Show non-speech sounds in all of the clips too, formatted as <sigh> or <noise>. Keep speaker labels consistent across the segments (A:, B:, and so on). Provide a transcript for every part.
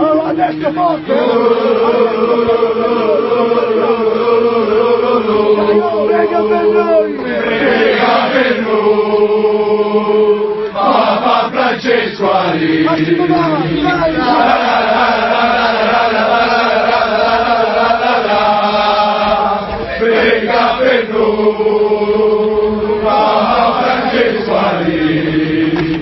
A: Alla där tillbaka! Lägga mig nu!
B: Papa Francesco arrivi. Prega per noi, Papa Francesco arrivi.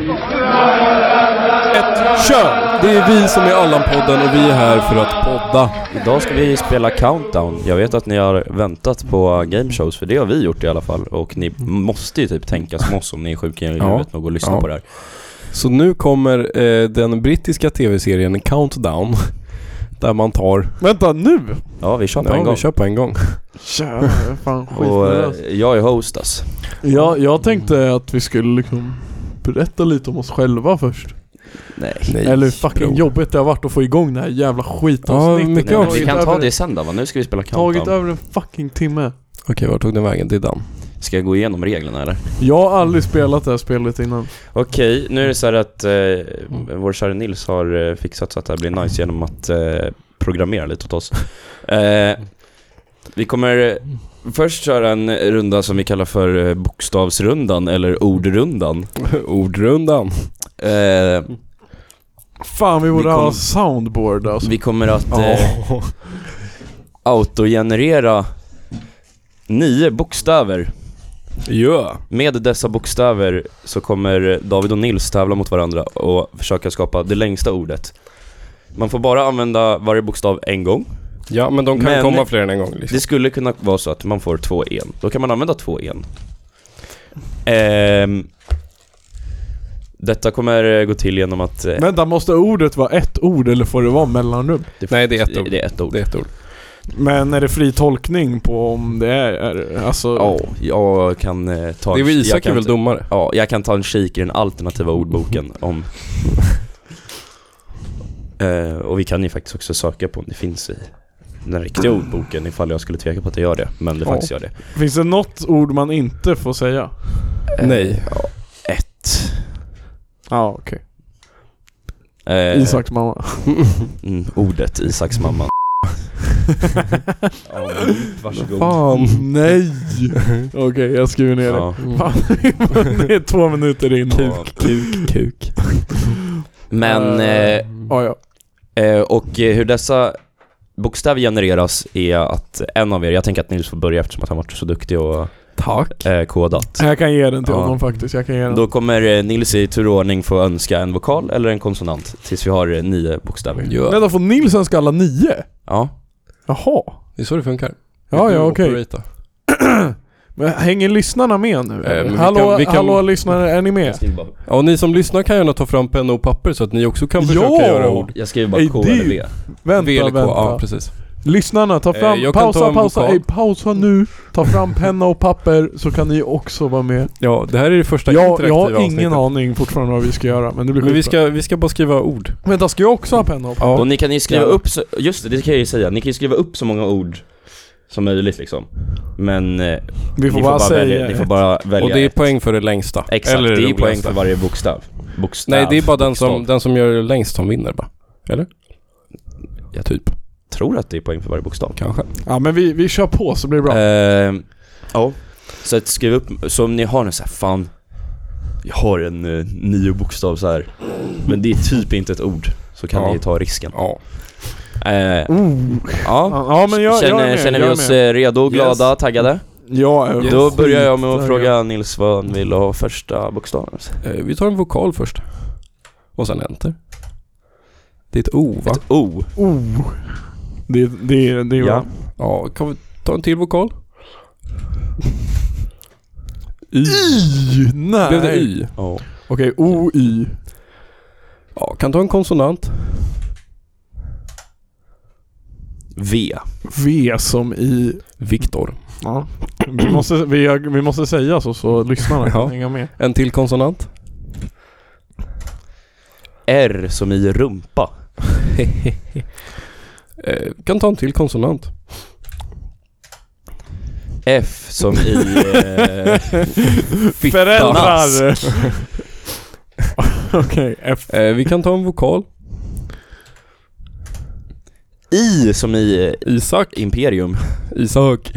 C: Kör! Det är vi som är Allan-podden och vi är här för att podda.
D: Idag ska vi spela Countdown. Jag vet att ni har väntat på gameshows, för det har vi gjort i alla fall. Och ni måste ju typ tänka som oss om ni är sjuka i
C: Ja.
D: huvudet och går och lyssnar
C: Ja.
D: på det här.
C: Så nu kommer eh, den brittiska tv-serien Countdown. Där man tar...
E: Vänta nu!
D: Ja, vi kör på en
C: Ja,
D: gång.
C: vi kör på en gång.
E: Tja, jag är fan
D: <laughs> Och eh,
E: skitnervös.
D: jag är host alltså.
E: Ja, jag tänkte att vi skulle liksom berätta lite om oss själva först.
D: Nej.
C: Nej,
E: Eller hur fucking
C: bro.
E: jobbigt det har varit att få igång det här jävla skitavsnittet.
C: Ja, mycket
E: Det har
C: också.
D: vi
E: tagit
D: kan ta
E: över-
D: det sen då va? Nu ska vi spela
E: Tagit
D: Countdown.
E: över en fucking timme.
C: Okej, vart tog den vägen? Det är den.
D: Ska jag gå igenom reglerna eller?
E: Jag har aldrig spelat det här spelet innan.
D: Okej, nu är det så här att eh, vår kära Nils har eh, fixat så att det här blir nice genom att eh, programmera lite åt oss. Eh, vi kommer eh, först köra en runda som vi kallar för eh, bokstavsrundan eller ordrundan.
C: Ordrundan.
D: Eh,
E: Fan vi borde
D: Vi kom-
E: ha soundboard alltså.
D: vi kommer att
C: Ja.
D: eh,
E: <laughs>
D: autogenerera nio bokstäver.
C: Ja.
D: Med dessa bokstäver så kommer David och Nils tävla mot varandra och försöka skapa det längsta ordet. Man får bara använda varje bokstav en gång.
C: Ja, men de kan
D: Men-
C: komma fler än en gång. Liksom.
D: Det skulle kunna vara så att man får två en. Då kan man använda två en. Ehm, detta kommer eh, gå till genom att... eh,
E: Vänta, måste ordet vara ett ord eller får det vara mellanrum?
D: det,
C: Nej, det är ett ord.
D: Det är ett ord.
C: Det är ett ord.
E: Men är det fri tolkning på om det är, är alltså...
D: Ja, jag kan eh, ta...
C: Det är väl Isak
D: jag
C: är
D: kan
C: väl
D: ta-
C: domare?
D: Ja, jag kan ta en kik i den
C: <laughs>
D: alternativa ordboken om... Eh, och vi kan ju faktiskt också söka på om det finns i den riktiga ordboken ifall jag skulle tveka på att det gör det. Men det
E: Ja.
D: faktiskt gör det.
E: Finns det något ord man inte får säga?
D: Eh,
C: Nej.
D: Ja, ett.
E: Ja, okej.
D: Eh,
E: Isaks mamma.
D: Mm, ordet Isaks mamma. ja, varsågod.
C: Fan. <laughs>
E: Nej! Okej, jag skriver ner det.
D: Ja.
E: Fan, det är två minuter in.
D: Ja.
C: Kuk, kuk.
D: Men, eh,
E: Ja, ja.
D: eh, och eh, hur dessa bokstäver genereras är att en av er, jag tänker att Nils får börja eftersom att han varit så duktig och
C: Tack.
D: eh, kodat.
E: Jag kan ge den till
D: Ja.
E: honom faktiskt. Jag kan ge den.
D: Då kommer eh, Nils i turordning få önska en vokal eller en konsonant tills vi har eh, nio bokstäver.
C: Ja.
E: Vänta, får Nilsson ska alla nio?
D: Ja.
E: Jaha.
C: Det är så det funkar.
E: Ja,
C: Du
E: ja, okej.
C: operata.
E: Men hänger lyssnarna med nu?
C: Eh, men vi
E: hallå,
C: kan- vi kan-
E: hallå lyssnare, är ni med?
D: Jag skriver bara,
C: Ja, och ni som lyssnar kan gärna ta fram penna och papper så att ni också kan försöka
E: Ja!
C: göra ord.
D: jag skriver bara
E: Ej,
D: K
E: det-
D: eller B.
E: Vänta,
C: VLK,
E: vänta.
C: ja precis.
E: Lyssnarna, ta fram,
C: Eh, jag kan
E: pausa,
C: ta en
E: pausa,
C: vokal.
E: ey, pausa nu. Ta fram penna och papper så kan ni också vara med.
C: Ja, det här är det första
E: Jag,
C: interaktiva
E: jag har ingen
C: avsnittet.
E: aning fortfarande vad vi ska göra, men det blir
C: Men vi
E: skitbra.
C: ska, vi ska bara skriva ord.
E: Vänta, ska jag också ha penna och papper?
C: Ja.
D: Och ni kan ju skriva
E: Ja.
D: upp, så, just det, det kan jag ju säga, ni kan ju skriva upp så många ord som möjligt liksom. Men eh,
E: Vi får
D: ni, får
E: bara,
D: bara
E: säga
D: välja, ni får bara välja
C: Och det är
D: ett.
C: poäng för det längsta.
D: Exakt,
C: Eller
D: det är ju
C: roligaste.
D: poäng för varje bokstav. Bokstav.
C: Nej, det är bara den
D: bokstav.
C: som, den som gör det längst som vinner bara. Eller?
D: Ja.
C: typ.
D: tror att det är poäng för varje bokstav.
C: Kanske.
E: Ja men vi, vi kör på så blir det bra.
D: Ehm, ja. Så att skriv upp, så om ni har en så här, fan, jag har en eh, nio bokstav så här. men det är typ inte ett ord. Så kan
C: Ja.
D: ni ta risken.
C: Ja.
D: Eh,
E: Oh.
D: ja.
E: Ja men jag,
D: känner,
E: jag är med,
D: känner vi
E: jag är
D: oss
E: med.
D: eh, redo, glada, taggade?
E: Jag är
D: Då
E: skit-
D: börjar jag med att
E: taggad.
D: fråga Nils vad han vill ha första bokstaven.
C: Eh, vi tar en vokal först. Och sen enter. Det är ett O va?
D: Ett O.
E: Oh. Det, det, det är
D: Ja.
E: bra.
C: Ja, kan vi ta en till vokal? <laughs>
E: Y. Nej.
C: Blev det Y?
D: Ja.
E: Okej, O, Y.
C: Ja, kan ta en konsonant.
D: V.
E: V som i...
C: Viktor.
E: Ja. Vi, måste, vi, har- vi måste säga så, så lyssnarna kan
C: Ja.
E: hänga med. <laughs>
C: En till konsonant.
D: R som i rumpa.
C: Eh, kan ta en till konsonant.
D: F som i...
E: <laughs>
D: Eh,
E: Föräldrar! Okej, F.
C: Eh, vi kan ta en vokal.
D: I som i eh,
C: Isak.
D: Imperium.
C: Isak.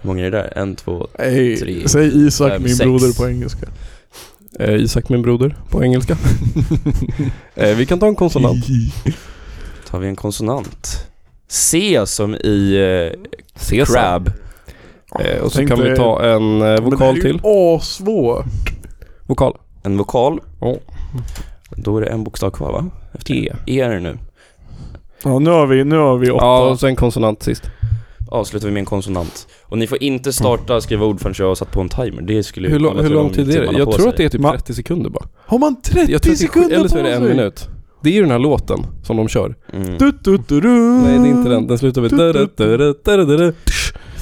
D: Hur många är det där? En, två...
E: Ey,
D: Tre,
E: säg Isak
D: fem,
E: min
D: sex.
E: broder på engelska.
C: Eh, Isak min broder på engelska. eh, vi kan ta en konsonant.
D: Tar vi en konsonant? C som i eh, crab.
C: Eh, och så
E: Tänkte-
C: kan vi ta en eh, vokal till.
E: Asvår.
C: Vokal.
D: En vokal.
C: Ja.
D: Då är det en bokstav kvar va? Efter E. E är det nu.
E: Ja, nu har vi, nu har vi åtta.
C: Ja, och så en konsonant sist.
D: Avslutar vi med en konsonant. Och ni får inte starta skriva ord förrän jag har satt på en timer. Det skulle ju
C: Hur,
D: kolla
C: lång- hur lång tid är
D: man
C: det?
D: har
C: Jag
D: på
C: tror
D: sig.
C: att det är typ
E: Ma-
C: 30 sekunder bara.
E: Har man 30
C: Jag tror att det är,
E: sekunder
C: eller så är
E: på
C: det en
E: sig?
C: minut. Det är ju den här låten som de kör.
D: Mm.
E: Du, du, du, du.
C: Nej, det är inte den. Den slutar med... da, da, da, da, da, da, da.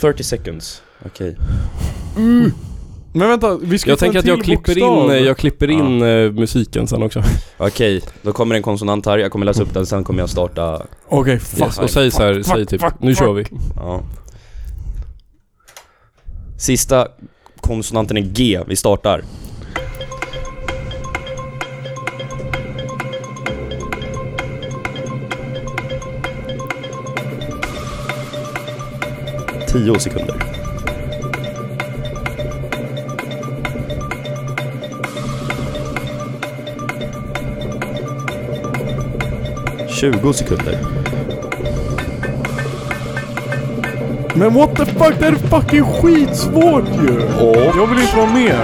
D: 30 seconds. Okej.
E: Men vänta, vi ska
C: Jag
E: få en
C: tänker att
E: till
C: jag klipper in,
E: bokstav.
C: eh, jag klipper in eh, musiken sen också.
D: Okej, då kommer en konsonant här. Jag kommer läsa upp den, sen kommer jag starta...
E: Okej, fuck.
D: Yes.
C: Och säg så här, säg typ nu kör vi.
D: Ja. Sista konsonanten är G. Vi startar. Tio sekunder. Tjugo sekunder.
E: Men what the fuck, det här är fucking skitsvårt ju. Jag vill inte vara med.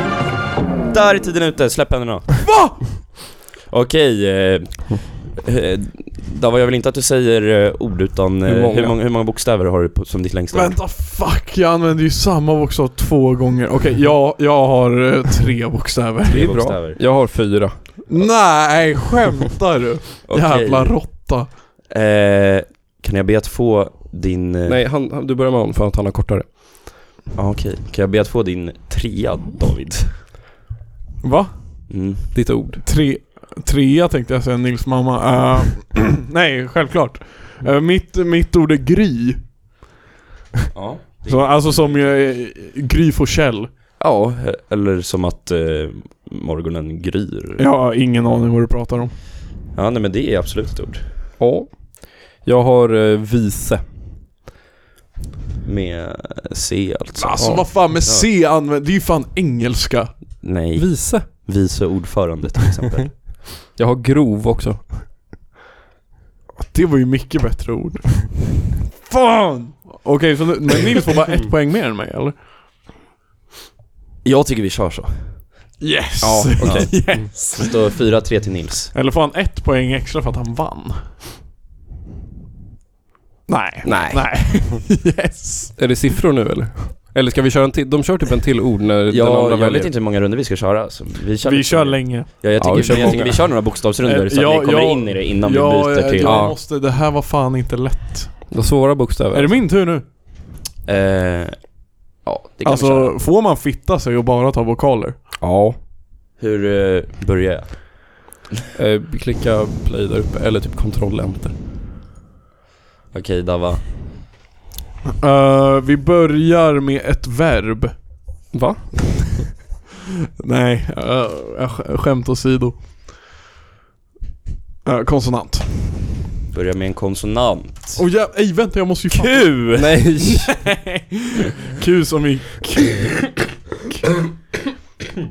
D: Där är tiden ute, släpp händerna. Va? Okej, eh, eh, Dava jag vill inte att du säger eh, ord utan eh,
C: Hur
D: hur,
C: många?
D: många? Hur, många, bokstäver har du på, som ditt längsta?
E: Vänta, fuck. Jag använder ju samma bokstav två gånger. Okej, jag, jag har eh, tre bokstäver.
D: Tre
C: Det är bra.
D: bokstäver.
C: Jag har fyra.
E: Nej, skämtar du?
D: Okej,
E: <laughs> Jävla råtta.
D: eh, Kan jag be att få din... eh,
C: Nej, han, han- du börjar med honom för att han har kortare.
D: Ja okej, kan jag be att få din trea David?
E: Va?
D: Mm.
C: Ditt ord.
E: Tre, trea tänkte jag säga, Nils mamma. Eh, <clears throat> nej, självklart. Eh, mitt, mitt ord är gry.
D: Ja.
E: Så, alltså som uh, Gry Forssell.
D: ja, eh, eller som att eh, morgonen gryr.
E: Jag har ingen aning vad du pratar om.
D: Ja, nej men det är absolut ett ord.
C: Ja. Jag har eh, vice.
D: Med eh, C alltså.
E: Alltså
D: Ja.
E: vad fan med C använder, det är ju fan engelska.
D: Nej,
C: Vice.
D: vice ordförande till exempel.
C: Jag har grov också.
E: Det var ju mycket bättre ord. <laughs> fan! Okej, så nu, men Nils får bara
D: Mm.
E: ett poäng mer än mig eller?
D: <laughs> jag tycker vi kör så.
E: Yes! <laughs>
D: Ja, okej.
E: yes.
D: Det står 4-3 till Nils.
E: Mm. Eller får han ett poäng extra för att han vann? Nej.
D: Nej.
E: Nej. <laughs> yes.
C: Är det siffror nu eller? Eller ska vi köra en till? De kör typ en till ord när den
D: Ja,
C: andra
D: jag
C: väljer.
D: vet inte hur många runder vi ska köra. Så vi kör,
E: Vi
D: lite-
E: kör länge.
D: Ja, jag
C: Ja,
D: tycker,
C: vi kör
D: men jag tycker
C: många.
D: vi kör några bokstavsrundor så att
E: Ja,
D: vi kommer
E: ja,
D: in i det innan
E: ja,
D: vi byter till...
E: Jag
C: Ja.
E: måste, det här var fan inte lätt.
C: De svåra bokstäver.
E: Är det min tur nu?
D: Eh, ja, det kan vi köra.
E: Alltså, får man fitta sig och bara ta vokaler?
C: Ja.
D: Hur eh, börjar jag?
C: Eh, klicka play där uppe, eller typ kontroll enter.
D: Okej, Dava.
E: Eh, vi börjar med ett verb.
C: Va?
E: Nej, eh, jag sk- skämt åsido. Eh, konsonant.
D: Börja med en konsonant.
E: Åh jävlar, ej vänta jag måste ju fan...
D: Q!
C: Nej!
E: Q som i... K- K-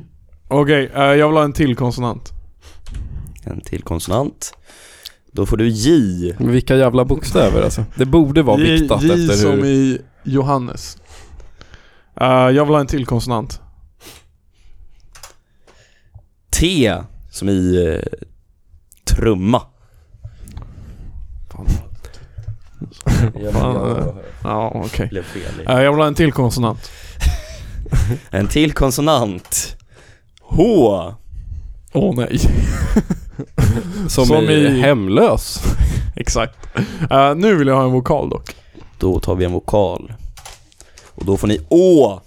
E: Okej, eh, jag vill ha en till konsonant.
D: En till konsonant. Då får du J.
C: Vilka jävla bokstäver alltså. Det borde vara
E: J,
C: viktat
E: J
C: efter
E: som
C: hur...
E: i Johannes. Eh, jag vill ha en till konsonant.
D: T som i eh, trumma. Jag,
C: eh.
D: jag
E: Ja, okej.
D: blev fel.
E: Eh, jag vill ha en till konsonant.
D: En till konsonant. H.
E: Åh nej.
C: Som,
E: som
C: i,
E: i-
C: hemlös.
E: <laughs> Exakt. Eh, nu vill jag ha en vokal dock.
D: Då tar vi en vokal. Och då får ni Å.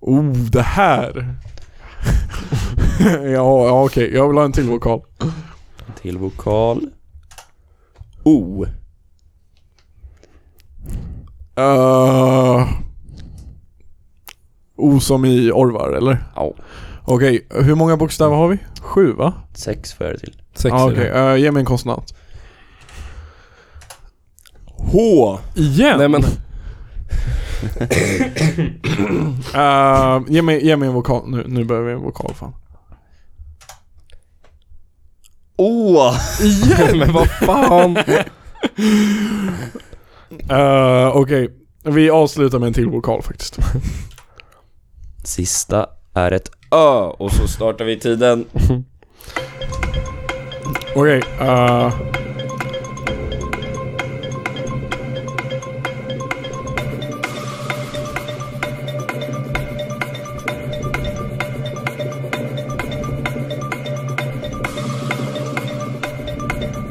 E: Oh, det här. ja, <laughs> ja okej. Jag vill ha en till vokal.
D: En till vokal. O.
E: Eh, O som i Orvar eller?
D: Ja.
E: Okej, hur många bokstäver har vi? Sju va?
D: Sex får jag det till.
C: Sex
E: Ja,
C: är det.
E: Okej, eh, ge mig en konsonant.
C: H!
E: Igen?
C: Nej men,
E: Eh, ge, mig, ge mig en vokal. Nu, nu behöver vi en vokal fan.
D: Åh!
C: <laughs> men vad fan!
E: Eh, Okej, vi avslutar med en till vokal faktiskt.
D: Sista är ett Ö och så startar vi tiden.
E: Okej, eh,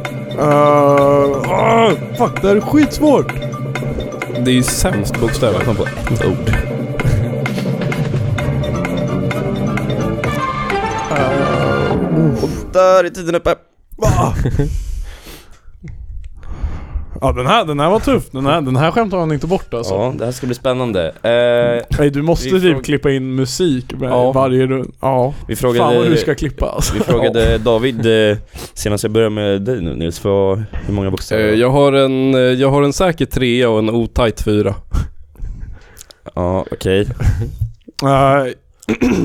E: eh, ah, fuck, det här är skitsvårt!
C: Det är ju sämst bokstäver. Jag kom på ett ord.
D: Där är tiden uppe.
E: Ja, den här, den här var tuff. Den här, den här skämtar han inte bort alltså.
D: Ja, det här ska bli spännande. Eh,
E: Nej, du måste
D: Vi
E: typ
D: fråg-
E: klippa in musik med
D: Ja.
E: varje runda. Ja.
D: vi
E: Fan vad du
D: frågade,
E: ska klippa alltså.
D: vi frågade David eh, senast jag började med dig nu Nils, vad, hur många
C: Eh,
D: bokstäver?
C: Jag har en, eh, jag har en säker trea och en otajt fyra.
D: Ja, okej.
E: Nej. Eh,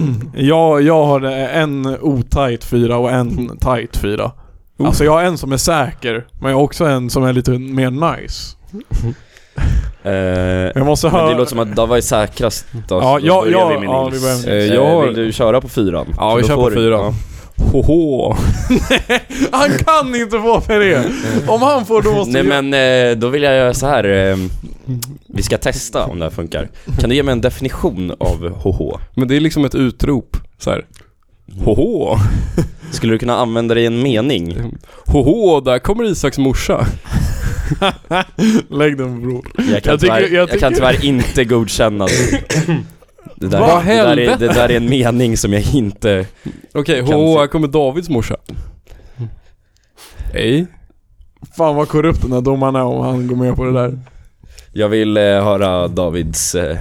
E: <clears throat> jag, jag har en otajt fyra och en tajt fyra.
D: Oh.
E: Alltså jag har en som är säker, men jag har också en som är lite mer nice.
D: Eh,
E: Jag måste
D: Men
E: höra...
D: det låter som att Dava är säkrast då,
E: Ja,
D: så
E: ja,
D: då börjar
E: ja,
D: vi med
E: ja,
D: Nils.
E: vi börjar med
D: Eh,
C: Nils.
D: jag
C: Eh,
D: har...
C: vill
D: Vill du köra på fyran?
C: Ja, vi
D: Då
C: kör på
D: får du-
C: fyran.
D: ja.
C: Hoho!
E: <laughs> Han kan inte få för
D: <laughs>
E: det! Om han får då
D: Nej
E: måste vi-
D: men eh, då vill jag göra så här. eh, Vi ska testa om det här funkar. Kan du ge mig en definition av HH?
C: Men det är liksom ett utrop. Så här. Hoho!
D: Skulle du kunna använda det i en mening?
C: Hoho, där kommer Isaks morsa.
E: Lägg den bror.
D: Jag kan,
E: Jag tycker-
D: tyvärr, jag
E: jag
D: kan
E: tycker-
D: tyvärr inte godkänna det. Det där,
C: Vad
D: det, där är,
C: helvete?
D: det där är en mening som jag inte...
C: Okej,
D: Kan
C: hoho,
D: se-
C: här kommer Davids morsa. Hej.
E: Fan vad korrupt den här domaren är om han går med på det där.
D: Jag vill eh, höra Davids... Eh,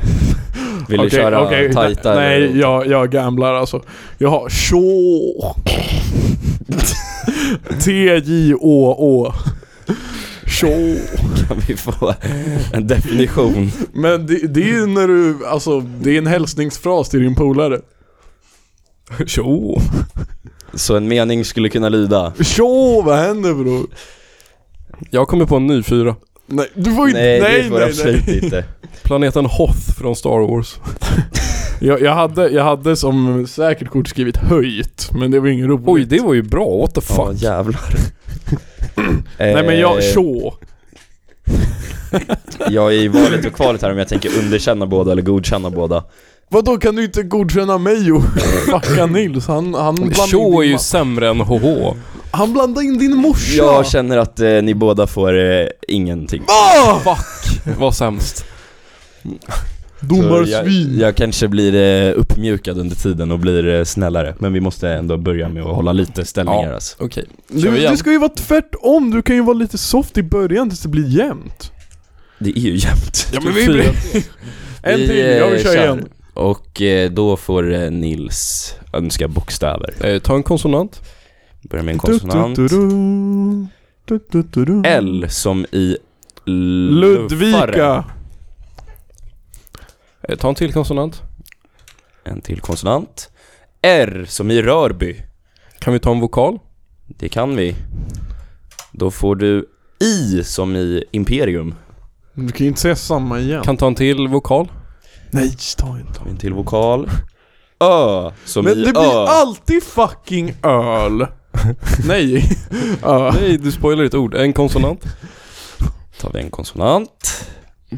D: vill du
E: Okej,
D: köra
E: okej.
D: tajtare?
E: Nej, jag, jag gamblar alltså. Jag har tjå.
D: <laughs>
E: T-J-Å-Å. Tjå.
D: Kan vi få en definition?
E: Men det, det är ju när du, alltså det är en hälsningsfras till din polare.
C: Tjo!
D: Så en mening skulle kunna lyda...
E: Tjå, vad händer bror?
C: Jag kommer på en ny fyra.
E: Nej, du får inte,
D: Nej,
E: nej, nej,
D: det får du
E: nej.
D: absolut inte.
C: Planeten Hoth från Star Wars.
E: Jag, jag, hade, jag hade som säkert kort skrivit höjt, men det var ingen roligt.
C: Oj, det var ju bra. What the fuck?
D: Ja, jävlar.
E: <laughs> Nej men jag,
D: Eh,
E: tjå.
D: Jag är i valet och kvalet här om jag tänker underkänna båda eller godkänna båda.
E: Vadå kan du inte godkänna mig och <laughs> fucka Nils? Han, han blandar in
C: Tjo är
E: din
C: ju
E: ma-
C: sämre än hoho.
E: Han blandar in din morsa!
D: Jag känner att eh, ni båda får eh, ingenting.
E: Ah!
C: Vad sämst.
D: Så
E: Domarsvin!
D: Jag, jag kanske blir eh, uppmjukad under tiden och blir eh, snällare. Men vi måste ändå börja med att hålla lite ställningar
C: Ja.
D: alltså.
C: Okej. Kör
E: Du,
C: igen.
E: det ska ju vara tvärtom, du kan ju vara lite soft i början tills det blir jämnt.
D: Det är ju jämnt.
E: Ja, men
C: Typ
E: vi-
D: <laughs>
C: fyra.
E: En
D: Vi,
E: till, jag vill
D: eh,
E: köra
D: kör.
E: igen.
D: Och eh, då får eh, Nils önska bokstäver.
C: Eh, ta en konsonant.
D: Börja med en konsonant.
E: Du-du-du-du. Du-du-du-du.
D: L som i luffare.
E: Ludvika.
C: Eh, ta en till konsonant.
D: En till konsonant. R som i Rörby.
C: Kan vi ta en vokal?
D: Det kan vi. Då får du I som i Imperium.
E: Du kan ju inte säga samma igen.
C: Kan ta en till vokal?
E: Nej, ta inte.
D: En till vokal. Ö som
E: Men
D: i
E: det
D: Ö.
E: blir alltid fucking öl. <laughs> Nej. Ö.
C: Nej, du spoilar ett ord. En konsonant.
D: tar vi en konsonant.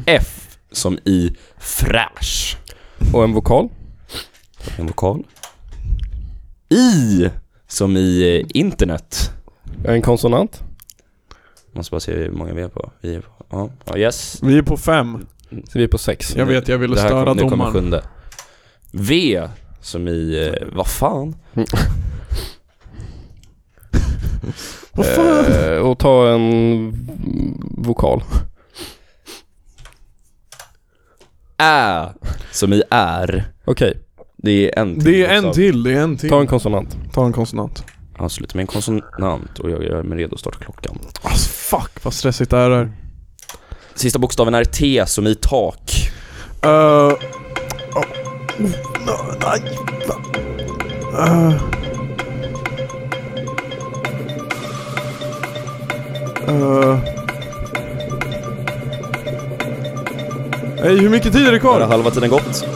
D: F som i fräsch.
C: Och en vokal.
D: Tar vi en vokal. I som i eh, internet.
C: En konsonant.
D: Måste bara se hur många vi är på. Vi är på. Ja, ja yes.
E: Vi är på fem.
C: Så vi är på sex.
E: Jag vet, jag ville
D: Det här
E: störa
D: kom, nu kommer
E: domaren.
D: sjunde. V som i, eh, vad fan?
E: Vad fan?
C: Eh, och ta en vokal.
D: Ä Som i är.
C: Okej,
D: Det är en
E: Det är en
D: bokstav.
E: till, det är en till.
C: ta en konsonant.
E: Ta en konsonant.
D: Han slutar med en konsonant och jag gör mig redo att starta klockan.
E: Alltså fuck vad stressigt det här är.
D: Sista bokstaven är T som i tak.
E: Uh, oh, no, nej, va- Uh. Uh. Hey, hur mycket tid är det
D: Har
E: kvar?
D: halva tiden gått?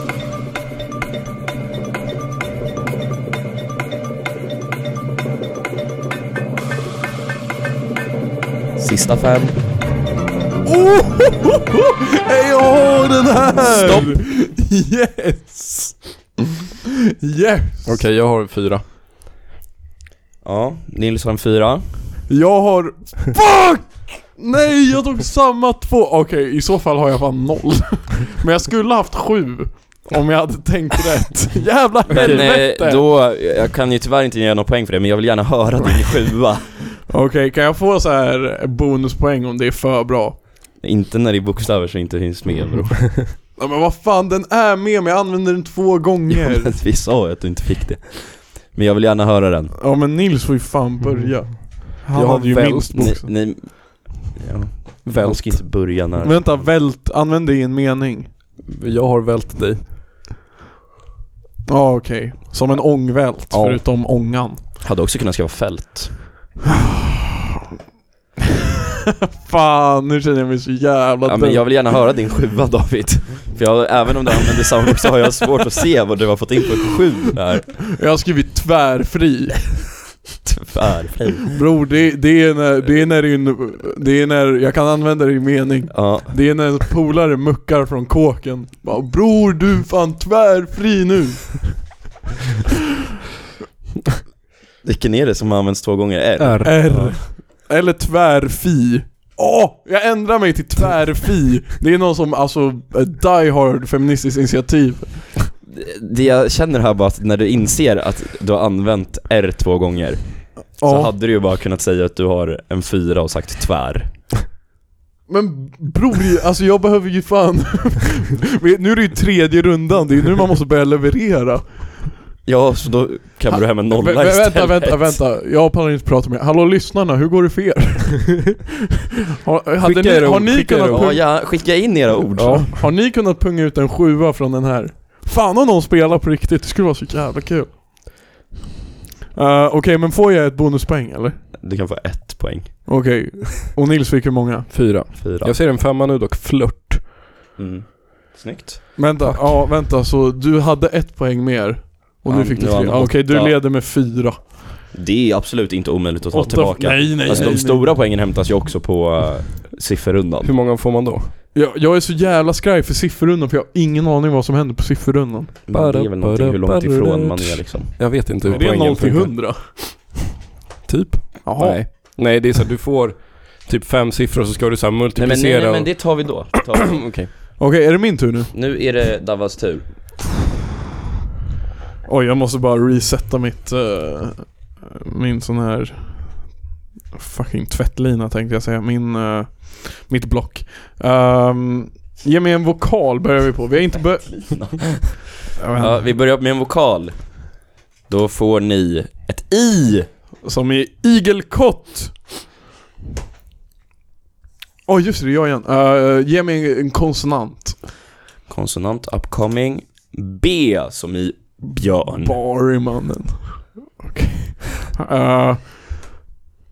D: Sista fem.
E: Oh, Hey, jag har den här!
D: Stopp.
E: Yes! Yes!
C: Okej, jag har fyra.
D: Ja, Nils har en fyra.
E: Jag har... Fuck! Nej, jag tog samma två. Okej, i så fall har jag fan noll. Men jag skulle haft sju. Om jag hade tänkt rätt. Jävla
D: Men
E: helvete!
D: eh, då, jag kan ju tyvärr inte ge någon poäng för det, men jag vill gärna höra din sjua.
E: Okej, kan jag få så här bonuspoäng om det är för bra?
D: Inte när det är bokstäver som inte finns med bro.
E: Mm. Ja, men vad fan, den är med mig. Jag använder den två
D: Ja,
E: gånger.
D: men vi sa ju att du inte fick det. Men jag vill gärna höra den.
E: Ja, men Nils får ju
D: Mm.
E: fan börja. Han
C: Jag har
E: hade ju
C: väl-
E: minst
D: Ni,
E: bokstav.
D: ni, ja, man ska inte börja när...
E: Vänta, vält. Använd det i en mening.
C: Jag har vält dig.
E: Ja, okej. Som en ångvält,
D: Ja.
E: förutom ångan.
D: Hade också kunnat skriva fält.
E: Fan, nu känner jag mig så jävla
D: Ja,
E: dum.
D: men jag vill gärna höra din sjua David. För jag, även om du använder samma ord så har jag svårt att se vad du har fått in för sju där.
E: Jag har skrivit tvärfri.
D: Tyvärr.
E: Bror, det, det är när, det är när din, det är när, jag kan använda det i mening.
D: Ja,
E: Det är när en polare muckar från kåken. Bara, Bror du är fan tvärfri nu.
D: vilken är det som används två gånger? R?
C: R.
E: R. Eller tvärfi. Åh! jag ändrar mig till tvärfi. Det är någon som, alltså, die hard feministiskt initiativ.
D: Det jag känner här bara att när du inser att du har använt R två gånger så
E: Ja.
D: hade du ju bara kunnat säga att du har en fyra och sagt tvär.
E: Men bror, alltså jag behöver ju fan... <laughs> Men nu är det ju tredje rundan, det är ju nu man måste börja leverera.
D: Ja, så då kan du hem en nolla
E: Vä- vä-
D: istället.
E: Vänta, vänta, vänta. Jag pallar inte prata med er. Hallå lyssnarna, hur går det för er? <laughs> har, hade
C: Skicka
E: ni,
C: era
E: har,
C: ord,
E: ni
C: skicka era
E: kunnat
C: ord.
D: Ja,
E: pung-
D: ja, skicka in era ord.
E: ja, har ni kunnat punga ut en sjua från den här? Fan om någon spelar på riktigt, det skulle vara så jävla kul. Eh, Okej, men får jag ett bonuspoäng eller?
D: Du kan få ett poäng.
E: Okej. Och Nils fick hur många?
C: Fyra.
D: Fyra.
C: Jag ser en femma nu dock, flört.
D: Mm. Snyggt.
E: Vänta, ja vänta så du hade ett poäng mer. Och nu
D: Ja,
E: fick du
D: nu
E: tre.
D: vann
E: Ja, Okej, du
D: åtta.
E: leder med fyra.
D: Det är absolut inte omöjligt att ta
E: Åtta-
D: tillbaka.
E: Nej, nej,
D: alltså
E: nej,
D: de
E: nej.
D: stora poängen hämtas ju också på uh, sifferrundan.
C: Hur många får man då?
E: Jag, jag är så jävla skraj för sifferrundan för jag har ingen aning vad som händer på sifferrundan.
D: Men det är väl någonting hur långt ifrån man är liksom.
C: Jag vet inte hur
E: Det är
C: poängen
E: 0 till
C: funkar.
E: 100.
C: Typ?
E: Jaha.
C: Nej. Nej, det är så här, du får typ fem siffror så ska du så här
D: Nej men,
C: multiplicera.
D: nej, nej, men det tar vi då. Det Tar vi. <clears throat>
C: och- Okej.
E: Okej, är det min tur nu?
D: Nu är det Davas tur.
E: Oj, jag måste bara resetta mitt... eh, min sån här... Fucking tvättlina tänkte jag säga. Min... eh, mitt block. Ehm, ge mig en vokal börjar vi på. Vi har inte börjat... <laughs>
D: Ja, vi börjar med en vokal. Då får ni ett I.
E: Som i igelkott. Åh just det, det är jag igen. Eh, ge mig en, en konsonant.
D: Konsonant upcoming. B som i
C: Mm.
D: björn.
E: Barrymannen. Okej. Eh,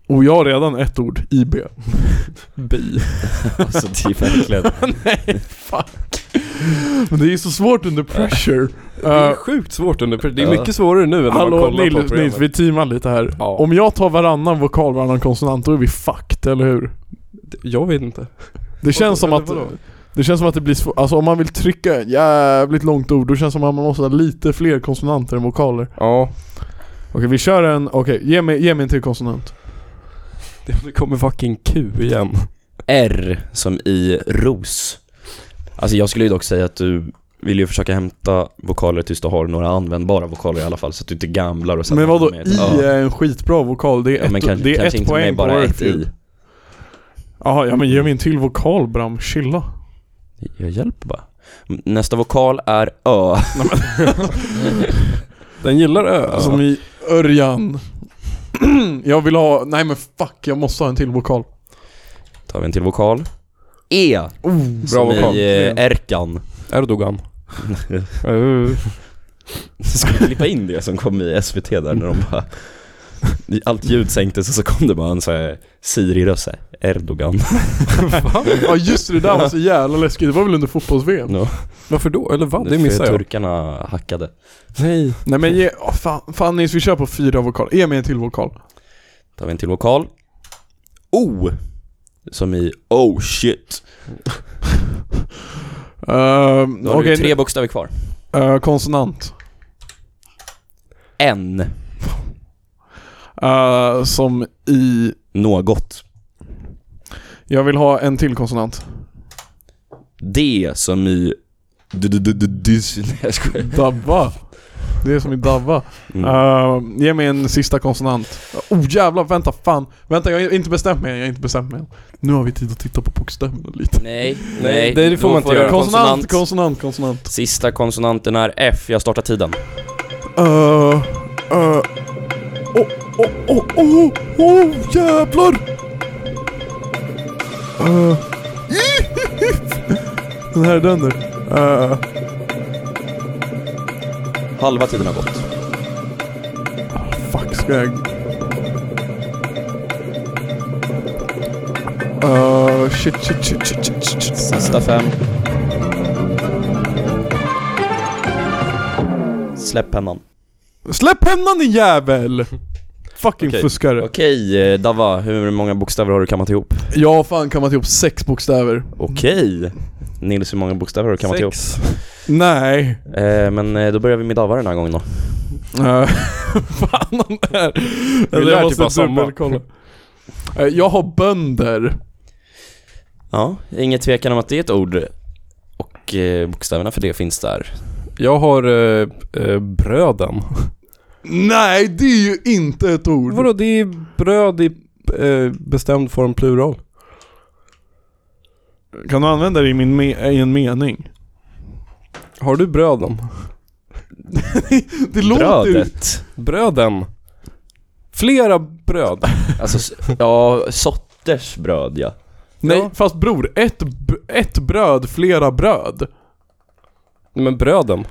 E: och jag har redan ett ord, IB. Bi.
D: Alltså det är verkligen.
E: Nej, fuck. Men det är ju så svårt under pressure.
C: Det är
E: Eh,
C: sjukt svårt under Det är
D: Ja.
C: mycket svårare nu än när man
E: hallå
C: kollar på
E: Nils,
C: programmet.
E: Nils, vi teamar lite här.
C: Ja.
E: Om jag tar varannan vokal, varannan konsonant, då är vi fucked, eller hur?
C: Jag vet inte.
E: Det känns som
C: Eller
E: att...
C: vadå?
E: Det känns som att det blir svårt, alltså om man vill trycka ett jävligt långt ord då känns det som att man måste ha lite fler konsonanter än vokaler
C: Ja.
E: Okej vi kör en, okej ge, mig, ge mig en till konsonant
C: Det kommer fucking Q igen.
D: R som i ros. Alltså jag skulle ju dock säga att du vill ju försöka hämta vokaler tills du har några användbara vokaler i alla fall så att du inte gamlar och sen
E: Men vadå,
D: med ett
E: i
D: ö.
C: eh?
E: är en skitbra vokal, det
D: Ja,
E: är
D: men
E: ett,
D: kanske,
E: det är
D: kanske
E: ett
D: inte
E: poäng
D: med
E: på
D: bara ett i.
E: Warfield. Jaha, ja men ge mig en till vokal Bram, chilla
D: Jag hjälper bara. M- Nästa vokal är Ö.
C: Den gillar ö.
E: Som i Örjan. <clears throat> jag vill ha... Nej men fuck, jag måste ha en till vokal.
D: Tar vi en till vokal. E.
C: Oh, bra
D: som
C: vokal.
D: i eh, Erkan.
C: Erdogan. <laughs> Eh.
D: Ska vi klippa in det som kom i SVT där när de bara Allt ljud sänktes och så kom det bara en sån här Siri-röst såhär, Erdogan.
E: Ja just det, det där var så jävla läskigt. Det var väl under fotbolls-VM?
D: No.
C: Varför då? Eller vad? Det
D: För
C: missar jag.
D: Turkarna hackade.
C: Nej.
E: Nej men ge... åh, fan, fan Nils, vi kör på fyra vokaler. Ge mig en till vokal. Ehm,
D: Tar vi en till vokal. O. Som i oh shit.
E: Ehm,
D: Då har
E: Okej,
D: du tre bokstäver kvar.
E: eh, konsonant.
D: N.
E: Eh, som i...
D: Något.
E: Jag vill ha en till konsonant.
D: D. Som i d- d- d- d- dys- Nej, jag skojar.
E: Dabba. Det är som i Dabba.
D: Mm.
C: Ah.
E: Ehm, ge mig en sista konsonant. Oh jävlar, vänta fan. Vänta, jag har inte bestämt mig än, Jag har inte bestämt mig än. Nu har vi tid att titta på bokstäverna lite.
D: Nej,
C: Nej, det får
D: Då
C: man inte
D: du
C: göra.
D: en
E: Konsonant, konsonant, konsonant.
D: Sista konsonanten är F. Jag startar tiden.
E: Uh, uh. Oh, oh, oh, oh, oh, jävlar! Uh. <laughs> Den här är den nu. Uh,
D: Halva tiden har gått.
E: fuck, ska jag... Uh, shit, shit, shit, shit, shit, shit, shit.
D: Sista fem. Släpp pennan.
E: Släpp pennan din jävel! Fucking
D: Okej.
E: fuskare.
D: Okej, eh, Dava, hur många bokstäver har du kammat ihop?
E: Jag har fan kammat ihop sex bokstäver.
D: Okej. Nils, hur många bokstäver har du kammat
C: <laughs>
D: ihop?
C: Sex.
E: Nej.
D: Eh, men eh, då börjar vi med Dava den här gången då.
E: Eh, fan om det här. Eller
C: lär
E: jag
C: typ
E: måste
C: ha samma.
E: dubbelkolla. <laughs> Eh, Jag har bönder.
D: Ja, inget tvekan om att det är ett ord. Och eh, bokstäverna för det finns där.
C: Jag har eh, eh, bröden.
E: Nej, det är ju inte ett ord.
C: Vadå, det är bröd i eh, bestämd form plural.
E: Kan du använda det i, min me- i en mening?
C: Har du bröden?
E: Det låter ju...
D: Brödet.
C: Bröden. Flera bröd.
D: Alltså, s- ja, sorters bröd ja.
E: Nej,
C: Ja.
E: fast bror. Ett, b- ett bröd, flera bröd. <laughs>
C: Men bröden.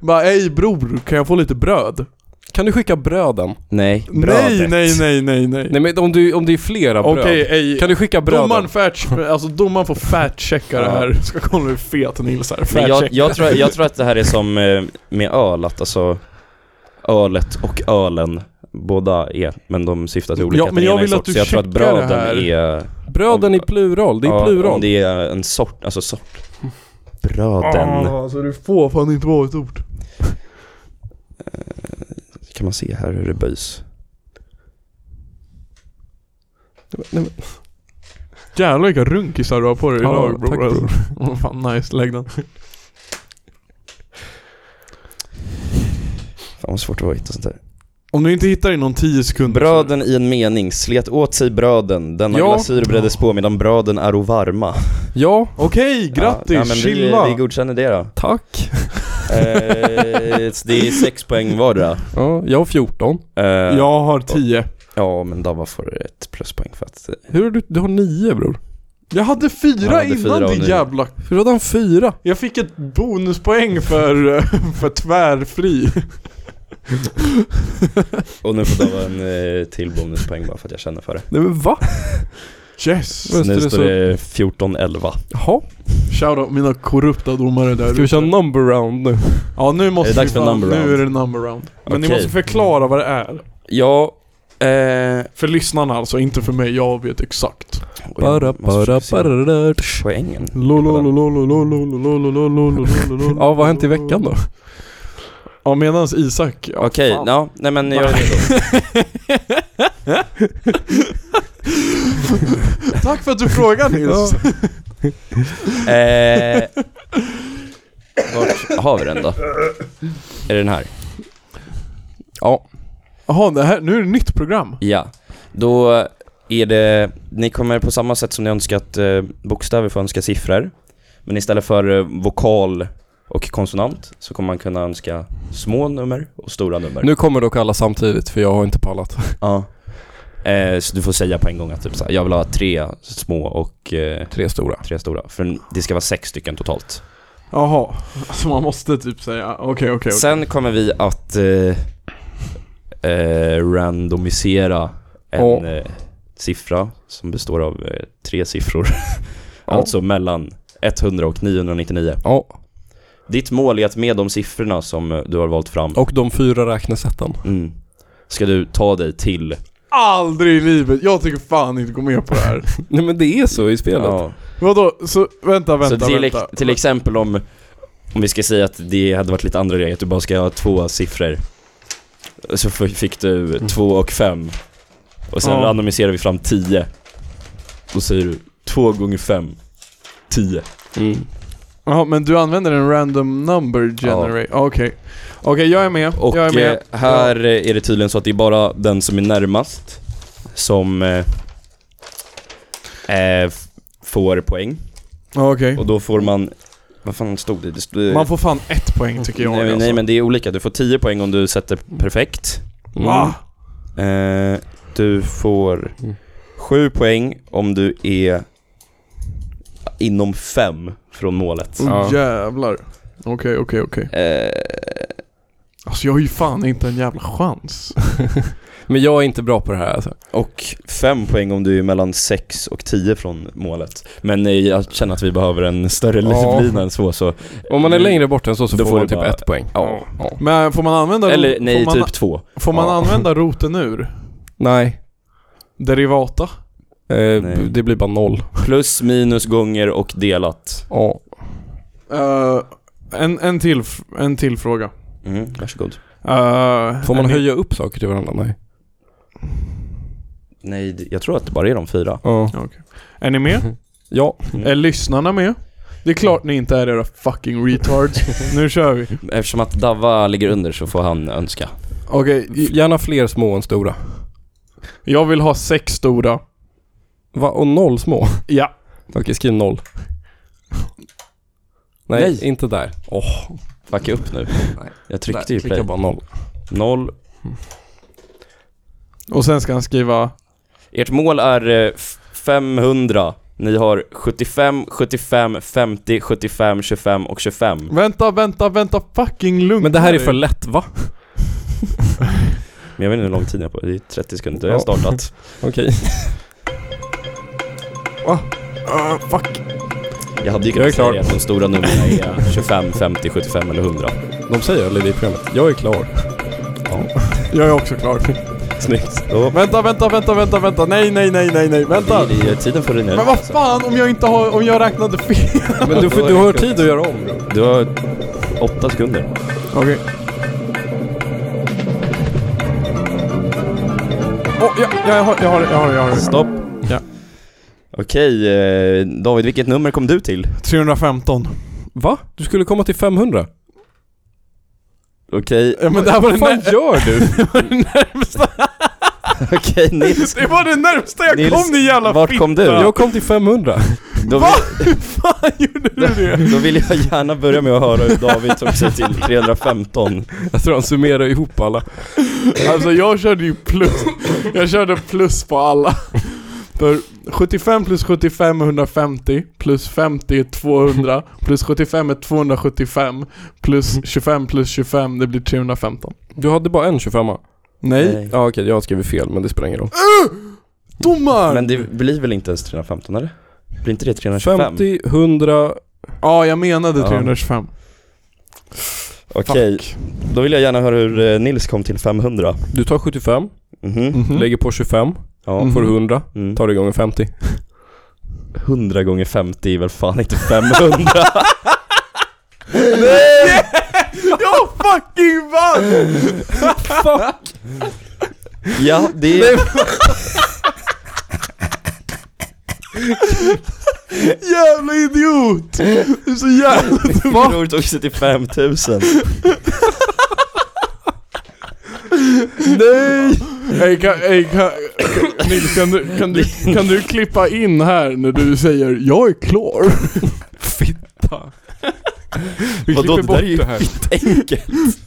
E: Bara, ej bror, kan jag få lite bröd?
C: Kan du skicka bröden?
D: Nej,
E: Nej,
D: brödet.
E: nej, nej, nej, nej.
C: Nej men om, du, om det är flera bröd.
E: Okej, ej.
C: Kan du skicka bröden?
D: <laughs>
E: Domaren fat, alltså domaren får fatchecka det här. Ska kolla hur fet Nils är.
D: Men jag,
E: Fatchecka.
D: jag, tror, jag tror att det här är som eh, med öl, att alltså ölet och ölen, båda är, men de syftar till olika.
E: Ja, men
D: Den
E: jag
D: ena är
E: vill
D: en sort,
E: att du
D: så jag tror att
E: checkar
D: bröden
E: det här.
D: är...
C: Bröden i plural, det är
D: ja,
C: plural.
D: om Det är en sort, alltså sort. Bröden.
E: Ah, alltså det får fan inte vara ett ord.
D: Kan man se här hur det böjs?
E: Jävlar vilka runkisar du har på dig
C: Ja,
E: idag bror.
C: tack,
E: alltså.
D: <laughs>
C: bror.
E: Åh, fan nice, lägg den.
D: Fan vad svårt det var att hitta sånt här.
E: Om du inte hittar i någon 10 sekunder
D: Bröden i en mening, slet åt sig bröden, denna
C: Ja.
D: glasyr breddes på medan bröden är varma.
C: Ja,
E: så- Okej, grattis,
D: ja, nej, men
E: chilla!
D: Vi, vi godkänner det då.
C: tack.
D: eh, det är sex poäng vardera.
C: Ja, jag har 14.
D: Eh,
E: jag har 10.
D: Ja, men Dava får ett pluspoäng för att...
C: Hur har du? Du har 9 bror.
E: Jag hade fyra
D: Han hade
E: innan
D: fyra och
E: din
D: nu-
E: jävla...
C: Hur hade han 4?
E: Jag fick ett bonuspoäng för, <laughs> för tvärfri.
D: Och nu får Dava en eh, till bonuspoäng bara för att jag känner för det.
C: Nej men
D: <laughs>
C: va? Just
E: Yes!
D: nu
C: det,
D: står
C: så-
D: det 14-11.
C: Jaha.
E: Shoutout mina korrupta domare där
C: Ska vi köra number round nu?
E: Ja nu måste
D: Är det dags
E: vi
D: för number round?
E: Nu är det number round. Men ni
D: Okej.
E: måste förklara vad det är.
D: Ja, eh...
E: För lyssnarna alltså, inte för mig. Jag vet exakt.
C: Bara, bara, bara, där.
D: Poängen.
C: Ja, vad har hänt i veckan då?
E: Ja medans Isak... ja,
D: Okej,
E: fan.
D: ja, nej men gör det då.
E: Tack för att du frågar Nils.
D: Eh... Vart har vi den då? Är det den här?
C: Ja.
E: Jaha, det här, nu är det nytt program.
D: Ja. Då är det, ni kommer på samma sätt som ni önskat eh, bokstäver få önska siffror. Men istället för eh, vokal och konsonant så kommer man kunna önska små nummer och stora nummer.
C: Nu kommer dock alla samtidigt för jag har inte pallat.
D: Ja. Eh, så du får säga på en gång att typ så här, jag vill ha tre små och eh,
C: Tre stora.
D: tre stora. För det ska vara sex stycken totalt.
E: Jaha, alltså man måste typ säga okej okej okej.
D: Sen kommer vi att eh, eh, randomisera en
C: Ja.
D: eh, siffra som består av eh, tre siffror. alltså mellan 100 och 999.
C: Ja,
D: Ditt mål är att med de siffrorna som eh, du har valt fram
C: och de fyra räknesätten.
D: mm, ska du ta dig till...
E: Aldrig i livet, jag tänker fan inte gå med på det här.
C: Nej men det är så i spelet.
D: Ja.
E: Vadå, så vänta
D: Så
E: vänta
D: till,
E: vänta.
D: till exempel om, om vi ska säga att det hade varit lite andra regler, att du bara ska ha två siffror. Så f- fick du två och fem. Och sen
E: Mm. Ja.
D: randomiserar vi fram tio. Då säger du två gånger fem, tio.
C: Mm.
E: Jaha, men du använder en random number generator? Ja. Okej. Okej, jag är med.
D: Och
E: jag är med.
D: eh, här eh, är det tydligen så att det är bara den som är närmast som eh, eh, f- får poäng.
E: Ja, Okej.
D: Och då får man, vad fan stod det? det stod,
E: Man får fan ett poäng tycker jag.
D: nej,
E: alltså.
D: nej men det är olika, du får 10 poäng om du sätter perfekt.
E: Va?
D: Eh, du får
C: Mm.
D: sju poäng om du är inom fem från målet.
E: Oh,
C: Ja.
E: Jävlar. Okej, okej, okej.
D: Eh,
E: Alltså jag har ju fan inte en jävla chans.
C: Men jag är inte bra på det här alltså.
D: och fem poäng om du är mellan sex och tio från målet. Men eh, jag känner att vi behöver en större
C: Ja.
D: livlina än så. så Mm.
C: Om man är längre bort än så så
D: Då
C: får
D: får
C: man
D: du
C: typ
D: bara-
C: ett poäng.
D: ja.
E: Men får man använda...
D: Eller nej,
E: får man,
D: typ två.
E: Får man
C: Ja. <laughs>
E: använda roten ur?
C: Nej.
E: Derivata?
C: Eh,
D: Nej.
C: Det blir bara noll.
D: Plus, minus, gånger och delat.
C: Ja.
E: Eh, en, en, till, f- en till fråga.
D: Mm, varsågod.
E: Eh,
C: Får man
E: en-
C: höja upp saker till varandra? Nej.
D: Nej, det- jag tror att det bara är de fyra.
C: Ja.
E: Är ni med?
C: Ja.
E: Är lyssnarna med? Det är klart ni inte är era fucking retards. nu kör vi.
D: Eftersom att Dava ligger under så får han önska.
E: Okej, i-
C: Gärna fler små än stora.
E: jag vill ha sex stora.
C: Va? Och noll små? <laughs>
E: Ja.
C: Okej, skriv noll. Nej,
D: Nej.
C: inte där. Åh,
D: Fucka upp nu.
C: Nej.
D: Jag
C: där.
D: tryckte ju play.
C: Klicka bara noll.
D: Noll,
E: Och sen ska han skriva...
D: Ert mål är eh, f- 500. Ni har 75, 75, 50, 75, 25 och 25.
E: Vänta, vänta, vänta, fucking lugn.
C: Men det här är för lätt va?
D: Men jag vet inte hur lång tid jag har på. Det är 30 sekunder. Jag har
C: Ja.
D: startat.
C: Okej.
E: Ah, fuck.
D: <laughs> Jag hade ju
C: Jag är
D: kunnat
C: klar.
D: säga det att de stora numren är eh, 25, 50, 75 eller 100.
C: De säger aldrig det i programmet. Jag är klar.
E: Jag är också klar.
D: Snyggt. Då.
E: Vänta, vänta, vänta, vänta, vänta. Nej, nej, nej, nej, nej. Vänta.
D: Det är ju tiden för
E: Men
D: ringa
E: vad fan om jag inte har... Om jag räknade fel?
C: Men du, får- du har tid att göra om. bro.
D: Du har 8 sekunder.
E: Okej. Åh, ja, ja, jag har jag har det, jag har det, jag har det.
D: Stopp.
E: Ja.
D: Okej, eh, David, vilket nummer kom du till?
E: 315.
C: Va? Du skulle komma till 500?
D: Okej, <laughs>
E: Ja, men det här var det
C: Vad fan
E: när-
C: gör <laughs> du?
D: okej Nils.
E: Det var det närmsta jag
D: Nils,
E: kom din jävla
D: vart kom du?
C: Jag kom till 500.
D: Då
E: Va?
D: vill,
E: Hur fan gjorde du det?
D: då vill jag gärna börja med att höra hur David tog sig till 315.
C: <laughs> Jag tror han summerar ihop alla.
E: <laughs> Alltså jag körde ju plus. Jag körde plus på alla. För 75 plus 75 är 150, plus 50 är 200, plus 75 är 275, plus 25 plus 25 det blir 315.
C: Du hade bara en 25a?
E: Nej.
C: Ja okej, jag har skrivit fel men det spelar ingen roll.
E: Domar!
D: Men det blir väl inte ens 315 eller? Blir inte det 325?
C: 50, 100...
E: Ja, jag menade
D: Ja.
E: 325.
D: Okej, då vill jag gärna höra hur eh, Nils kom till 500.
C: Du tar 75,
D: Mhm.
E: Mhm.
C: lägger på 25,
D: Ja.
E: Mm.
C: får 100,
D: Mm.
C: tar det gånger 50.
D: 100 gånger 50 är väl fan inte 500?
E: Jag fucking vann!
D: <laughs> ja, det är...
E: Jävla idiot! Du är så jävla...
D: Min bror tog sig till 5000.
E: Nej! Hey, kan, hey, kan, Nils, kan du, kan, du, kan du klippa in här när du säger 'Jag är klar'?
C: Fitta.
E: ja. Vi
D: Vadå,
E: klipper
D: det där
E: bort
D: är ju
E: det här.
D: Enkelt!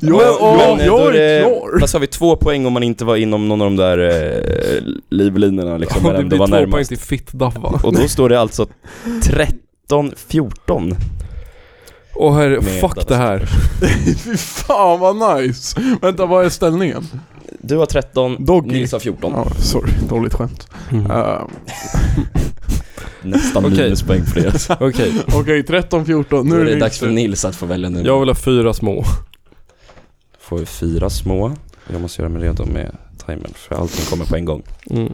E: Ja,
D: men,
E: ja,
D: eh, då
E: jag
D: är
E: är
D: det-
E: klar. <laughs>
D: Vad sa vi? Två poäng om man inte var inom någon av de där eh, livlinorna liksom,
C: Ja,
D: där
C: det
D: det
C: blir
D: var
C: två poäng
D: närmast.
C: till fitt-daff
D: <laughs>
C: va?
D: Och då står det alltså 13-14.
C: Åh herre,
D: Med
C: fuck det här.
E: Fy fan vad nice! Vänta, vad är ställningen?
D: Du har 13,
E: Doggy.
D: Nils har 14.
E: Ja, sorry, dåligt skämt.
C: Mm.
D: Mm.
E: Eh,
D: Nästan
C: Okej.
D: minuspoäng för det.
C: Okej,
E: Okej, 13-14,
D: Nu
E: nu
D: är det
E: min
D: dags för
E: tur.
D: Nils att få välja nu.
C: jag vill ha fyra små.
D: Får vi fyra små. Jag måste göra mig redo med timern för allting kommer på en gång.
C: Mm.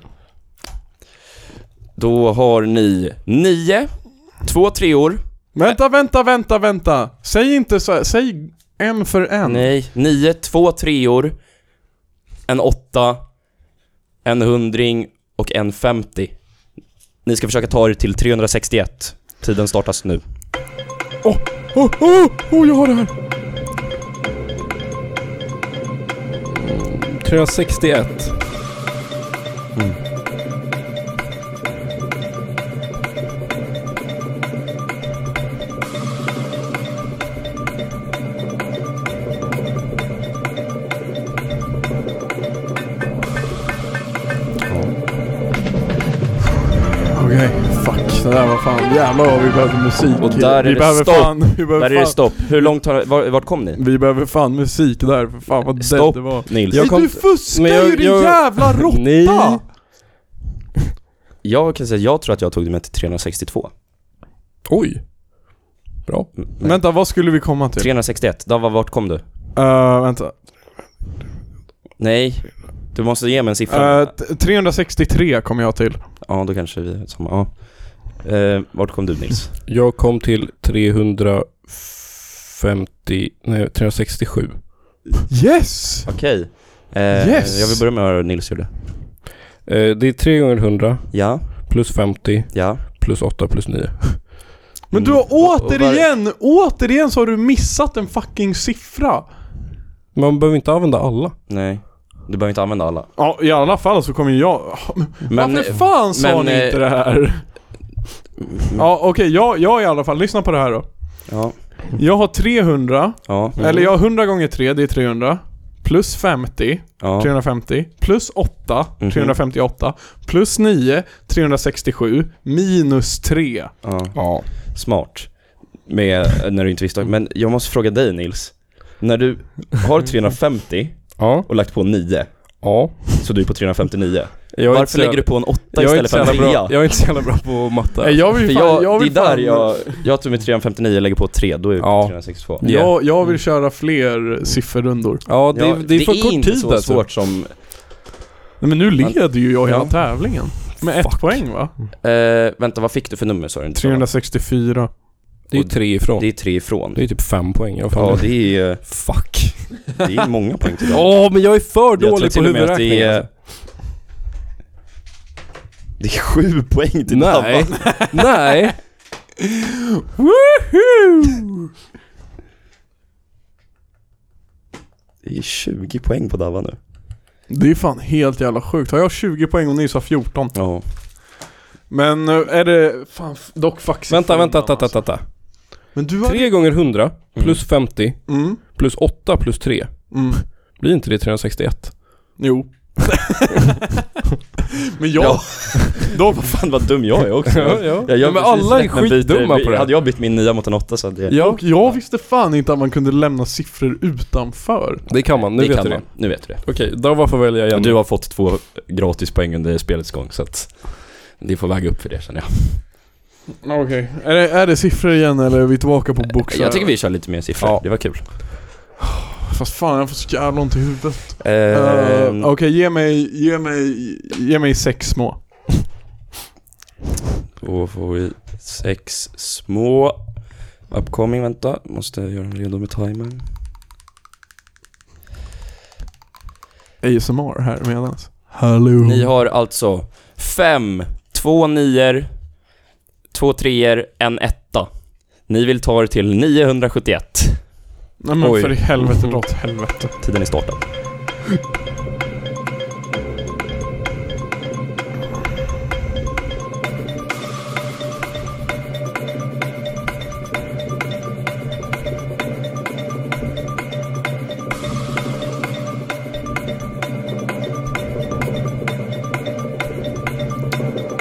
D: Då har ni nio, två treor.
E: Vänta, vänta, vänta, vänta! Säg inte så här, säg en för en.
D: Nej, nio, två treor. En åtta, en hundring och en 50. Ni ska försöka ta er till 361. Tiden startas nu.
E: Oh, oh, oh, jag har det här!
C: 361.
E: Okej, fuck. Det där var fan, jävlar vad vi behöver musik.
D: Och där är
E: vi
D: det
E: behöver
D: stopp.
E: Fan, vi behöver
D: Där är
E: fan,
D: det stopp. Hur långt har, var, vart kom ni?
E: Vi behöver fan musik där, för fan vad dead
D: Stopp.
E: det var.
D: Nils.
C: Jag
E: Nej,
C: kom-
E: du fuskar
C: men jag-
E: ju din
C: jag-
E: jävla råtta!
C: Nej.
D: Jag kan säga att jag tror att jag tog mig till 362.
C: Oj. Bra.
D: Mm, nej.
E: Vänta, vad skulle vi komma till?
D: 361. Dava, vart kom du?
E: Eh, vänta.
D: Nej. Du måste ge mig en siffra.
E: Eh, t- 363 kom jag till.
D: ja, då kanske vi är samma. Ja. Eh, vart kom du Nils?
C: Jag kom till 350, nej 367.
E: Yes!
D: Okej. Eh,
E: Yes!
D: Jag vill börja med vad Nils gjorde.
C: Eh, det är 3 gånger 100
D: Ja,
C: plus 50
D: ja.
C: plus 8 plus 9.
E: Men du
D: Mm.
E: har återigen, återigen så har du missat en fucking siffra.
C: Man behöver inte använda alla.
D: Nej. Du behöver inte använda alla.
E: Ja, i alla fall så kommer jag... Men, Varför fan sa
D: men,
E: ni
D: eh,
E: inte det här? Ja, okej, jag, jag i alla fall. Lyssna på det här då.
D: Ja,
E: Jag har 300,
D: ja, mm,
E: eller jag har 100 gånger 3, det är 300. Plus 50,
D: ja.
E: 350. Plus 8,
D: Mhm.
E: 358. Plus 9, 367. Minus 3.
D: ja.
C: Ja.
D: Smart. Med, när du inte visste. Men jag måste fråga dig Nils. När du har 350
C: Ja.
D: och lagt på 9,
C: ja.
D: så du är på 359.
C: Jag är inte
D: Varför
C: så jävla-
D: lägger du på en 8
C: jag är,
D: istället
C: inte så
D: för en
C: jävla
D: 3?
C: bra, jag är inte så jävla bra på matte.
E: Nej, jag vill
D: För
E: fan,
D: jag,
E: jag vill
D: det är där
E: fan,
D: jag, jag tog mig 359 och lägger på 3, då är vi på
C: Ja.
D: 362.
C: Yeah.
E: Jag, jag
D: Mm.
E: vill köra fler sifferrundor.
C: Ja, det,
D: Ja,
C: det är för kort
D: inte
C: tid
D: så
C: alltså.
D: svårt som...
E: Nej, men nu leder ju jag hela
D: Ja.
E: tävlingen. Med ett poäng va?
D: Eh, vänta, vad fick du för nummer sa du? inte?
E: 364.
C: Det är ju tre ifrån. Det
D: Det
C: är,
D: är tre ifrån.
C: typ fem poäng. Jag har
D: Ja,
C: fan-
D: det är, eh,
C: Fuck.
D: det är många poäng till dig.
C: Ja, men jag är för
D: Jag tror
C: dålig på
D: till och med att
C: huvudräkning.
D: det är...
C: alltså.
D: Det är sju poäng till
C: Nej.
D: Dabba.
C: <laughs> Nej.
D: Det är 20 poäng på Dabba nu.
E: Det är fan helt jävla sjukt. Har jag 20 poäng och Nils har 14?
D: <laughs> Ja.
E: Men eh, är det... Fan, f- dock fuck
C: Vänta, vänta,
E: siffrorna,
C: vänta,
D: alltså.
C: vänta. vänta.
E: Men du har...
C: 3 gånger
D: Mm.
C: 100 plus 50
E: Mm,
C: plus 8 plus 3.
E: mm.
C: Blir inte det
D: <laughs>
C: 361?
E: Jo. men jag...
D: Ja.
E: Då,
D: Fan vad dum jag är också.
C: ja.
D: gör
C: men
D: precis
C: alla är
D: rätt, men byter-
C: skitdumma på det.
D: Hade jag bytt min 9 mot en 8 så hade jag...
E: och jag visste fan inte att man kunde lämna siffror utanför.
C: Det kan man, nu
D: det
C: vet
D: kan
C: du det.
D: man. Nu vet du det.
C: Okej, då varför väljer jag igen?
D: Du har fått två gratis poäng under spelets gång så att det får väga upp för det känner jag.
E: Okej. Är, det, är det siffror igen eller är vi tillbaka på boxar?
D: Jag tycker vi kör lite mer siffror,
C: Ja.
D: det var kul.
E: Fast fan, jag får så jävla ont i huvudet.
D: Eh,
E: Eh, Okej, ge mig... Ge mig... Ge mig sex små.
D: Då får vi sex små upcoming, vänta. Måste göra en redo med timern.
E: ASMR här medans. Hallå.
D: Ni har alltså fem, två nior, två treor, en etta. Ni vill ta er till 971.
E: Nej men
D: Oj.
E: för i helvete, dra
D: <laughs>
E: åt helvete.
D: Tiden är startad.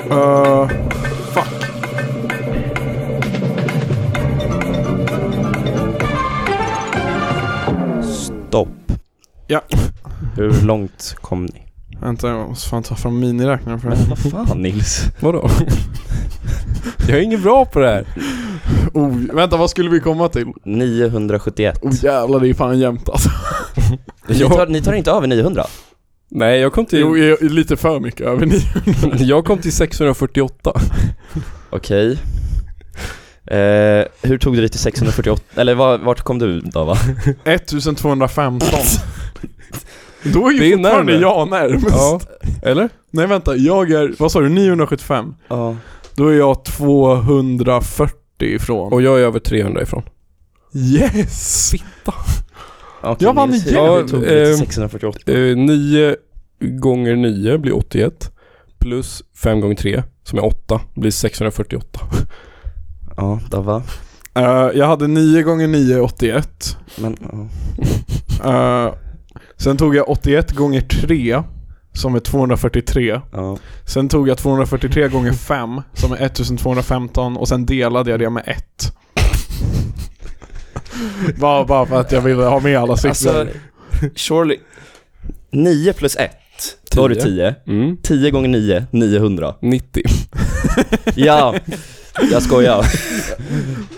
E: Eh, Ja.
D: Hur långt kom ni?
E: Vänta, jag måste fan ta fram miniräknaren för det.
D: <laughs> Men vad fan Nils?
C: Vadå? <laughs> jag är ingen bra på det här.
E: Oh, vänta, vad skulle vi komma till?
D: 971.
E: Oh jävlar, det är fan jämnt alltså.
D: Ni
C: jag-
D: tar, ni tar inte över 900?
C: Nej, jag kom till,
E: Jo, jag är lite för mycket över ni.
C: jag kom till 648.
D: Okej. Eh, hur tog du dig till 648? Eller var, vart kom du då va?
E: 1215.
C: <laughs>
E: Då är ju
C: Det är
E: fortfarande
C: närmare.
E: jag närmast.
C: Ja. <laughs> Eller?
E: Nej vänta, jag är, vad sa du, 975?
D: Ja.
E: Då är jag 240 ifrån.
C: Och jag är över 300 ifrån.
E: yes!
D: Okej,
E: Jag vann
D: Nils,
E: igen.
D: Hur tog du dig
C: Ja,
D: till
C: ehm,
D: 648?
C: Eh, 9 gånger 9 blir 81. Plus 5 gånger 3 som är 8 blir 648.
D: Ja, då va?
E: Eh, jag hade 9 gånger 9 81.
D: Men, ja.
E: Eh, sen tog jag 81 gånger 3 som är 243.
D: ja.
E: Sen tog jag 243 gånger 5 som är 1215 och sen delade jag det med 1.
C: <laughs>
E: bara, bara för att jag ville ha med alla siffror.
D: Alltså, surely 9 plus 1, då har du 10.
C: Mm.
D: 10 gånger 9, 900.
C: 90.
D: Ja, jag skojar.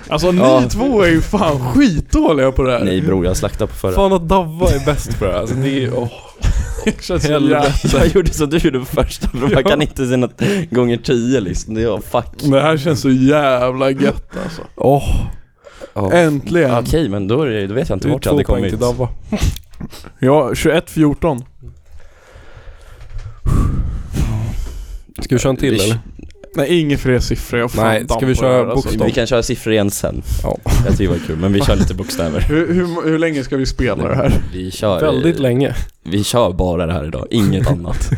E: Alltså ni
D: Ja.
E: två är ju fan skitdåliga på det här.
D: Nej bror, jag slaktade på förra.
C: Fan att Davva är bäst på det här. Alltså, det är, <laughs> åh.
E: Det känns så
C: Helvete.
D: Jag gjorde som du gjorde på första, för man
E: Ja.
D: kan inte sina t- gånger 10 liksom. Det är fuck.
E: jä- Det här känns så jävla gött alltså.
C: Åh,
E: <laughs> Äntligen!
D: Okej, men då, är det- då vet jag
C: det
D: inte
C: är
D: vart jag hade
C: två poäng
D: kommit.
C: till Davva.
E: Ja, 21-14.
C: Ska vi köra en till
D: Vi-
C: eller?
E: Nej, inget fler siffror. Jag får
C: Nej,
E: fan damp
C: ska vi
E: på
C: köra
E: det här, alltså.
C: bokstav?
D: Vi kan köra siffror igen sen.
C: Ja.
D: Jag tycker det var kul, men vi kör
C: <laughs>
D: lite bokstäver.
E: Hur, hur, hur länge ska vi spela det <laughs> här?
D: Vi kör,
C: Väldigt länge.
D: vi kör bara det här idag, inget
C: <laughs>
D: annat.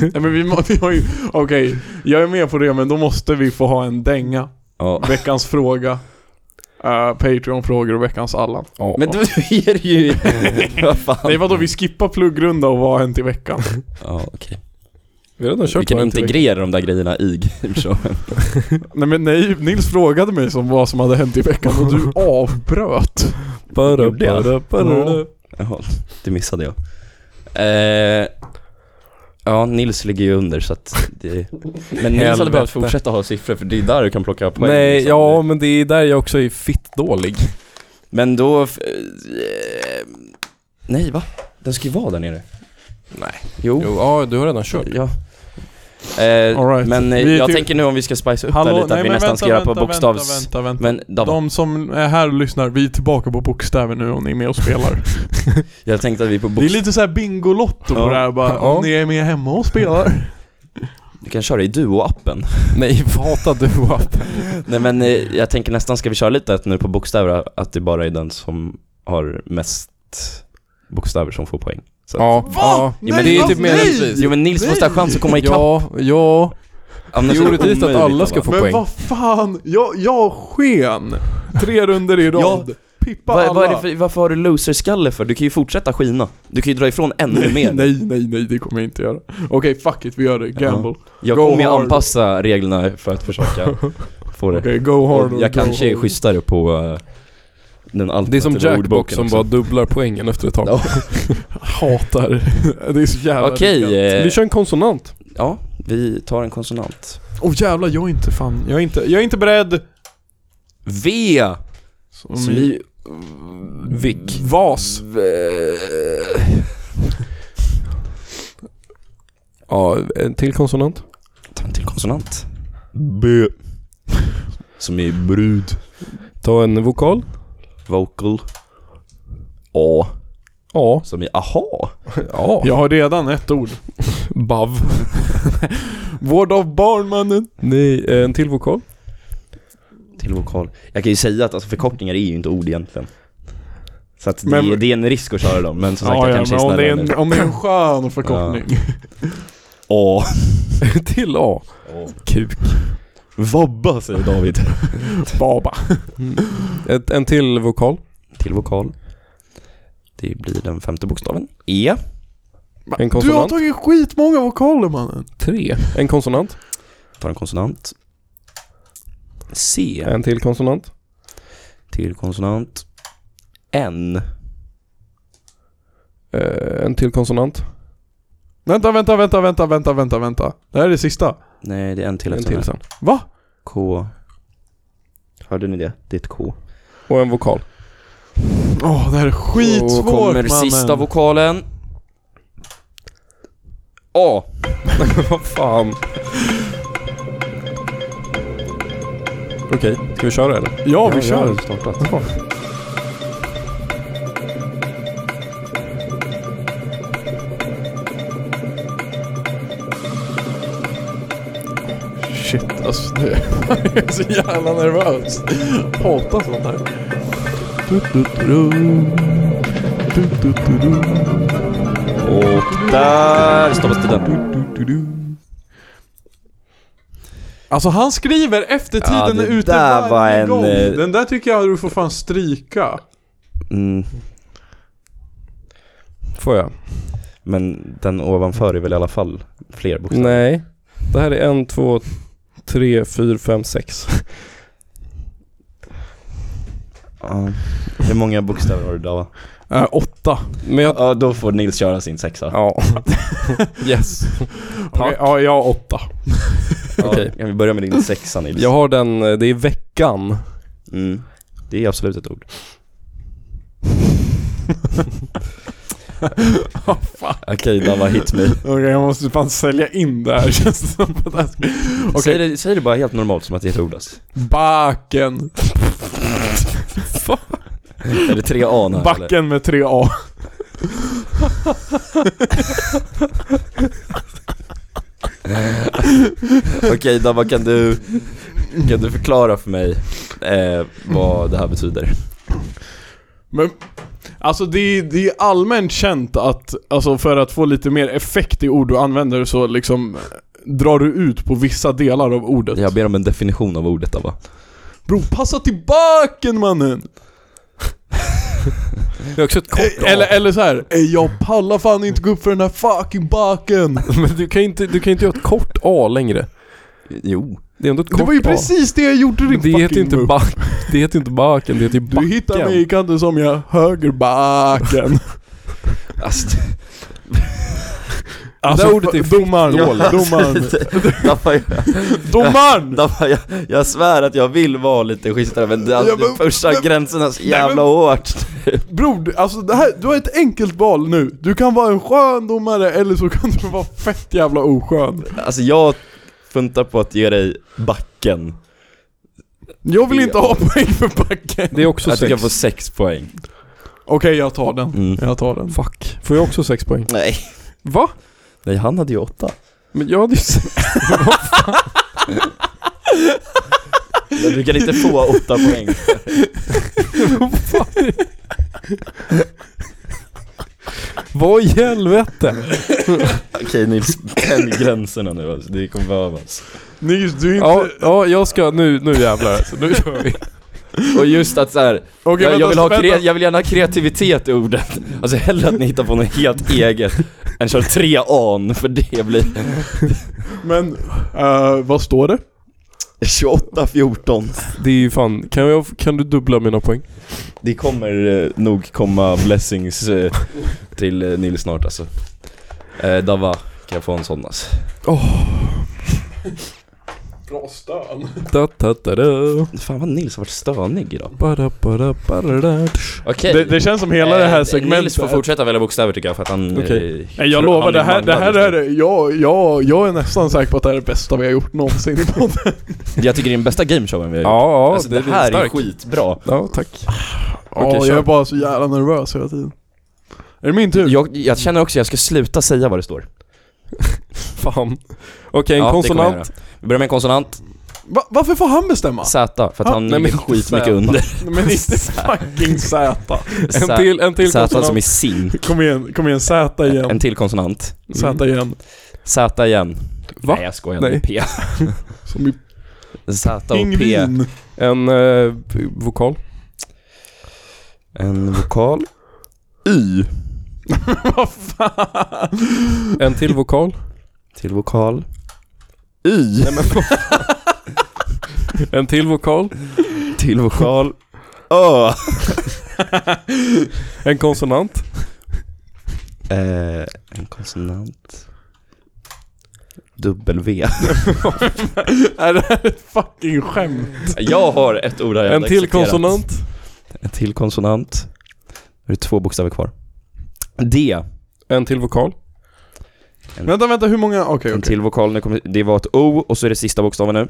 E: Nej men vi, må- vi har ju, okej, jag är med på det men då måste vi få ha en dänga.
D: Ja.
E: Veckans fråga, <laughs> eh, Patreon-frågor och veckans Allan.
C: Ja.
D: Men då är det ju...
C: <laughs>
D: Vad fan?
E: Nej vadå, vi skippar pluggrunda och vad har hänt i <laughs> veckan?
D: Ja, okej.
C: vi har redan kört
D: Vi kan
C: på en till.
D: integrera de där grejerna i gameshowen.
E: Nej men nej, Nils frågade mig som vad som hade hänt i veckan och <laughs> du avbröt.
C: Bara,
D: Gjorde jag?
C: bara, bara.
E: Ja.
D: <laughs> Jaha, det missade jag. Eh, ja, Nils ligger ju under så att det... Men Nils hade
C: Helvete.
D: behövt fortsätta ha siffror för det är där du kan plocka poäng.
C: Nej,
D: liksom.
C: ja men det är där jag också är fittdålig.
D: Men då... f- Eh, nej va? Den ska ju vara där nere.
C: Nej.
D: Jo.
C: Jo, ja du har redan kört.
D: Ja. Eh,
E: All right.
D: Men eh,
E: Vi är
D: jag
E: till-
D: tänker nu om vi ska spicea upp det här lite, att vi
E: men
D: nästan ska göra på bokstavs...
E: Vänta, vänta, vänta.
D: Men Dav,
E: De som är här och lyssnar, vi är tillbaka på bokstäver nu om ni är med
D: <laughs>
E: och spelar.
D: jag tänkte att vi på
E: Det är
D: bokstav...
E: lite såhär Bingolotto på
D: Ja.
E: det här bara,
C: Ja.
E: om ni är med hemma och spelar.
D: Du kan köra i Duo-appen.
E: <laughs>
C: Nej, hata du appen.
D: Nej men eh, jag tänker nästan ska vi köra lite att nu på bokstäver, att det bara är den som har mest bokstäver som får poäng. Så att-
C: Ja. ja.
D: Jo, men det är typ
E: nej!
C: meningslöst.
D: Jo men Nils måste ha chans att komma ikapp.
C: Ja, ja.
D: Annars
C: Det är orättvist att
E: typ
D: omöjligt,
C: alla ska
D: va?
C: få
E: Men
C: poäng.
E: vad fan, jag, jag sken! Tre runder i rad. Pippa
D: Vad,
E: alla.
D: vad är det för, varför har du loserskalle för? Du kan ju fortsätta skina. Du kan ju dra ifrån ännu mer.
E: Nej, nej, nej, det kommer jag inte göra. Okej, fuck it, vi gör det. Gamble. Okej,
D: Jag
E: Go
D: kommer ju
E: hard.
D: anpassa reglerna för att
E: <laughs>
D: försöka få det.
E: go hard. or
D: Jag
E: go
D: kanske är
E: home.
D: schysstare på eh, den alternativa
C: Det är som Jackbox
D: ordboken
C: som
D: också.
C: bara dubblar poängen efter ett tag. <laughs>
D: Ja.
E: Hatar. det är så jävla
D: Okej,
E: rikat.
D: eh,
C: Vi kör en konsonant.
D: ja, vi tar en konsonant.
E: Åh jävlar, jag är inte fan. Jag är inte, jag är inte beredd.
D: V!
E: Som
D: Som
E: i-
D: i...
C: Vick.
E: Vas.
C: Ja, en till konsonant.
D: Ta en till konsonant. B. Som i brud.
C: Ta en vokal.
D: Vocal. A.
C: A.
D: Som i aha.
C: Ja.
E: Jag har redan ett ord.
C: Bav.
E: <laughs> Vård av barn, mannen.
C: Nej, en till vokal. <laughs>
D: Till vokal. Jag kan ju säga att alltså, förkortningar är ju inte ord egentligen. Så att det,
E: Men-
D: är- det är en risk att köra dem, men som sagt
E: Ja,
D: jag
E: ja,
D: kanske
E: men
D: är
E: om det
D: snällare
E: är,
D: nu.
E: en, om det är en skön förkortning.
D: A.
C: till A. Kuk.
D: Vabba säger David.
E: Baba.
C: Mm. Ett, en till vokal.
D: till vokal. Det blir den femte bokstaven. E.
C: En
E: Du har
C: konsonant.
E: tagit skitmånga vokaler, mannen.
C: Tre. En konsonant.
D: Tar en konsonant. C.
C: En till konsonant.
D: Till konsonant. N.
C: Eh, en till konsonant.
E: Vänta, vänta, vänta, vänta, vänta, vänta, vänta. Det här är det sista.
D: Nej, det är en till.
C: En
D: efter den
C: till
D: här.
C: sen.
E: Va?
D: K. Hörde ni det? Det är ett K.
C: Och en vokal.
E: Åh, det här är skitsvårt
D: Och kommer
E: mannen.
D: sista vokalen. A.
C: <laughs> Vad fan. Okej, ska vi köra eller?
E: Ja, vi kör.
C: startat.
E: Shit alltså, nu <laughs> jag är så jävla nervös. Hatar sånt här. Du-du-du-du. Du-du-du-du.
D: Och där stavas det den.
E: Du-du-du-du. Alltså han skriver efter tiden
D: Ja,
E: är
D: det
E: ute
D: där
E: varje
D: var en,
E: gång.
D: eh,
E: Den där tycker jag du får fan stryka.
D: Mm.
C: Får jag?
D: Men den ovanför är väl i alla fall fler bokstäver?
C: Nej. Det här är en, två, tre, fyra, fem, sex.
D: Ja. Hur många bokstäver har du då?
E: Äh, åtta.
C: Men jag...
D: Ja, då får Nils köra sin sexa.
C: Ja. yes. Tack.
E: Okej, ja, jag har åtta.
D: Ja,
C: okej.
D: Kan vi börja med din sexa Nils?
C: Jag har den, eh, det är veckan.
D: Mm. Det är absolut ett
C: <laughs>
D: ord. Okej, Dava hit me.
E: Okej, jag måste fan sälja in det här <laughs> känns det som. att det här ska- Okej,
D: Säg, det, säg det bara helt normalt som att det är ett ord alltså.
E: baken.
D: Är det tre A här eller?
E: Backen med tre A.
D: Okej Dava kan du, kan du förklara för mig eh, vad det här betyder?
E: Men, alltså det är, det är allmänt känt att, alltså för att få lite mer effekt i ord du använder så liksom drar du ut på vissa delar av ordet.
D: Jag ber om en definition av ordet Dava.
E: Bro, passa till baken mannen!
C: Det är också ett kort A.
E: Eh, <laughs> Eller, eller så här. "Ey, jag pallar fan inte gå upp för den här fucking baken.
C: Men du kan ju inte, du kan ju inte göra ett kort A längre.
D: Jo.
C: Det är ändå ett kort
E: Det var ju
C: A.
E: precis det jag gjorde din
C: Men Det heter
E: fucking
C: inte
E: mupp.
C: back, det heter inte baken, det heter ju
E: Du
C: backen.
E: hittar mig i kanten som jag högerbaken.
D: Alltså,
E: Alltså,
C: Det där ordet är
E: domaren,
D: Ja,
C: <laughs>
D: <laughs>
E: domaren,
D: alltså, Dava, jag-
E: domaren!
D: Dava, jag, jag svär att jag vill vara lite schysstare men det, alltså,
E: Ja, men-
D: du pushar
E: men-
D: gränserna så
E: Nej,
D: jävla
E: men-
D: hårt.
E: Bror, du- alltså det här, du har ett enkelt val nu. Du kan vara en skön domare eller så kan du vara fett jävla oskön.
D: Alltså jag funtar på att ge dig backen.
E: Jag vill inte ha poäng för backen.
C: Det är också
D: Jag tycker
C: sex.
D: jag får sex poäng.
E: Okej, jag tar den.
D: Mm.
E: Jag tar den.
C: Fuck. Får jag också sex poäng?
D: Nej.
C: Va?
D: Nej, han hade ju åtta.
C: Men jag hade ju
D: <laughs>
C: sex.
D: Men Du kan inte få åtta poäng.
C: Vad i helvete?
D: <laughs> Okej Nils, spänn gränserna nu alltså. Det kommer behövas.
E: Nils, du är inte...
C: Ja, ja, jag ska, nu, nu jävlar alltså. Nu kör vi.
D: Och just att så här,
E: Okej,
D: jag,
E: vänta,
D: jag, vill ha
E: vänta.
D: kre- jag vill gärna ha kreativitet i ordet. <laughs> Alltså hellre att ni hittar på något helt eget än kör tre an för det blir
E: Men, eh, vad står det?
D: 28-14.
C: Det är ju fan, kan, jag, kan du dubbla mina poäng?
D: Det kommer eh, nog komma blessings eh, till eh, Nils snart alltså. Eh, Dava, kan jag få en sån alltså?
E: Bra stön.
C: Da, da, da, da.
D: Fan vad Nils har varit stönig idag.
C: Bara, bara, bara, da.
D: Okej.
E: Det, det känns som hela det
D: Eh,
E: här
D: Nils får
E: segmentet...
D: fortsätta välja bokstäver tycker jag för att han...
C: Okej.
D: eh,
E: Nej,
D: tror-
E: jag lovar,
D: han
E: det här, det
D: manglad
E: här
D: just nu.
E: är... Jag, jag, jag är nästan säker på att det här är det bästa vi har gjort <laughs> någonsin i podden.
D: Jag tycker det är den bästa gameshowen vi har
C: Ja,
D: gjort.
C: ja,
D: alltså,
C: det,
D: det, här är
C: stark.
D: skitbra.
C: Ja, tack.
E: Ja,
C: Okej,
E: jag
C: kör.
E: är bara så jävla nervös hela tiden. Är det min tur?
D: Jag, jag känner också att jag ska sluta säga vad det står.
C: Fan. Okej, en
D: Ja, det kommer jag
C: konsonant.
D: göra. Vi börjar med en konsonant,
E: Va, varför får han bestämma?
D: Z, för att
E: Ah,
D: han
C: nej,
D: ligger
C: men-
D: skitmycket
C: Z.
D: under.
E: Men <laughs> inte fucking Z.
C: En till, en till
D: Z som är
C: konsonant.
D: sin.
E: Kom igen, kom igen, Z igen.
D: En till konsonant.
E: Z igen.
D: Z igen.
C: Va?
D: Nej jag skojar,
C: Nej.
D: det är P.
E: Som i
D: Z och P.
E: pingvin.
C: En
D: Mm.
C: eh, vokal.
D: En vokal. Y.
E: Vad fan?
C: En till vokal.
D: Till vokal. Y.
C: <laughs> En till vokal.
D: Till vokal. Ö.
E: <laughs>
C: En konsonant.
D: Eh, en konsonant. W.
E: Är det här ett fucking skämt?
D: Jag har ett ord här jag
E: En
D: hade
E: till
D: accepterat.
E: konsonant?
D: En till konsonant. Nu är det två bokstäver kvar. D.
C: En till vokal.
E: Vänta, vänta, hur många? Okej,
D: En
E: okej.
D: till vokal. Nu kommer, det var ett O och så är det sista bokstaven nu.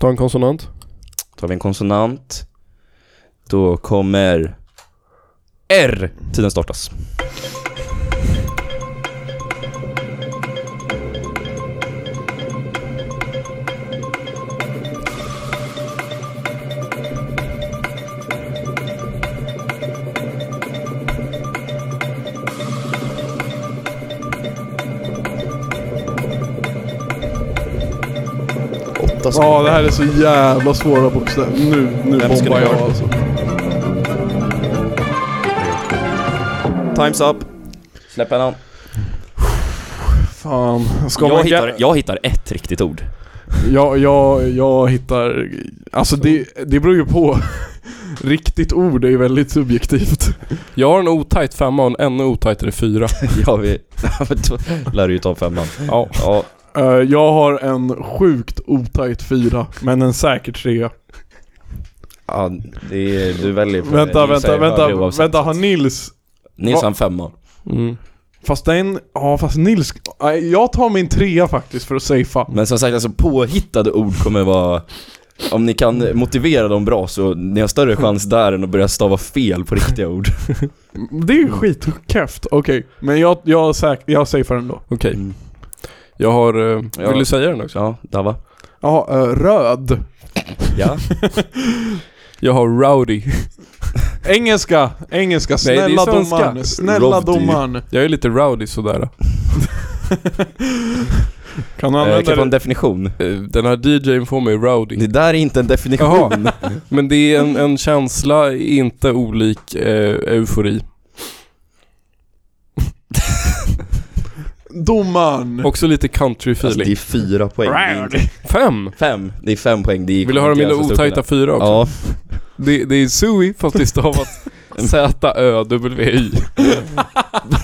C: Ta en konsonant.
D: tar vi en konsonant. Då kommer R. Tiden startas. Åtta
E: Ja, det här är så jävla svåra bokstäver. Nu, nu
D: Vem ska
E: bombar
D: det
E: jag
D: vara?
E: alltså.
D: Time's up. Släpp henne.
E: Fan. Ska
D: Jag
E: man
D: hittar, jag hittar ett riktigt ord.
E: Jag, jag, jag hittar... Alltså det, det beror ju på. <laughs> Riktigt ord är ju väldigt subjektivt.
C: Jag har en otajt femma och en ännu otajtare fyra.
D: <laughs> Ja, vi... <laughs> Då lär du ju ta femman.
E: Ja.
D: Ja,
E: Eh, jag har en sjukt otajt fyra, men en säker trea.
D: ja det är, du väljer på
E: Vänta,
D: Nils
E: vänta,
D: är
E: vänta,
D: högre oavsett.
E: vänta, har Nils...
D: Nils har en femma.
C: Mm.
E: Fast den... Ja, fast Nils... Nej, jag tar min trea faktiskt för att safea.
D: Men som sagt, alltså påhittade ord kommer vara... Om ni kan motivera dem bra så ni har större chans där än att börja stava fel på riktiga ord.
E: Det är ju skitkefft. Okej, men jag, jag, säk, jag safear ändå.
C: Okej.
D: Mm.
C: Jag har... eh, Vill
D: Ja.
C: du säga den också?
D: Ja, Dava.
E: Ja, eh, röd.
D: Ja.
C: Jag har rowdy.
E: Engelska, engelska.
C: Nej, det är
E: Snälla
C: svenska.
E: domaren. Snälla
D: Rovdy.
E: domaren.
C: Jag är lite rowdy sådär.
E: Kan du
D: Jag kan få
E: använda
D: en
E: det?
D: eh, definition.
C: Eh, Den här DJn får mig
D: Det
C: rowdy.
D: där är inte en definition.
C: Men det är en, en känsla inte olik eh, eufori.
E: Domaren!
C: Också lite country-feeling.
D: Alltså, det är fyra poäng. Det är inte-
C: Fem!
D: Fem. Det är fem poäng. Det är
C: Vill du höra
D: inte
C: mina
D: alls så stor
C: otajta
D: skillnad.
C: fyra också?
D: Ja.
C: Det, det är Zooey fast det är stavat Z-Ö-W-Y.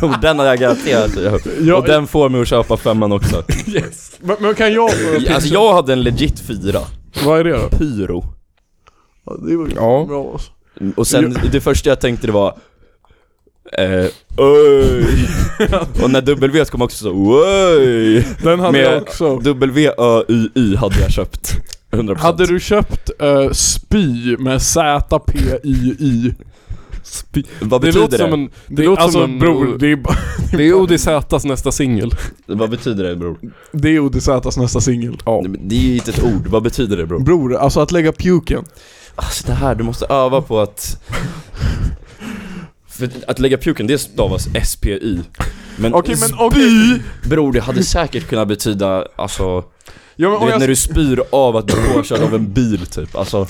D: Bror, den har jag garanterat hört.
E: Jag,
D: Och den får mig att köpa femman också.
E: men, men kan jag
D: <laughs>
E: få en
D: Alltså jag hade en legit fyra.
E: Vad är det då?
D: Pyro.
E: Ja, Det var ju
C: Ja.
E: bra alltså.
D: Och sen det första jag tänkte det var... Eh, öj. Och när W kom också så öj.
E: Den hade
D: Men-
E: jag också.
D: W, Ö, Y, Y hade jag köpt. 100%.
E: Hade du köpt eh, spy med Z-P-I-I? Spy.
D: Vad
C: Det
D: betyder
C: låter
D: det?
C: som en... Det låter
E: alltså,
C: som en...
E: bror, det är, ba-
C: Det är ODZs nästa singel.
D: Vad betyder det bror?
E: det är ODZs nästa singel.
C: Ja.
D: Nej, men Det är ju inte ett ord, vad betyder det bror?
E: Bror, alltså att lägga puken.
D: Alltså det här, du måste öva på att... För att lägga puken, det stavas SPY. Men,
E: Okej men okej.
D: bror, det hade säkert kunnat betyda alltså...
E: Ja, men,
D: Du
E: om
D: vet
E: jag,
D: när du spyr av att bli påkörd av en bil typ, alltså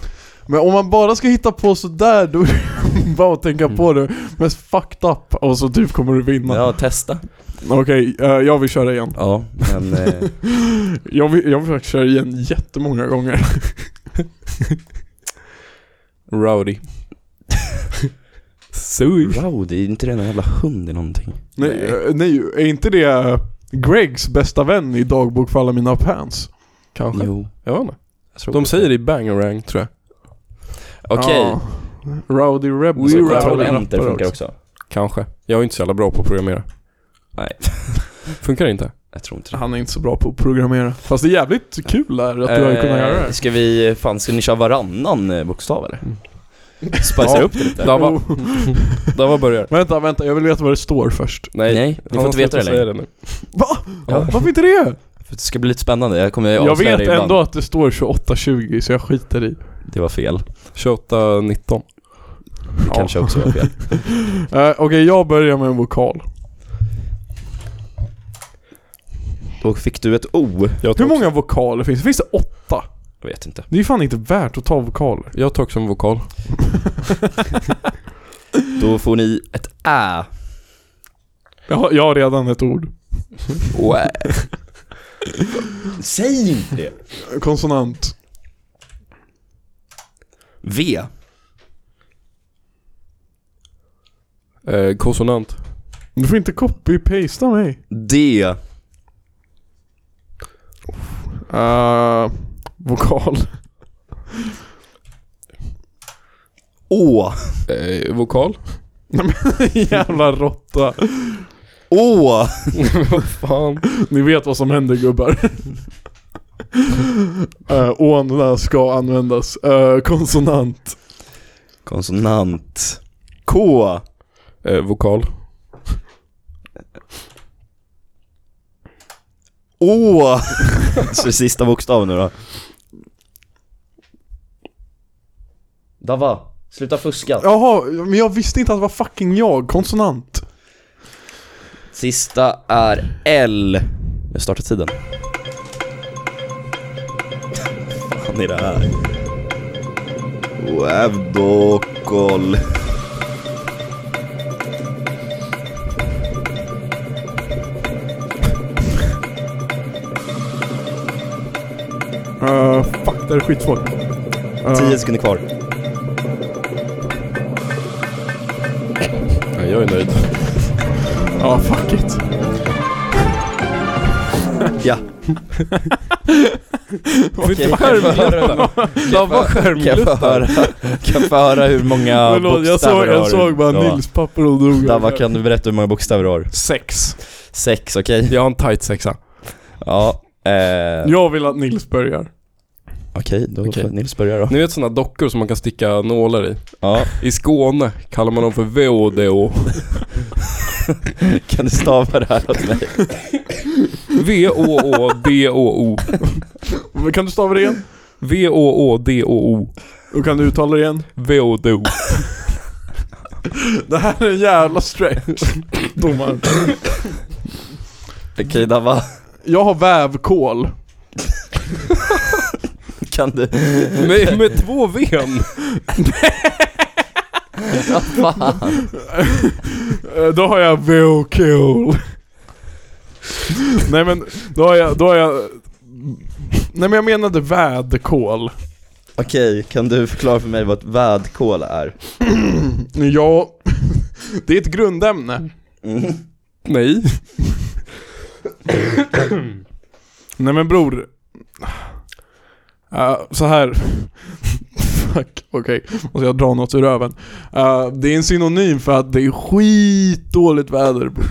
E: men om man bara ska hitta på sådär då är det <laughs> bara att tänka på det mest fucked up och så typ kommer du vinna.
D: Mm. Ja, testa
E: Okej, eh, jag vill köra igen.
D: Ja, men eh,
E: Jag vill, jag vill faktiskt köra igen jättemånga gånger.
C: Rowdy.
D: <laughs>
C: Zooey.
D: Rowdy, är inte det en jävla hund i någonting?
E: Nej, eh, nej, är inte det eh, Gregs bästa vän i Dagbok för alla mina pants?
C: Kanske.
D: Jo
C: Jag vet inte.
D: jag tror
C: De
D: det.
C: säger det i bangarang tror jag.
D: Okej,
E: Ja. Rowdy Rebel.
D: så
C: Rowdy
D: kontroll
C: rappar
D: enter funkar också
C: Kanske. Jag är inte så jävla bra på att programmera.
D: Nej.
C: <laughs> Funkar det
D: <laughs>
C: inte?
D: Jag tror inte det
E: Han är inte så bra på att programmera. Fast det är jävligt kul där att du har kunnat göra
D: Eh,
E: det. Mm.
D: Ska vi, fan ska ni köra varannan eh, bokstav eller? Spicea
E: Ja.
D: upp det lite?
C: Dava. Dava börjar.
E: Vänta, vänta, jag vill veta vad det står först.
D: Nej, Nej ni
C: Han
D: får inte veta det
C: slutar säga
D: längre
C: nu.
E: Va?
D: Ja.
E: Varför inte det?
D: För Det ska bli lite spännande, jag kommer
E: Jag,
D: avslöja
E: vet
D: det ibland
E: ändå att det står 28-20 så jag skiter i.
D: Det var fel,
C: Tjata 19.
D: det kanske också var fel
E: Eh, Okej, jag börjar med en vokal.
D: <laughs> Då fick du ett O
C: Jag
E: Hur
C: tar också-
E: många vokaler finns det? Finns det åtta?
D: Jag vet inte
E: Det är ju fan inte värt att ta vokaler.
C: Jag tar också en vokal.
D: Då får ni ett Ä
E: Jag har, jag har redan ett ord.
D: <laughs> Säg inte det!
E: Konsonant.
D: V
C: Eh, konsonant.
E: Du får inte copy-pasta mig.
D: D. Ah,
E: Uh, vokal.
D: Å.
C: Eh, vokal?
E: <laughs> Jävla råtta.
D: Å.
C: Vad fan?
E: Ni vet vad som händer <laughs> gubbar. Eh, Åna ska användas. Eh, konsonant.
D: Konsonant. K.
C: Eh, vokal.
D: Å. <laughs> Så sista bokstaven nu då.
F: Dava, sluta fuska.
E: Jaha, men jag visste inte att det var fucking jag. Konsonant.
D: Sista är L. Jag startar tiden. Fan är det här? Webdokol.
E: Uh, fuck, det här är skitsvårt. Eh,
D: 10 sekunder kvar.
C: Ja, jag är nöjd.
D: <laughs>
E: Ja, fuck it.
D: Ja.
C: Okay.
D: Kan jag få höra-
C: Vad var
D: kan jag få höra- kan jag få höra hur många
E: Förlåt, jag såg,
D: bokstäver du har?
E: jag såg bara
D: Dava?
E: Nils papper och drog.
D: Dava, kan du berätta hur många bokstäver du har?
C: Sex.
D: Sex, okej?
C: Jag har en tight sexa.
D: Ja. Eh,
E: Jag vill att Nils börjar.
D: Okej, då
C: Okej.
D: får Nils börja då.
C: Ni vet sådana dockor som man kan sticka nålar i?
D: Ja.
C: I Skåne kallar man dem för VODO.
D: <laughs> Kan du stava det här åt mig?
C: V-O-O-D-O-O.
E: Men Kan du stava det igen?
C: V-O-O-D-O-O.
E: Och kan du uttala det igen?
C: VODO.
E: Det här är en jävla stretch. <laughs> Domaren.
D: Okej Dava,
E: Jag har vävkål.
D: kan du?
C: Med, med två ven.
E: Eh, Då har jag VOKOL. Nej men, då har jag, då har jag... Nej men jag menade vädkål.
D: Okej, kan du förklara för mig vad ett vädkål är?
E: Ja, det är ett grundämne.
C: Nej.
E: Nej men bror. Uh, så här. Fuck, okej. Måste jag dra något ur röven. Eh, det är en synonym för att det är skitdåligt väder bror.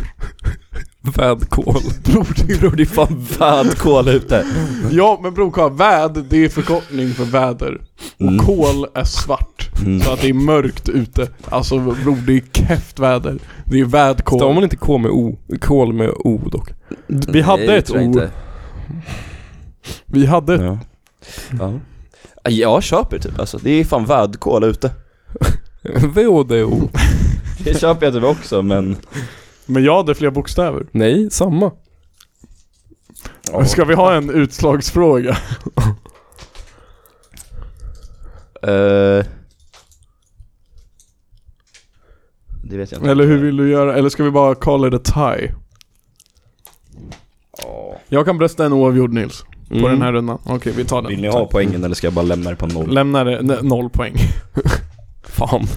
C: Vädkål.
D: Bror det är fan vädkål ute!
E: Ja men bror kolla, väd det är förkortning för väder. Och kol är svart.
D: Mm.
E: Så att det är mörkt ute. Alltså bror, det är keft väder. Det är vädkål.
C: Stavar man inte K med O? Kol med O dock.
E: Vi hade
D: Nej, det
E: ett
D: tror jag
E: ord.
D: inte.
E: Vi hade ett...
D: Ja. ja. Jag köper typ alltså, det är fan vädkål ute.
C: VODO.
D: Det köper jag typ också men...
E: Men jag hade fler bokstäver.
C: Nej, samma.
E: Ska vi ha en utslagsfråga?
D: Eh. Det vet jag inte.
E: Eller hur vill du göra? Eller ska vi bara call it a tie? Jag kan brösta en oavgjord Nils. På
D: Mm.
E: den här rundan. Okej, vi tar den.
D: Vill ni ha poängen eller ska jag bara lämna det på noll?
E: Lämnar det, nej, noll poäng.
C: Fan.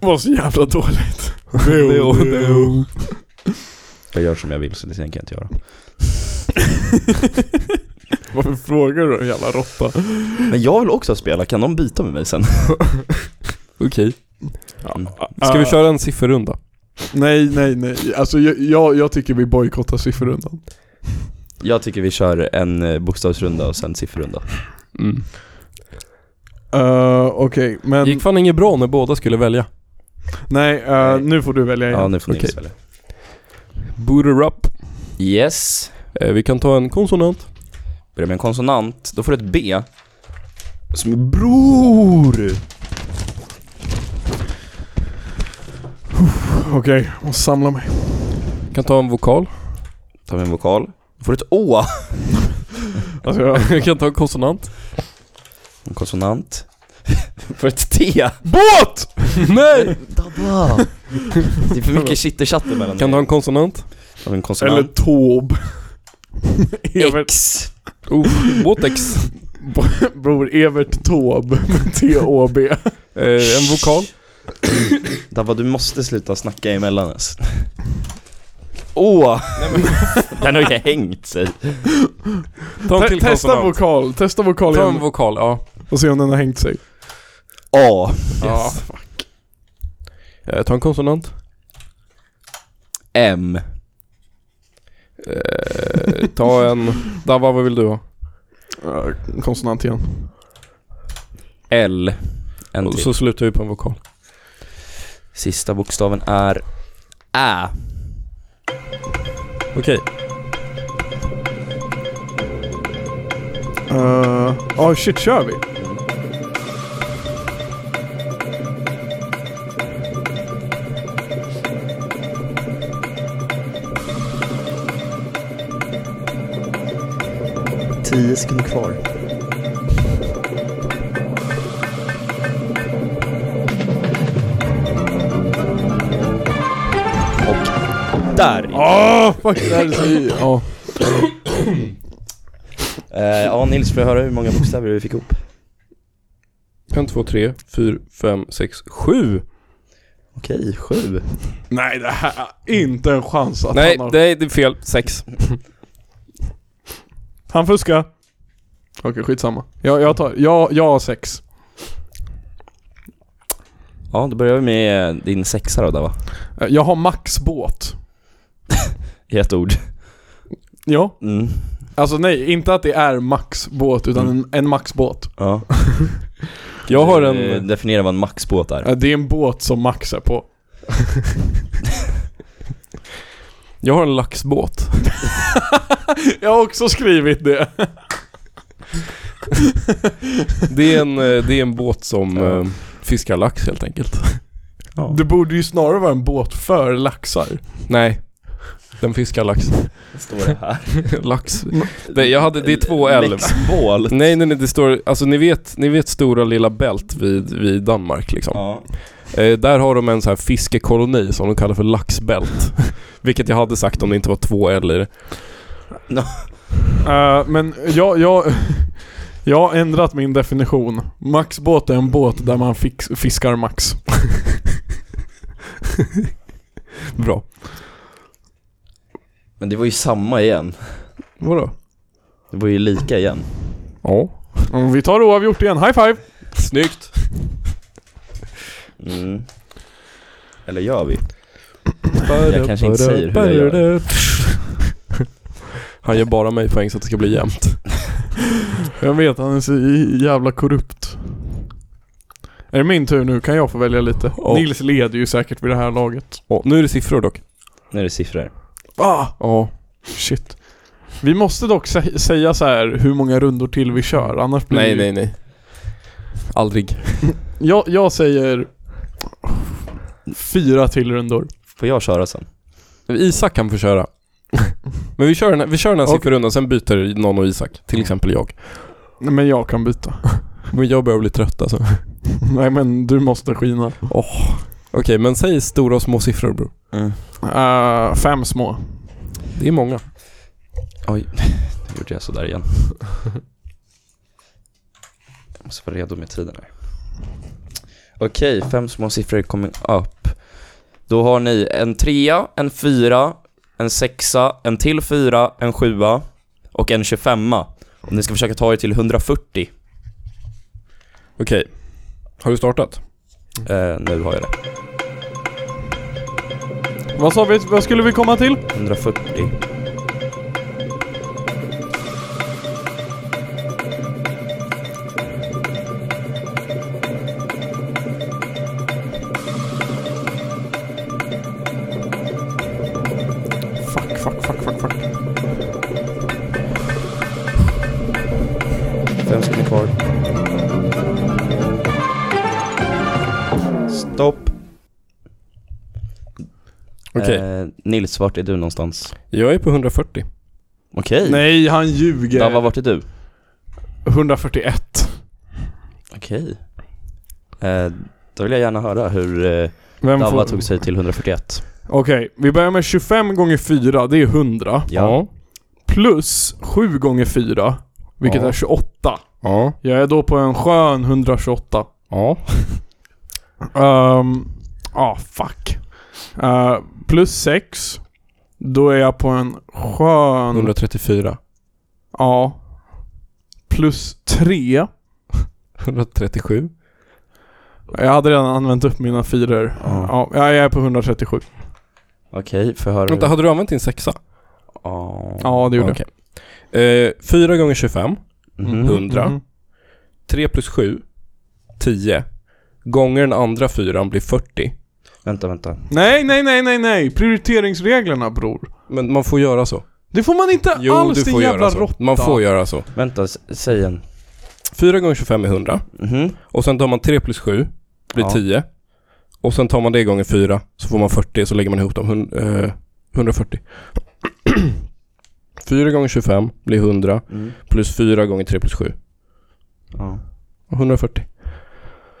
E: Vad så
D: <laughs>
E: jävla dåligt.
D: Jag gör som jag vill så det tänker jag inte göra.
E: Varför frågar du jävla råtta?
D: Men jag vill också spela, kan de byta med mig sen?
C: Okej.
D: Mm.
C: Ska vi
E: Ah.
C: köra en sifferrunda?
E: Nej, nej, nej. Alltså jag, jag, jag tycker vi bojkottar siffrorundan.
D: Jag tycker vi kör en eh, bokstavsrunda och sen sifferrunda.
C: Mm.
E: Uh, Okej, men...
C: gick fan inget bra när båda skulle välja.
E: Nej, eh,
D: Nej.
E: nu får du välja igen.
D: Ja, nu får ni
C: Okej.
D: spela.
C: Booter up.
D: Yes.
C: Eh, vi kan ta en konsonant.
D: Börjar med en konsonant, då får du ett B. Som är bror!
E: Okej, och samla mig.
C: Vi kan ta en vokal. <laughs>
D: Tar vi en vokal. Då får du ett Å.
E: Alltså, jag...
C: Vi kan ta en konsonant.
D: En konsonant. <laughs> får ett T.
E: Båt! <laughs>
C: Nej!
D: Dabba! Det är för mycket chitterchatter mellan
C: Kan
D: dig.
C: du ha en konsonant?
D: Tar vi en
E: Eller
D: konsonant.
E: Tåb. Evert,
D: X.
C: Oh, båtex.
E: bror, Evert Tåb. <laughs> med T-O-B.
C: Eh, en vokal.
D: <laughs> Dabba, du måste sluta snacka emellan ens. Åh! <laughs> Den har ju hängt sig.
C: Ta en
E: Te-
C: till
E: testa
C: konsonant.
E: vokal, testa vokal
C: Ta en
E: igen
C: vokal, ja.
E: och se om den har hängt sig.
D: A.
E: Ja.
C: Eh, Ta en konsonant.
D: M.
C: Eh, Ta en... Dava, vad vill du ha?
E: Ja, Eh, Konsonant igen.
D: L. En
C: Och
D: till.
C: så slutar vi på en vokal.
D: Sista bokstaven är Ä.
C: Okej.
E: Ja, Eh, ah, shit, kör vi?
F: Tio sekunder kvar.
D: Där!
E: Åh, fuck! Det här är så... <laughs> Ja.
D: Eh, ja, Nils, får jag höra hur många bokstäver vi fick ihop?
C: En, två, tre, fyra, fem, sex, sju.
D: Okej, sju.
E: Nej, det här är inte en chans att
C: Nej,
E: han har...
C: nej, det är fel. Sex.
E: Han fuskar. Okej, skitsamma. Jag, jag tar... Jag, jag har sex.
D: Ja, då börjar vi med eh, din sexa då, där, va?
E: Eh, Jag har maxbåt.
D: I ett ord.
E: Ja.
D: Mm.
E: Alltså nej, inte att det är maxbåt utan en, en maxbåt.
D: <laughs> Ja.
C: Jag har
D: Eh,
C: en...
D: Definiera vad en maxbåt är.
E: Eh, Det är en båt som Max är <laughs> på.
C: Jag har en laxbåt.
E: <laughs> Jag har också skrivit det.
C: Det är en, eh, det är en båt som eh, fiskar lax helt
E: <laughs>
C: enkelt.
E: Det borde ju snarare vara en båt för laxar.
C: Nej. Den fiskar
E: <laughs>
C: lax.
D: Står det <laughs> här?
C: lax. Nej, jag hade, det är två L.
D: Maxbål.
C: Nej, nej, nej, det står, alltså ni vet, ni vet stora lilla Bält vid, vid Danmark liksom.
D: Ja.
C: Eh, där har de en så här fiskekoloni som de kallar för laxbält. <laughs> Vilket jag hade sagt om det inte var två L i det.
E: Eh, men jag, jag, <laughs> jag har ändrat min definition. Maxbåt är en båt där man fix, fiskar max.
C: Bra.
D: Men det var ju samma igen.
C: Vadå?
D: Det var ju lika igen.
C: Ja.
E: Mm, vi tar oavgjort igen, high five!
C: Snyggt.
D: Mm. Eller gör vi? Jag kanske inte säger hur jag
C: gör. <laughs> Han ger bara mig poäng så att det ska bli jämnt.
E: Jag vet, han är så i- jävla korrupt. Är det min tur nu? Kan jag få välja lite?
C: Ja.
E: Nils leder ju säkert vid det här laget.
C: Åh, nu är det siffror dock.
D: Nu är det siffror.
E: Ah! Ja. Shit. Vi måste dock sä- säga så här hur många rundor till vi kör, annars blir
C: Nej,
E: det-
C: nej, nej. Aldrig.
E: Jag, jag säger... Fyra till rundor.
D: Får jag köra sen?
C: Isak kan få köra. <laughs> Men vi kör den här, vi kör den här
E: Okej.
C: sifferrundan, sen byter någon och Isak. Till exempel jag.
E: Nej, Men jag kan byta. <laughs>
C: Men jag börjar bli trött alltså. Okej,
E: Nej men du måste skina.
C: men säg stora och små siffror bror.
E: Eh, fem små.
C: Det är många.
D: Oj, nu gjorde jag sådär igen. Jag måste vara redo med tiden här. Okej, fem små siffror coming up. Då har ni en trea, en fyra, en sexa, en till fyra, en sjua och en 25 Och ni ska försöka ta er till 140.
C: Okej. Har du startat?
D: Eh, nu har jag det.
E: Vad sa vi? Vad skulle vi komma till?
D: 140.
E: Fuck, fuck, fuck, fuck, fuck.
D: Fem sekunder kvar. Stopp.
C: Okej.
D: Eh, Nils, vart är du någonstans?
C: Jag är på 140.
D: Okej.
E: Nej, han ljuger.
D: Dava, vart är du?
E: 141.
D: Okej. Eh, då vill jag gärna höra hur eh,
E: Vem
D: Dava
E: får...
D: tog sig till 141.
E: Okej, vi börjar med 25 gånger 4, det är 100.
D: Ja.
E: Plus 7 gånger 4, vilket
C: Ja.
E: är 28.
C: Ja.
E: Jag är då på en skön 128.
C: Ja.
E: Ehm, ah, fuck. Eh, plus 6. Då är jag på en skön...
C: 134.
E: Ja. Plus tre.
C: 137.
E: Jag hade redan använt upp mina fyror. Ja, jag är på 137.
D: Okej, förhör...
C: Vänta, hade du använt din sexa?
D: Ja.
E: Ja, det gjorde jag.
C: Okej. Eh, 4 gånger 25.
D: Mhm.
C: 100. 3 plus 7. 10. Gånger den andra fyran blir 40.
D: Vänta, vänta.
E: Nej, nej, nej, nej, nej. Prioriteringsreglerna bror.
C: Men man får göra så.
E: Det får man inte
C: Jo,
E: alls
C: du
E: din
C: får
E: jävla
C: göra så.
E: råtta.
C: Man får göra så.
D: Vänta, s- säg en.
C: 4 gånger 25 är 100.
D: Mhm.
C: Och sen tar man 3 plus 7. Blir
D: Ja.
C: 10. Och sen tar man det gånger 4. Så får man 40. Så lägger man ihop dem. Hun, eh, <clears throat> 140. 4 gånger 25 blir 100.
D: Mm.
C: Plus 4 gånger 3 plus 7.
D: Ja.
C: 140.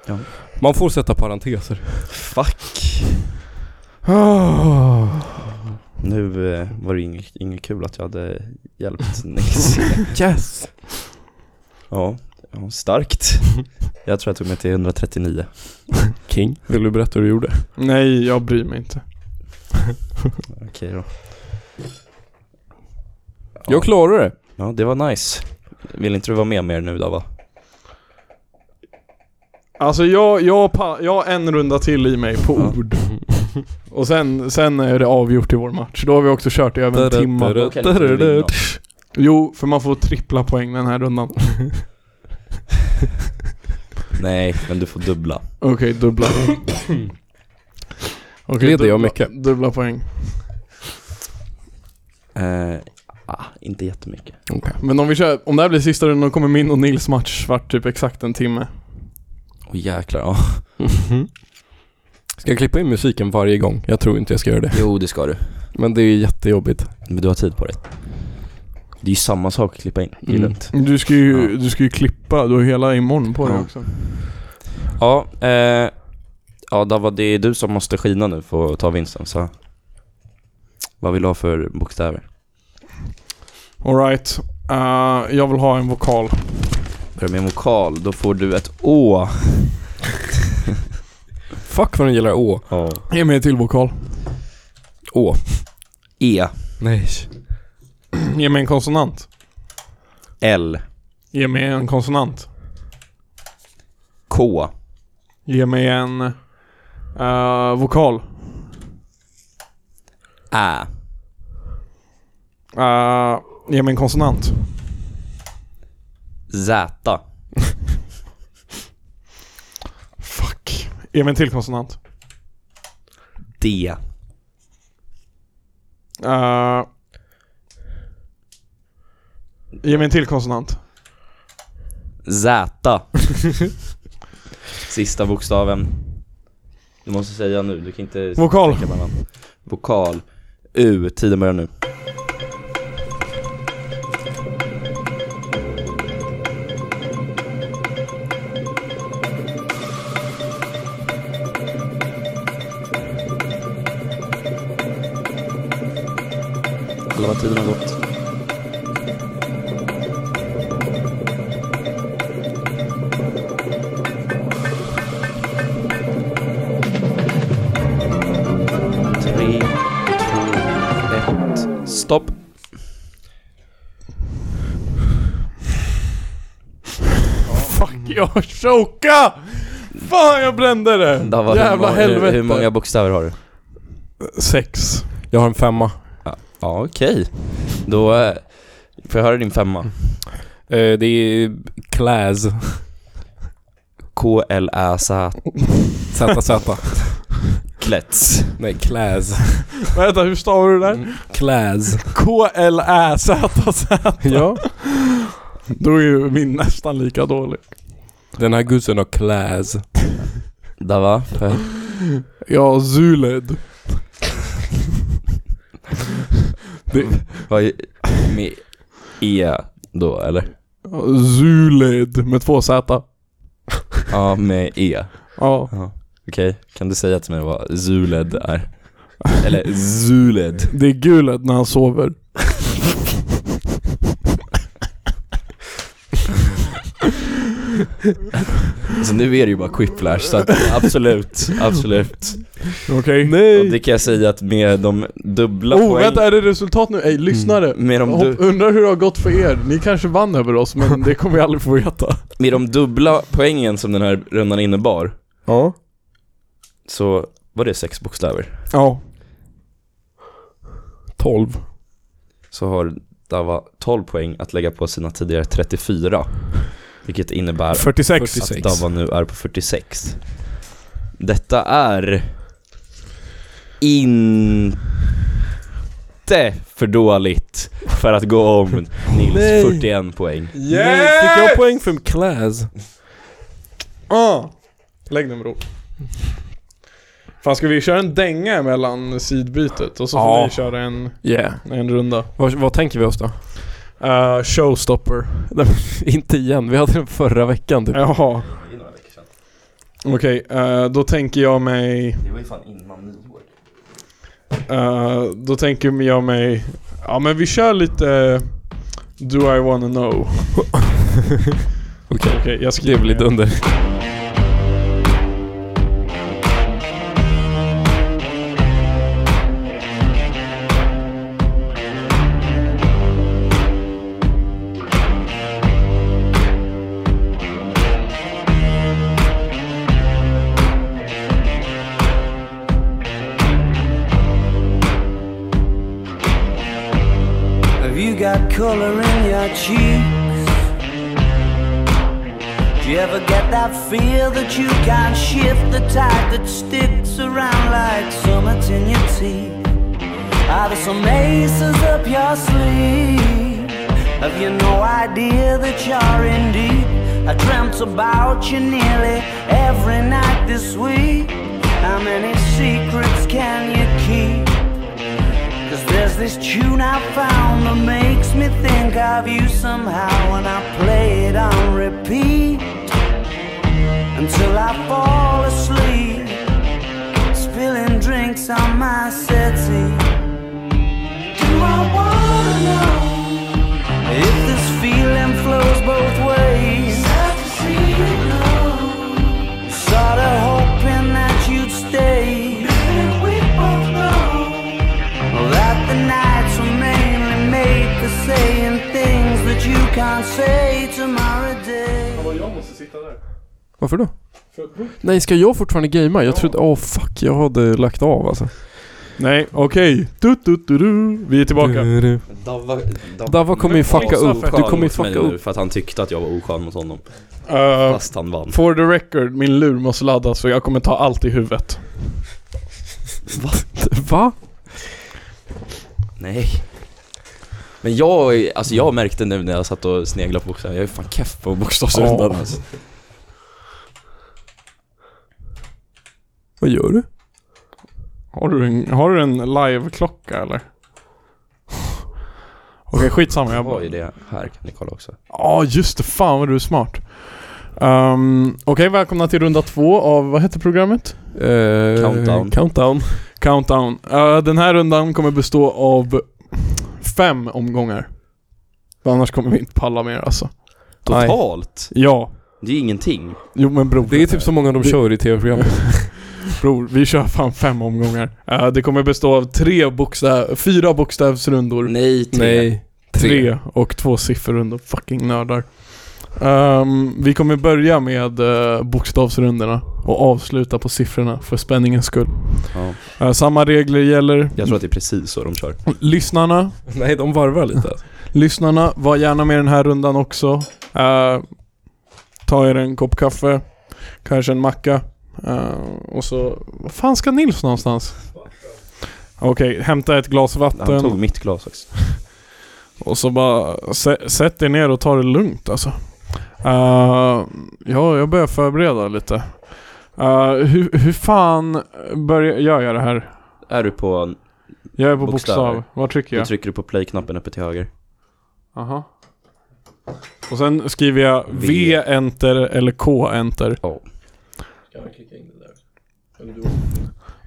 D: Ja.
C: Man får sätta parenteser.
D: Fuck.
E: Ah.
D: Nu eh, var det inget, inget kul att jag hade hjälpt Nils.
C: Yes!
D: ja, ja, starkt. Jag tror jag tog mig till 139.
C: King. Vill du berätta hur du gjorde?
E: Nej, jag bryr mig inte.
D: Okej då. Ja.
C: Jag klarade det.
D: Ja, det var nice. Vill inte du vara med mer nu då va?
E: Alltså jag, jag, pa- jag har en runda till i mig på
D: Ja.
E: ord. Och sen, sen är det avgjort i vår match. Då har vi också kört i över en timme.
D: Då kan inte du vinna.
E: Jo, för man får trippla poäng den här rundan.
D: Nej, men du får dubbla.
E: Okej, dubbla. Okej,
C: Leder jag
E: dubbla-
C: mycket?
E: Dubbla poäng.
D: Eh, ah, inte jättemycket.
E: Men om vi kör, om det här blir sista rundan då kommer min och Nils match vart typ exakt en timme.
D: Åh jäklar, ja. Mhm.
C: Ska jag klippa in musiken varje gång? Jag tror inte jag ska göra det.
D: <laughs> Jo, det ska du.
C: Men det är jättejobbigt.
D: Men du har tid på det. Det är ju samma sak att klippa in. Det är
C: Mm.
D: lugnt.
E: Du ska ju, du ska ju klippa, du har hela imorgon på dig
D: Ja.
E: också.
D: Ja, eh, ja Dava, det är du som måste skina nu för att ta vinsten. Så. Vad vill du ha för bokstäver?
E: Alright. Eh, jag vill ha en vokal.
D: Börjar med en vokal, då får du ett Å.
C: Fuck vad den gillar Å.
D: Ja.
E: Ge mig en till vokal.
C: Å.
D: E.
C: Nej.
E: Ge mig en konsonant.
D: L.
E: Ge mig en konsonant.
D: K.
E: Ge mig en eh, vokal.
D: Ä.
E: Eh, ge mig en konsonant.
D: Z.
E: Fuck. Ge mig en till konsonant.
D: D.
E: Eh, ge mig en till konsonant.
D: Z. <laughs> Sista bokstaven. Du måste säga nu, du kan inte...
E: Vokal.
D: tänka mellan. Vokal. U. Tiden börjar nu. Halva tiden har gått. Tre, två, ett. Stopp.
E: Fuck, <laughs> jag choka! Fan, jag brände det!
D: Dava,
E: Jävla
D: hur, många-
E: helvete.
D: hur, hur många bokstäver har du?
E: Sex.
C: Jag har en femma.
D: Ja, okej. Då eh, får jag höra din femma.
C: Eh, det är Class.
D: K-L-Ä-Z. <laughs>
C: ZZ.
D: Klets.
C: Nej, Class.
E: Vänta, hur stavar du det där?
C: Class.
E: K-L-Ä-Z-Z.
C: ja.
E: Då är ju min nästan lika dålig.
C: Den här gussen har Class.
D: Dava, får jag-
E: Ja, Zuled.
D: vad är med E då, eller?
E: Zuled med två Z.
D: Ja, med E.
E: Ja.
D: Okej, kan du säga till mig vad Zuled är? Eller Zuled.
E: Det är Guled när han sover.
D: Alltså nu är det ju bara Quiplash, så att absolut, absolut.
E: Okej.
D: Och
E: Nej!
D: det kan jag säga att med de dubbla
E: Oh,
D: poäng...
E: vänta, är det resultat nu? Ej, lyssnare!
D: Med de,
E: Hopp,
D: du,
E: undrar hur det har gått för er. Ni kanske vann över oss, men det kommer vi aldrig få veta.
D: med de dubbla poängen som den här rundan innebar,
C: Ja.
D: så var det sex bokstäver.
E: Ja.
C: 12.
D: Så har Dava 12 poäng att lägga på sina tidigare 34. Vilket innebär
E: 46.
C: 46.
D: att Dava nu är på 46. Detta är inte för dåligt för att gå om Nils
C: Nej.
D: 41 poäng.
C: Nej, Fick jag poäng för Class?
E: Ah. Lägg den bror. Fan, ska vi köra en dänga mellan sidbytet? Och så får
C: Ja.
E: vi köra en,
C: Yeah.
E: en runda.
C: Vad, vad tänker vi oss då? Eh,
E: Uh, showstopper.
C: <laughs> Inte igen, vi hade den förra veckan typ.
E: Jaha. Okej, eh, då tänker jag mig...
D: Det var ju fan innan nyår.
E: eh, då tänker jag mig... Ja men vi kör lite... eh, Do I wanna know?
C: <laughs> Okej.
E: Okej, jag
C: Det
E: skriver
C: är väl lite
E: ner.
C: under.
G: Have you got color in your cheeks? Do you ever get that feel that you can't shift the tide that sticks around like summits in your teeth? Are there some aces up your sleeve? Have you no idea that you're in deep? I dreamt about you nearly every night this week. How many secrets can you keep? Cause there's this tune I found that makes me think of you somehow And I play it on repeat Until I fall asleep Spilling drinks on my settee Do I wanna know If this feeling flows both ways Sad to see you go Sorta hoping that you'd stay Maybe we both know that the nights were mainly made for saying things that you can't say tomorrow day.
C: Varför då? Nej, ska jag fortfarande gamea? Jag trodde... Åh fuck, jag hade lagt av alltså.
E: Nej, okej. Du, du, du, du. Vi är tillbaka.
C: Du-du.
D: Dava,
C: Dava kommer ju fucka
E: Åsa,
C: upp.
E: för
C: Du kommer ju fucka upp. <laughs>
D: För att han tyckte att jag var oskön mot honom.
E: Eh,
D: Fast han vann.
E: for the record, min lur måste laddas för jag kommer ta allt i huvudet.
C: Va?
D: Nej. Men jag, är- alltså jag märkte nu när jag satt och sneglade på bokstäver, jag är fan keff på bokstavsrundan
C: Ja.
D: alltså.
C: Vad gör du?
E: Har du en, har du en live-klocka eller? <laughs> Okej, skitsamma.
D: Jag
E: Jag
D: var ju det här, kan ni kolla också.
E: Ja, just det. Fan vad du är smart. Um, Okej, välkomna till runda två av, vad heter programmet?
C: Eh,
D: Countdown.
C: Countdown.
E: Countdown. Eh, den här rundan kommer bestå av fem omgångar. Annars kommer vi inte palla mer alltså.
C: Nej.
D: Totalt!
E: Ja.
D: Det är ju ingenting.
E: Jo men bror.
C: Det är typ så många de
E: Det-
C: kör i tv-program.
E: Bror, vi kör fan fem omgångar. Eh, det kommer bestå av tre bokstäv, fyra bokstävsrundor.
D: Nej, <laughs> tre.
C: Nej. Tre.
E: Tre och två siffrorundor. Fucking nördar. Ehm, vi kommer börja med eh, bokstavsrundorna och avsluta på siffrorna för spänningens skull.
D: Ja.
E: Eh, samma regler gäller.
D: Jag tror att det är precis så de kör.
E: Lyssnarna,
C: Nej, de varvar lite. alltså.
E: lyssnarna, var gärna med i den här rundan också. Eh, ta er en kopp kaffe, kanske en macka. eh, och så, vad fan ska Nils någonstans? Okej, hämta ett glas
D: Han
E: vatten
D: tog mitt glas också.
E: och så bara sä- sätt er ner och ta det lugnt alltså. Eh, ja, jag börjar förbereda lite. Eh, hur, hur fan börjar, gör jag det här?
D: Är du på,
E: Jag är på
D: Bokstäver.
E: bokstav. Vad trycker
D: då
E: jag?
D: trycker du på play-knappen uppe till höger.
E: Aha. Och sen skriver jag
D: V.
E: V enter eller K enter.
D: Ja.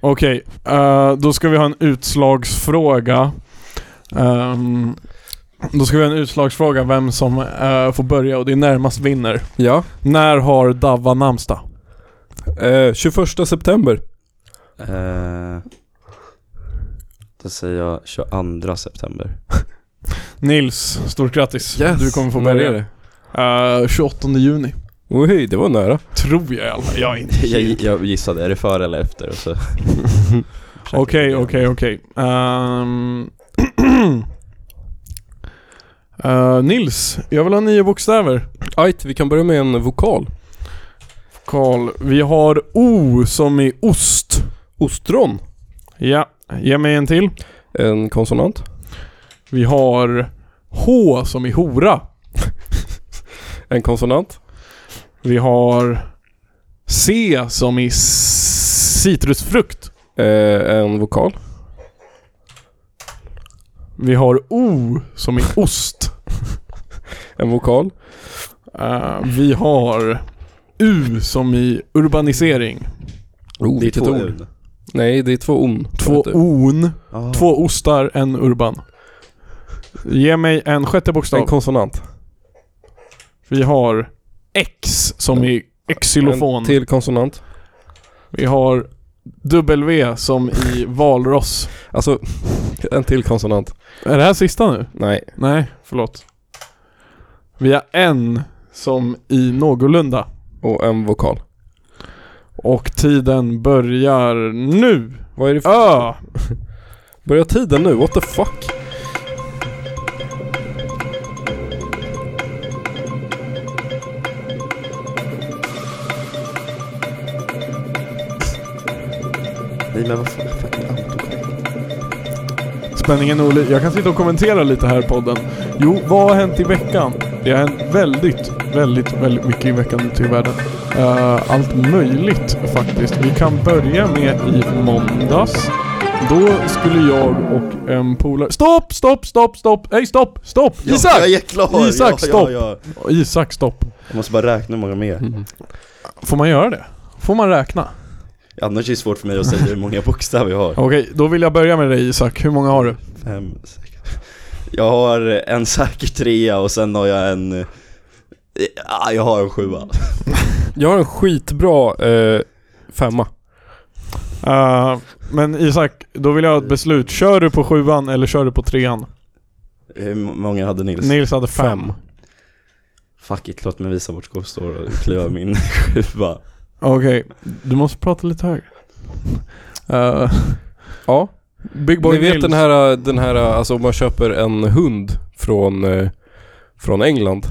E: Okej, eh, då ska vi ha en utslagsfråga. Ehm, Då ska vi ha en utslagsfråga vem som eh, får börja och det är närmast vinner.
C: Ja.
E: När har Davva namnsdag?
C: Eh, 21 september.
D: Eh, då säger jag 22 september.
E: Nils, stort grattis. Du kommer få
C: När
E: börja.
C: är det?
E: Eh, 28 juni.
C: Oj, det var nära.
E: Tror jag i alla fall. Jag är inte
D: jag, jag gissade, är det före eller efter? Och så.
E: Okej, okej, okej. Ehm, <clears throat> eh, Nils, jag vill ha nio bokstäver.
C: Ajt, vi kan börja med en vokal.
E: Karl, vi har O som i ost.
C: Ostron.
E: Ja, ge mig en till.
C: En konsonant.
E: Vi har H som i hora.
C: En konsonant.
E: Vi har C som i s- citrusfrukt.
C: Eh, en vokal.
E: Vi har O som i ost.
C: En vokal.
E: Eh, vi har U som i urbanisering.
C: Oh,
D: Det är två
C: ord.
D: ord.
C: Nej, det är två on.
E: Två on.
D: Ah.
E: Två ostar, en urban. Ge mig en sjätte
C: En
E: bokstav.
C: konsonant.
E: Vi har X som i xylofon.
C: En till konsonant.
E: Vi har W som i valross.
C: Alltså, <laughs> en till konsonant.
E: Är det här sista nu?
C: Nej.
E: Nej, förlåt. Vi har N som i någorlunda.
C: Och en vokal.
E: Och tiden börjar nu.
C: Vad är det för...
E: Ö!
C: Börjar tiden nu? What the fuck?
D: Nej men vad fan, fucking autocorrect.
E: Spänningen är oli- Jag kan sitta och kommentera lite här i podden. Jo, vad har hänt i veckan? Det har hänt väldigt, väldigt, väldigt mycket i veckan ute i världen. Eh, allt möjligt faktiskt. Vi kan börja med i måndags. Då skulle jag och en polare... Stopp, stopp, stopp, stopp! Nej, stopp, stopp! Isak!
B: Jag är klar!
E: Isak,
B: ja,
E: stopp! Mm.
B: Ja, ja.
E: Isak, stopp.
D: Jag måste bara räkna hur många mer.
E: Får man göra det? Får man räkna?
D: Annars är det svårt för mig att säga hur många bokstäver jag har.
E: Okej, då vill jag börja med dig Isak. Hur många har du?
D: Fem, sex. Jag har en säker trea och sen har jag en... eh, ah, Jag har en sjua.
C: Jag har en skitbra eh, femma.
E: Eh, men Isak, då vill jag ha ett beslut. Kör du på sjuan eller kör du på trean?
D: Hur många hade Nils?
E: Nils hade fem.
D: Fuck it, låt mig visa vart skåpet står och kliva min <laughs> sjua.
E: Okej, du måste prata lite högre. Eh,
C: Ja.
E: Big Boy
C: Ni vet
E: Nils.
C: den här, den här, alltså om man köper en hund från, eh, från England.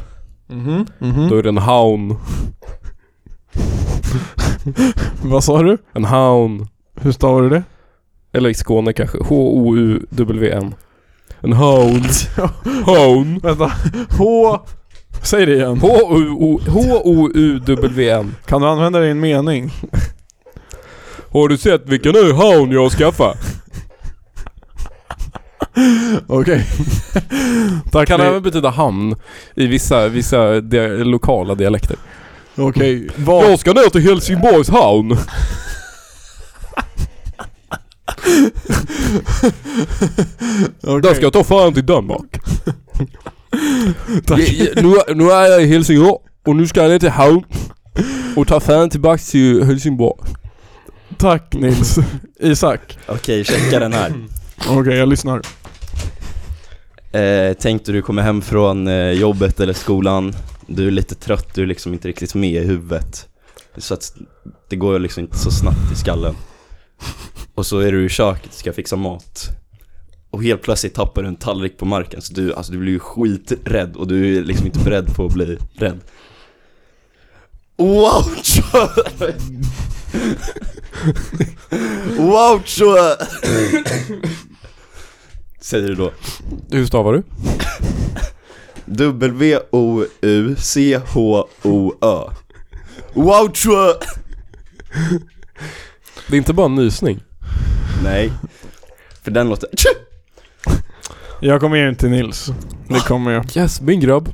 E: Mhm, mhm.
C: Då är det en hound.
E: Vad sa du?
C: En hound.
E: Hur stavar du det?
C: Eller i Skåne kanske. H-O-U-W-N. En hound. Hound.
E: Vänta. H... Säg det igen.
C: H-O-U- H-O-U-W-N.
E: Kan du använda det i en mening?
C: Har du sett vilken ny hound jag har skaffat?
E: Okej.
C: Tack kan
E: ni-
C: även betyda hamn i vissa, vissa dia- lokala dialekter.
E: Okej. Vad...
C: Jag ska ner till Helsingborgs hamn. Där
E: okej.
C: ska jag ta fan till <laughs> Danmark. Ja, ja, nu, nu är jag i Helsingborg och nu ska jag ner till hamn och ta fan tillbaka till Helsingborg.
E: Tack Nils. Isak.
D: Okej, checka den här.
E: Okej, jag lyssnar.
D: Eh, tänk dig du kommer hem från eh, jobbet eller skolan, du är lite trött, du är liksom inte riktigt med i huvudet. Så att det går liksom inte så snabbt i skallen. Och så är du i köket och ska fixa mat. Och helt plötsligt tappar du en tallrik på marken, så du, alltså, du blir ju skiträdd och du är liksom inte beredd på att bli rädd. Wow, tjö! Wow, tjö! Säger du då.
C: Hur stavar du?
D: W-O-U-C-H-O-Ö Wouchua!
C: Det är inte bara en nysning.
D: Nej, för den låter... Tju!
E: Jag kommer ge den till Nils. Det kommer jag.
C: Yes, min grabb.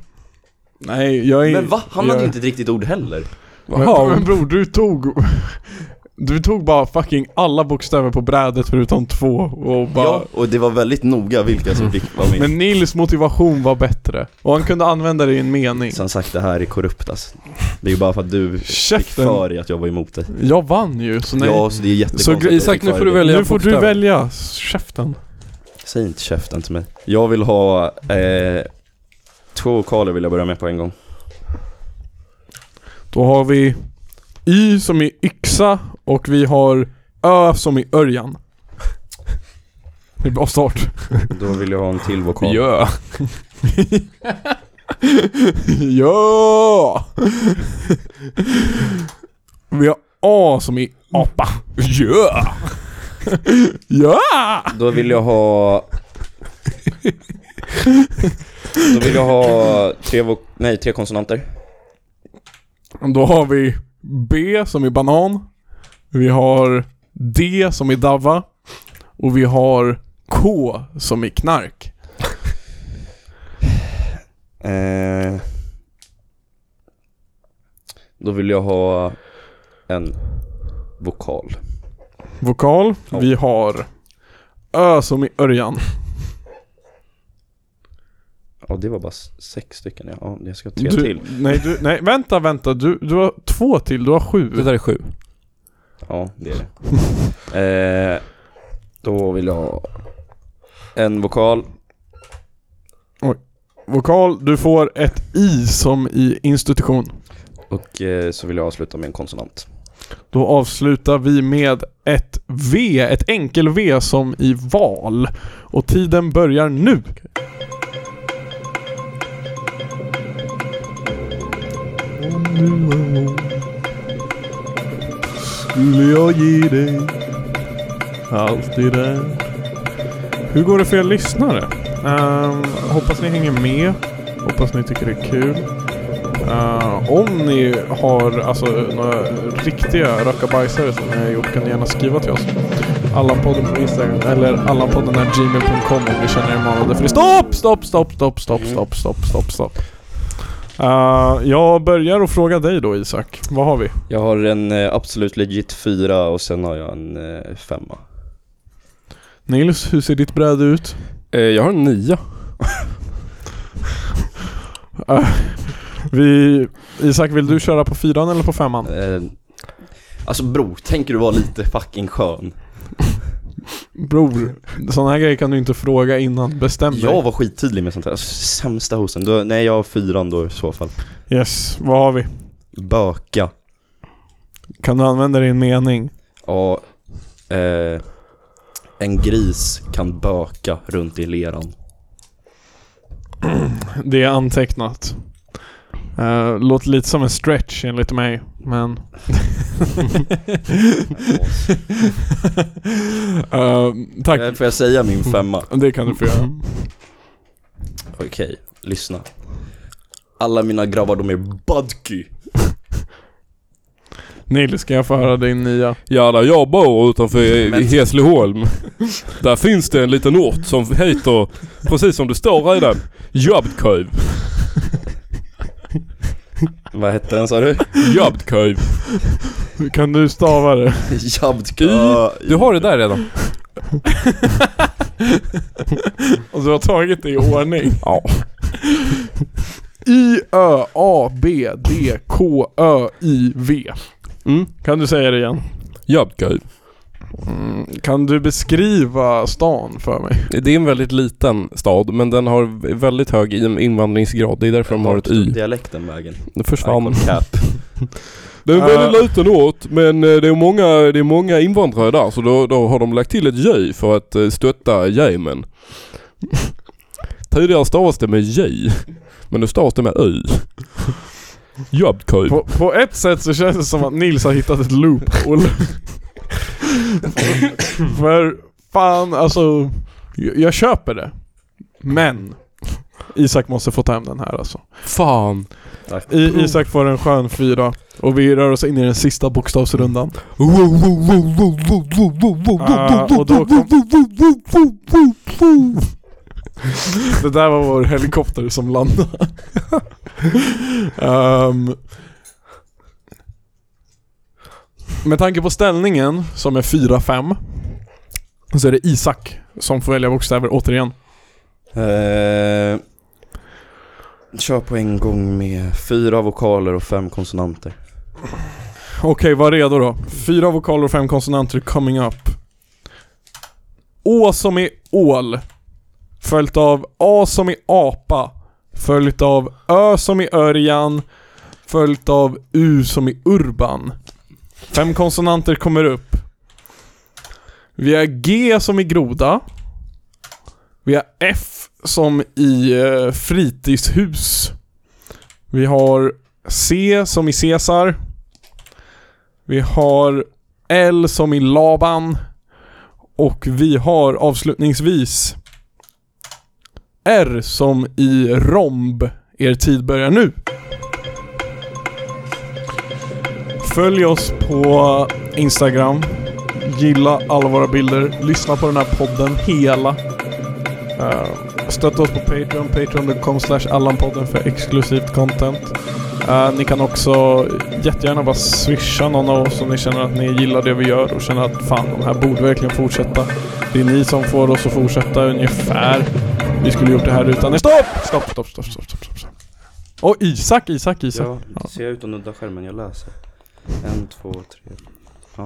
E: Nej, jag är...
D: Men va? Han hade
E: jag...
D: ju inte ett riktigt ord heller
E: Men,
C: Hound.
E: men bror, du tog... Du tog bara fucking alla bokstäver på brädet förutom två och bara...
H: Ja, och det var väldigt noga vilka som fick vara med.
E: Men Nils motivation var bättre. Och han kunde använda det i en mening.
H: Som sagt, det här är korrupt alltså. Det är ju bara för att du fick
E: Käften.
H: för dig att jag var emot dig.
E: Jag vann ju, så nej.
H: Ja, så det är
C: Så
H: jättekonstigt.
C: Gr- Isak, nu får du välja
E: nu får du
C: bokstav.
E: välja. Käften.
H: Säg inte käften till mig.
D: Jag vill ha eh, två vokaler vill jag börja med på en gång.
E: Då har vi Y som i yxa och vi har Ö som i Örjan. Det är bra start.
D: Då vill jag ha en till vokal.
C: Ja.
E: <laughs> ja! Vi har A som i apa. Ja! ja!
D: Då vill jag ha... Då vill jag ha tre, vo... Nej, tre konsonanter.
E: Då har vi B som i banan. Vi har D som i dava. Och vi har K som i knark.
D: Eh, då vill jag ha en vokal.
E: Vokal. Vi har Ö som i Örjan.
D: Ja, det var bara s- sex stycken. Ja, jag ska ha tre
E: du,
D: till.
E: Nej, du, nej, vänta, vänta. Du, du har två till. Du har
C: Det
E: sju.
C: där är sju.
D: Ja, det är det. Eh, då vill jag ha en vokal.
E: Vokal. Du får ett I som i institution.
D: Och eh, så vill jag avsluta med en konsonant.
E: Då avslutar vi med ett V, ett enkel-V som i val. Och tiden börjar nu. Skulle jag ge dig allt det där Hur går det för er lyssnare? Ehm, hoppas ni hänger med. Hoppas ni tycker det är kul. Eh, om ni har alltså, några riktiga rackabajsare som ni har gjort kan ni gärna skriva till oss. Allanpodden på Instagram eller allanpodden.gmail.com om ni känner er manade. För det stopp, stopp, stopp, stopp, stopp, stopp, stopp, stopp, stopp. Eh, jag börjar och fråga dig då Isak. Vad har vi?
D: Jag har en eh, absolut legit fyra och sen har jag en eh, femma.
E: Nils, hur ser ditt bräde ut?
C: Eh, jag har en nia.
E: Vi, Isak, vill du köra på fyran eller på femman?
H: Eh, alltså bro, tänker du vara lite fucking skön?
E: Bror, sådana här grejer kan du inte fråga innan. Bestäm dig.
D: Jag var skittydlig med sånt här. Alltså, sämsta hosten. Då, nej, jag har fyran då i så fall.
E: Yes, vad har vi?
D: Böka.
E: Kan du använda din mening?
D: Ja, eh, en gris kan böka runt i leran.
E: Det är antecknat. Uh, låter lite som en stretch enligt mig, <laughs> men... Eh, tack.
D: Eh, Får jag säga min femma?
E: Det kan du få göra.
D: Okej, lyssna. Alla mina grabbar de är budky.
E: Nils, ska jag få höra din nya?
C: Ja, där jag bor utanför i- i Hässleholm. Där finns det en liten ort som heter, precis som det står redan, Jabdköv.
D: Vad hette den sa du?
C: Jabdköv.
E: Kan du stava det?
D: Jabdky.
C: Du har det där redan?
E: Och Alltså, du har tagit det i <laughs> ordning.
C: Ja.
E: I, Ö, A, B, D, K, Ö, I, V.
C: Mm.
E: Kan du säga det igen?
C: Jabdköv.
E: Mm, Kan du beskriva stan för mig?
C: Det är en väldigt liten stad, men den har v- väldigt hög in- invandringsgrad. Det är därför de har ett Y.
D: Dialekten vägen.
C: Det försvann.
D: Cap.
C: Det är en väldigt
E: Äh.
C: liten ort, men eh, det är många, det är många invandrare där, så då, då har de lagt till ett J för att eh, stötta Jemen. Tidigare stavas det med J, men nu stavas det med Ö. Jabkoj.
E: På, på ett sätt så känns det som att Nils har hittat ett loophole. För fan alltså, jag, jag köper det. Men Isak måste få ta hem den här alltså.
C: Fan.
E: I, Isak får en skön fyra och vi rör oss in i den sista bokstavsrundan. Ah, och då kom... Det där var vår helikopter som landade. Ehm. Med tanke på ställningen som är 4-5 så är det Isak som får välja bokstäver återigen.
D: Eh, kör på en gång med fyra vokaler och fem konsonanter.
E: Okej, var redo då. Fyra vokaler och fem konsonanter coming up. Å som i ål. Följt av A som i apa. Följt av Ö som i Örjan. Följt av U som i urban. Fem konsonanter kommer upp. Vi har G som i groda. Vi har F som i eh, fritidshus. Vi har C som i Caesar. Vi har L som i Laban. Och vi har avslutningsvis R som i romb. Er tid börjar nu. Följ oss på Instagram. Gilla alla våra bilder. Lyssna på den här podden hela. Eh, Stötta oss på Patreon. Patreon.com slash Allanpodden för exklusivt content. Eh, ni kan också jättegärna bara swisha någon av oss om ni känner att ni gillar det vi gör och känner att fan, de här borde verkligen fortsätta. Det är ni som får oss att fortsätta ungefär. Vi skulle gjort det här utan er. Stopp! Stopp, stopp, stopp, stopp, stopp, stopp. Och Isak, Isak, Isak.
D: Ja, ser jag ut att nudda skärmen? Jag läser. En, två, tre.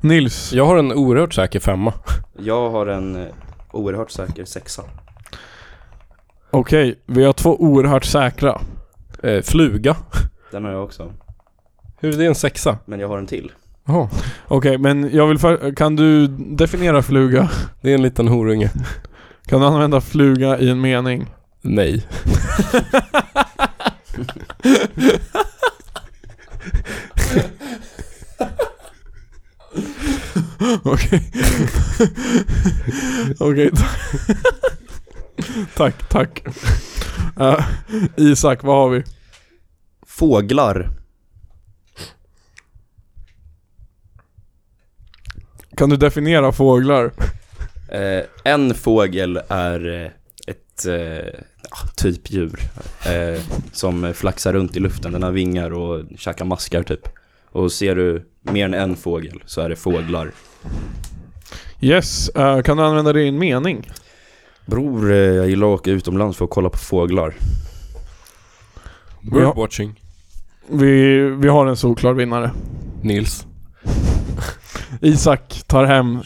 E: Nils.
C: Jag har en oerhört säker femma.
D: Jag har en eh, oerhört säker sexa.
E: Okej, vi har två oerhört säkra.
C: Eh, fluga.
D: Den har jag också.
C: Hur är det en sexa?
D: Men jag har en till.
C: Jaha.
E: Okej, men jag vill för... Kan du definiera fluga?
C: Det är en liten horunge.
E: Kan du använda fluga i en mening? <laughs>
C: Nej.
E: Okej. <laughs> Okej. ta- <laughs> tack, tack. <laughs> Eh, Isak, vad har vi?
D: Fåglar.
E: Kan du definiera fåglar?
D: Eh, en fågel är eh, ett eh, ja, typ djur eh, som flaxar runt i luften. Den har vingar och käkar maskar typ. Och ser du mer än en fågel så är det fåglar.
E: Yes, eh, kan du använda det i en mening?
D: Bror, eh, jag gillar att åka utomlands för att kolla på fåglar.
C: Birdwatching.
E: Vi, vi har en solklar vinnare.
C: Nils.
E: Isak tar hem...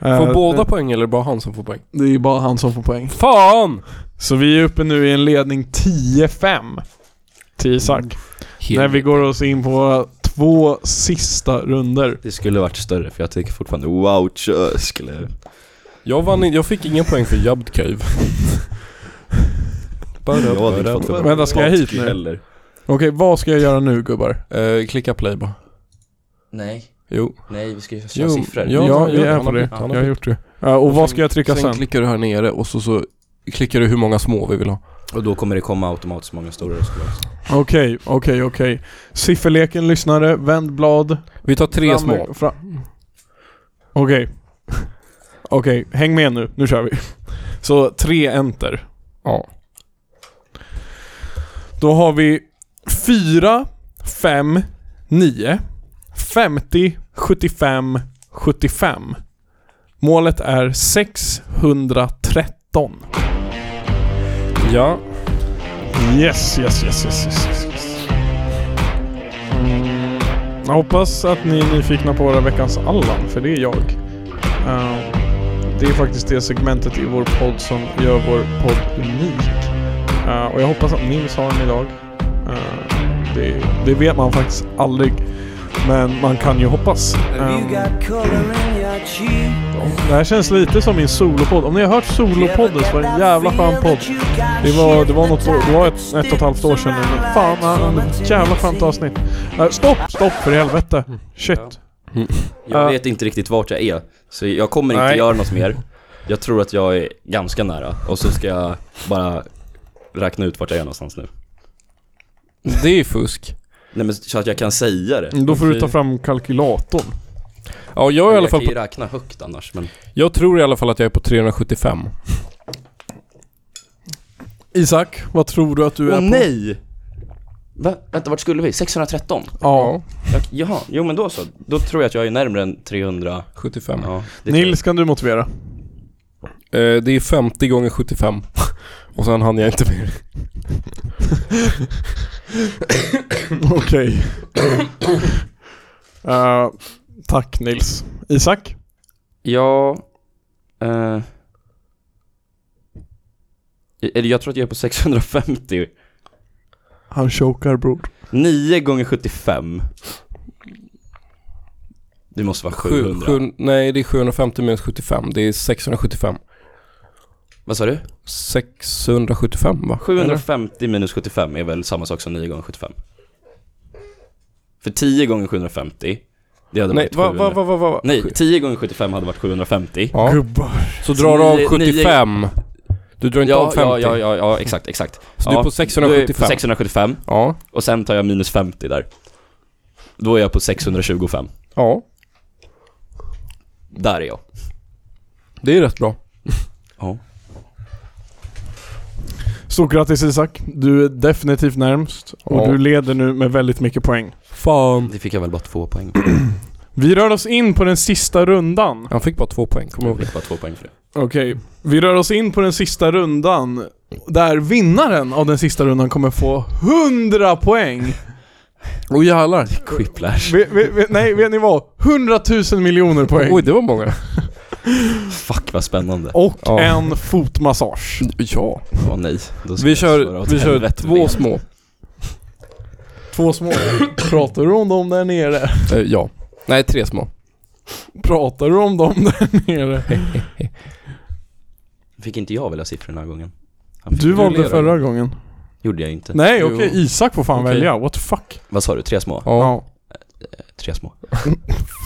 E: eh,
C: Får båda poäng eller bara han som får poäng?
E: Det är bara han som får poäng.
C: Fan!
E: Så vi är uppe nu i en ledning 10-5 till Isak. När vi går oss in på våra två sista runder.
D: Det skulle varit större för jag tycker fortfarande wow, tjö, skulle...
C: Jag vann in, jag fick ingen poäng för Jabbed Cave. <laughs>
D: Jag hade inte fått för
E: Vänta, ska jag hit nu?
D: heller.
E: Okej, vad ska jag göra nu gubbar?
C: Eh, klicka play bara.
H: Nej,
C: Jo.
H: nej vi ska ju köra
C: jo.
H: siffror.
E: Ja,
C: han
E: vi
C: gör
E: är
C: Han
E: på
C: har
E: det.
C: bytt,
E: Jag
C: han
E: har
C: har bytt.
E: gjort det. Ja, och vad ska jag trycka
C: sen
E: sen?
C: klickar du här nere och så, så klickar du hur många små vi vill ha.
D: Och då kommer det komma automatiskt många stora skulle jag säga.
E: Okej, okej, okej. Sifferleken lyssnare, vänd blad.
C: Vi tar tre
E: Fram-
C: små.
E: fram- Okej. <laughs> Okej, häng med nu. Nu kör vi. <laughs> Så tre enter.
C: Ja.
E: Då har vi 4, 5, 9, 50, 75, 75. Målet är 613.
C: Ja.
E: Yes, yes, yes, yes, yes, yes. yes. Mm, jag hoppas att ni är nyfikna på våra veckans Allan, för det är jag. Eh, det är faktiskt det segmentet i vår podd som gör vår podd unik. Eh, och jag hoppas att Nils har en idag. Eh, det, det vet man faktiskt aldrig. Men man kan ju hoppas.
G: Have you
E: Eh,
G: got color in your cheek?
E: det här känns lite som min solopodd. Om ni har hört solopodden så var det en jävla skön podd. Det var, det var, något, det var ett, ett och ett halvt år sedan. Men Fan, han hade ett jävla skönt avsnitt. Eh, stopp, stopp för i helvete. Shit.
D: Jag
E: Mm. Ja.
D: vet inte riktigt vart jag är, så jag kommer inte
E: Nej.
D: göra något mer. Jag tror att jag är ganska nära, och så ska jag bara räkna ut vart jag är någonstans nu.
C: Det är fusk.
D: Nej men så att jag kan säga det.
E: Då får du ta fram kalkylatorn.
C: Ja, jag är i alla
D: Jag kan
C: fall
D: ju
C: på,
D: räkna högt annars, men
C: Jag tror i alla fall att jag är på 375.
E: Isak, vad tror du att du är
H: Åh
E: på?
H: nej! Va? Vänta, vart skulle vi? 613?
E: Ja.
D: Tack. Jaha, jo men då så. Då tror jag att jag är närmare än 300.
C: 75.
D: Ja, det tror jag.
E: Nils, kan du motivera?
C: Eh, det är 50 gånger 75. <laughs> Och sen hann jag inte mer.
E: Okej. <coughs> Eh, tack Nils. Isak?
D: Ja... Eh, eller jag tror att jag är på 650.
E: Han chokar bror.
D: 9 gånger 75. Det måste vara 700.
C: Sju- sju- nej, det är 750 minus 75. Det är 675.
D: Vad sa du?
C: 675 va?
D: 750 minus 75 är väl samma sak som 9 gånger 75? För 10 gånger 750, det hade
C: Nej,
D: varit
C: vad,
D: 700.
C: vad, vad, vad, vad?
D: Nej, 10 gånger 75 hade varit 750.
C: Ja.
E: Gubbar.
C: Så drar du av
D: Nio-
C: 75. Du drar inte av
D: Ja,
C: 50.
D: ja, ja, ja, ja, exakt, exakt.
C: Så
D: ja,
C: du är på 675.
D: 675
C: Ja,
D: och sen tar jag minus 50 där. Då är jag på 625.
C: ja.
D: Där är jag.
C: Det är rätt bra.
D: Ja.
E: Stort grattis Isak. Du är definitivt närmst.
C: Ja.
E: Och du leder nu med väldigt mycket poäng.
C: Fan.
D: Det fick jag väl bara två poäng
E: Vi rör oss in på den sista rundan.
C: Han fick bara två poäng, kom
D: <clears throat> Jag
C: ihåg.
D: fick bara två poäng för det.
E: Okej, vi rör oss in på den sista rundan. Där vinnaren av den sista rundan kommer få 100 poäng.
C: Åh jävlar.
D: Quiplash.
E: Vi, vi, vi, nej, vet ni vad? 100 000 miljoner poäng.
C: Oj, det var många.
D: Fuck vad spännande.
E: Och
C: Ja.
E: en fotmassage.
C: Ja.
D: Åh nej. Då ska
C: Vi
D: jag svara
C: kör,
D: åt
C: vi kör
D: helvete
C: två
D: med.
C: små.
E: Två små. Pratar du om dem där nere?
C: Eh, ja. Nej, tre små.
E: Pratar du om dem där nere?
D: Fick inte jag välja siffror den här gången? Han fick
E: Du
D: ju
E: valde
D: leva.
E: förra gången.
D: Gjorde jag inte.
E: Nej,
C: Jo.
E: okej. Isak får fan
C: Okej.
E: välja. What the fuck?
D: Vad sa du? Tre små?
C: Ja.
D: Tre små.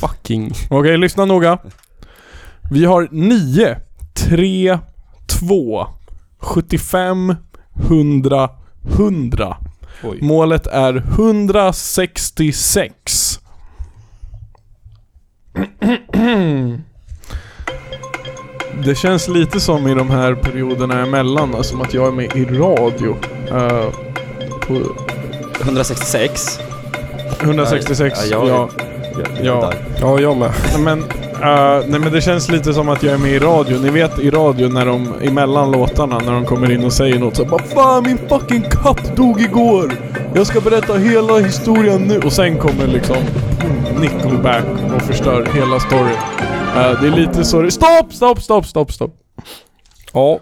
C: Fucking.
E: Okej, lyssna noga. Vi har 9, 3, 2, 75, 100, 100.
C: Oj.
E: Målet är 166. Det känns lite som i de här perioderna emellan, alltså, som att jag är med i radio. Eh, på
D: 166.
E: 166,
D: Ja, jag-
E: ja. Ja.
C: Ja, jag med.
E: Nej men, eh, nej men det känns lite som att jag är med i radio. Ni vet i radio när de, emellan låtarna, när de kommer in och säger något så bara Fan min fucking katt dog igår! Jag ska berätta hela historien nu! Och sen kommer liksom Nickelback och förstör hela storyn. Eh, det är lite så det... Stopp, stopp, stopp, stopp, stopp!
C: Ja.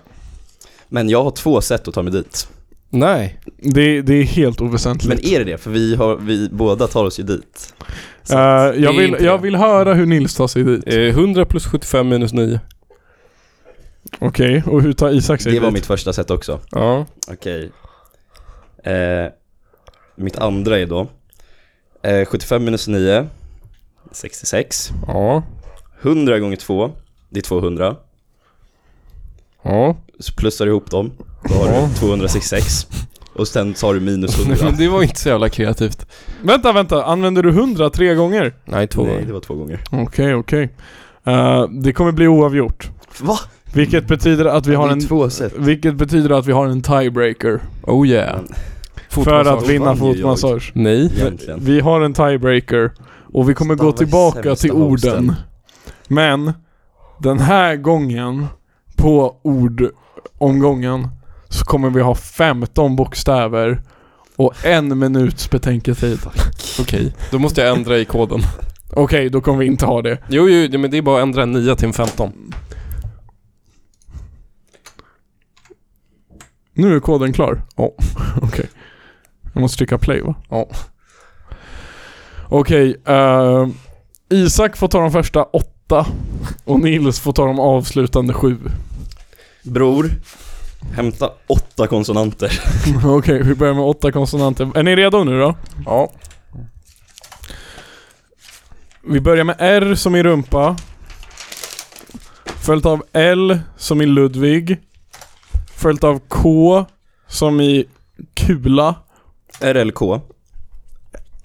D: Men jag har två sätt att ta mig dit.
C: Nej.
E: Det, det är helt oväsentligt.
D: Men är det det? För vi, har, vi båda tar oss ju dit.
E: Eh, jag,
C: det är
E: vill,
C: inte
E: jag
C: det.
E: vill höra hur Nils tar sig dit.
C: Eh, 100 plus 75 minus 9.
E: Okej, och hur tar Isak sig
D: Det var
E: dit?
D: mitt första sätt också.
C: Ja.
D: Okej. Eh, mitt andra är då. Eh, 75 minus 9. 66.
C: Ja.
D: 100 gånger 2. Det är 200.
C: Ja.
D: Så plussar du ihop dem. Då har du 266. Och sen tar du minus
C: Nej,
D: 100.
C: men <laughs> det var inte så jävla kreativt.
E: Vänta, vänta! Använder du 100 tre gånger?
C: Nej, två
D: Nej,
C: gånger.
D: det var två gånger.
E: Okej, okej. Eh, det kommer bli oavgjort.
D: Va?
E: Vilket betyder att vi har en...
D: två sätt.
E: Vilket betyder att vi har en tiebreaker.
C: Oh yeah.
D: Men-
E: För
C: Fotbollsmatch.
E: att vinna
D: Fan, ju jag.
E: fotmassage.
C: Nej.
D: Egentligen.
E: Vi har en tiebreaker. Och vi kommer gå
D: Fan, vad
E: tillbaka
D: sämsta
E: till orden.
D: hosten.
E: Men, den här gången, på ordomgången, så kommer vi ha 15 bokstäver och en minuts betänketid.
C: Okej. Då måste jag ändra i koden. <laughs>
E: Okej, då kommer vi inte ha det.
C: Jo, jo, jo, men det är bara att ändra en 9 till en 15.
E: Nu är koden klar?
C: Ja.
E: <laughs> Okej. Jag måste trycka play va?
C: Ja.
E: Okej, eh, Isak får ta de första åtta och Nils får ta de
C: <laughs>
E: avslutande sju.
D: Bror, hämta åtta konsonanter.
E: Okej, vi börjar med åtta konsonanter. Är ni redo nu då?
C: Ja.
E: Vi börjar med R som i rumpa. Följt av L som i Ludvig. Följt av K som i kula.
D: RLK.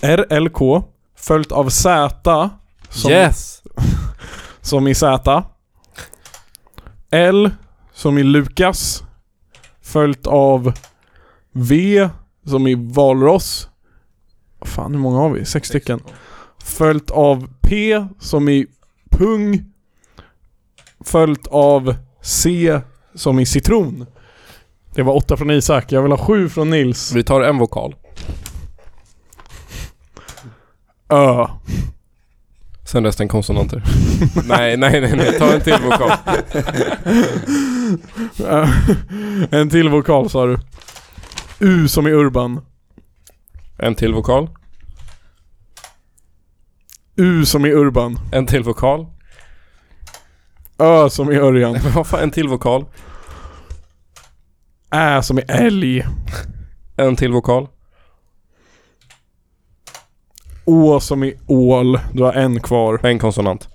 E: RLK. Följt av Z som
C: Yes!
E: Som i Z. L som i Lukas. Följt av V som i Valros. Fan hur många har vi? Sex stycken. Följt av P som i pung. Följt av C som i citron. Det var åtta från Isak. Jag vill ha sju från Nils.
C: Vi tar en vokal.
E: Ö. <laughs>
C: Sen resten <laughs> konsonanter. nej, nej, nej, nej. Ta en till vokal.
E: Ö. en till vokal sa du. U som i Urban.
C: En till vokal.
E: U som i Urban.
C: En till vokal.
E: Ö som i Örjan.
C: Men vad fan, en till vokal.
E: Ä som i Älg.
C: En till vokal.
E: Å som i Ål. Du har en kvar.
C: En konsonant.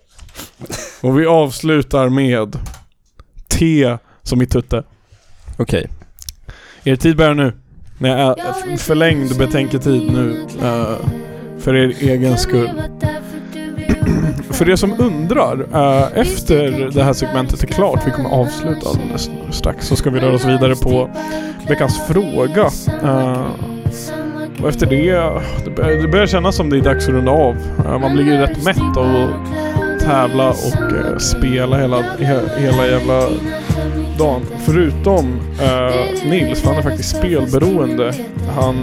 E: Och vi avslutar med T som i Tutte.
C: Okej.
E: Er tid börjar nu. När jag
I: Ja,
E: är förlängd betänketid nu. eh, för er egen skull. För er som undrar, eh, efter det här segmentet är klart, vi kommer avsluta alldeles strax, så ska vi röra oss vidare på veckans fråga. Eh, och efter det, det börjar, det börjar kännas som det är dags att runda av. Eh, man blir ju rätt mätt av att tävla och eh, spela hela, he, hela jävla dagen. Förutom eh, Nils, för han är faktiskt spelberoende. Han,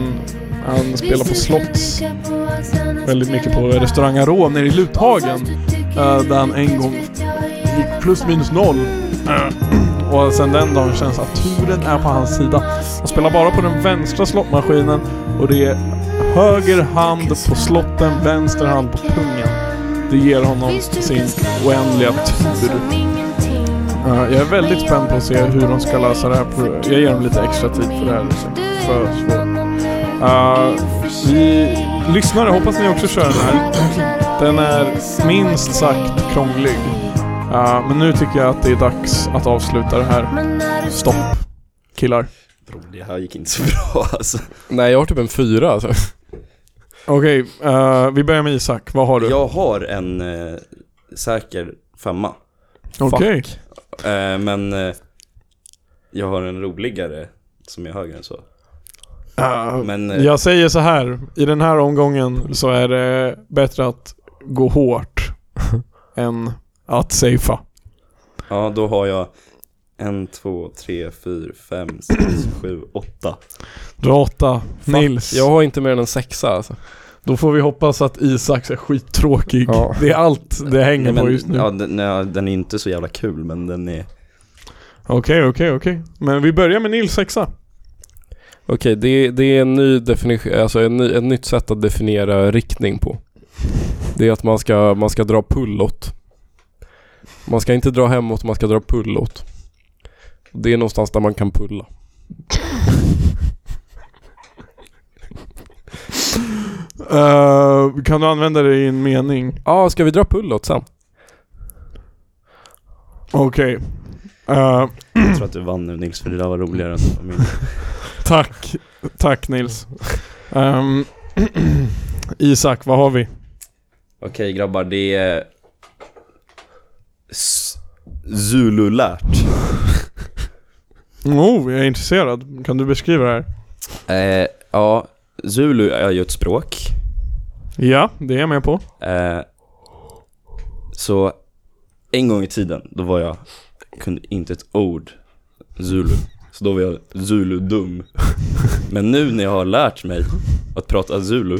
E: han spelar på slotts väldigt mycket på restaurang Arom nere i Luthagen. eh, där han en gång gick plus minus noll. Eh, <clears throat> och sen den dagen känns att turen är på hans sida. Han spelar bara på den vänstra slottmaskinen och det är höger hand på slotten, vänster hand på pungen. Det ger honom sin oändliga tur. Eh, jag är väldigt spänd på att se hur de ska lösa det här. På, jag ger dem lite extra tid för det här. Det är För svårt. Eh, vi lyssnare, hoppas ni också kör den här. Den är minst sagt krånglig. Eh, men nu tycker jag att det är dags att avsluta det här. Stopp. Killar.
H: Bro, det här gick inte så bra alltså.
C: Nej, jag har typ en fyra alltså.
E: Okej, eh, vi börjar med Isak. Vad har du?
D: Jag har en eh, säker femma.
E: Okej.
D: Eh, men eh, jag har en roligare som är högre än så.
E: Eh,
D: Men eh,
E: jag säger så här. I den här omgången så är det bättre att
D: <laughs>
E: gå hårt än att safea.
D: ja, då har jag en, två, tre, fyra, fem, sex, <clears throat> sju, åtta.
E: Du har åtta. Nils.
C: Jag har inte mer än en sexa alltså.
E: Då får vi hoppas att Isak är skittråkig.
C: Ja.
E: Det är allt det hänger
D: Nej,
E: på
D: men,
E: just nu.
D: ja, den, nej, den är inte så jävla kul men den är... <clears throat>
E: Okej, okej, okej. Men vi börjar med Nils sexa.
C: Okej, det, det är en ny definition, alltså en ny, ett nytt sätt att definiera riktning på. Det är att man ska, man ska dra pullåt. Man ska inte dra hemåt, man ska dra pullåt. Det är någonstans där man kan pulla.
E: Eh, kan du använda det i en mening?
C: Ja, ah, ska vi dra pullåt sen?
E: Okej. Eh,
D: Jag tror att du vann nu Nils för det där var roligare än min.
E: tack. Tack Nils. Ehm, <clears throat> Isak, vad har vi?
D: Okej grabbar, det är... S- Zululärt.
E: Oh, jag är intresserad. Kan du beskriva det här?
D: Eh, ja, Zulu är ju ett språk.
E: Ja, det är jag med på.
D: Eh, så en gång i tiden, då var jag, kunde inte ett ord Zulu. Så då var jag Zulu-dum. Men nu när jag har lärt mig att prata Zulu,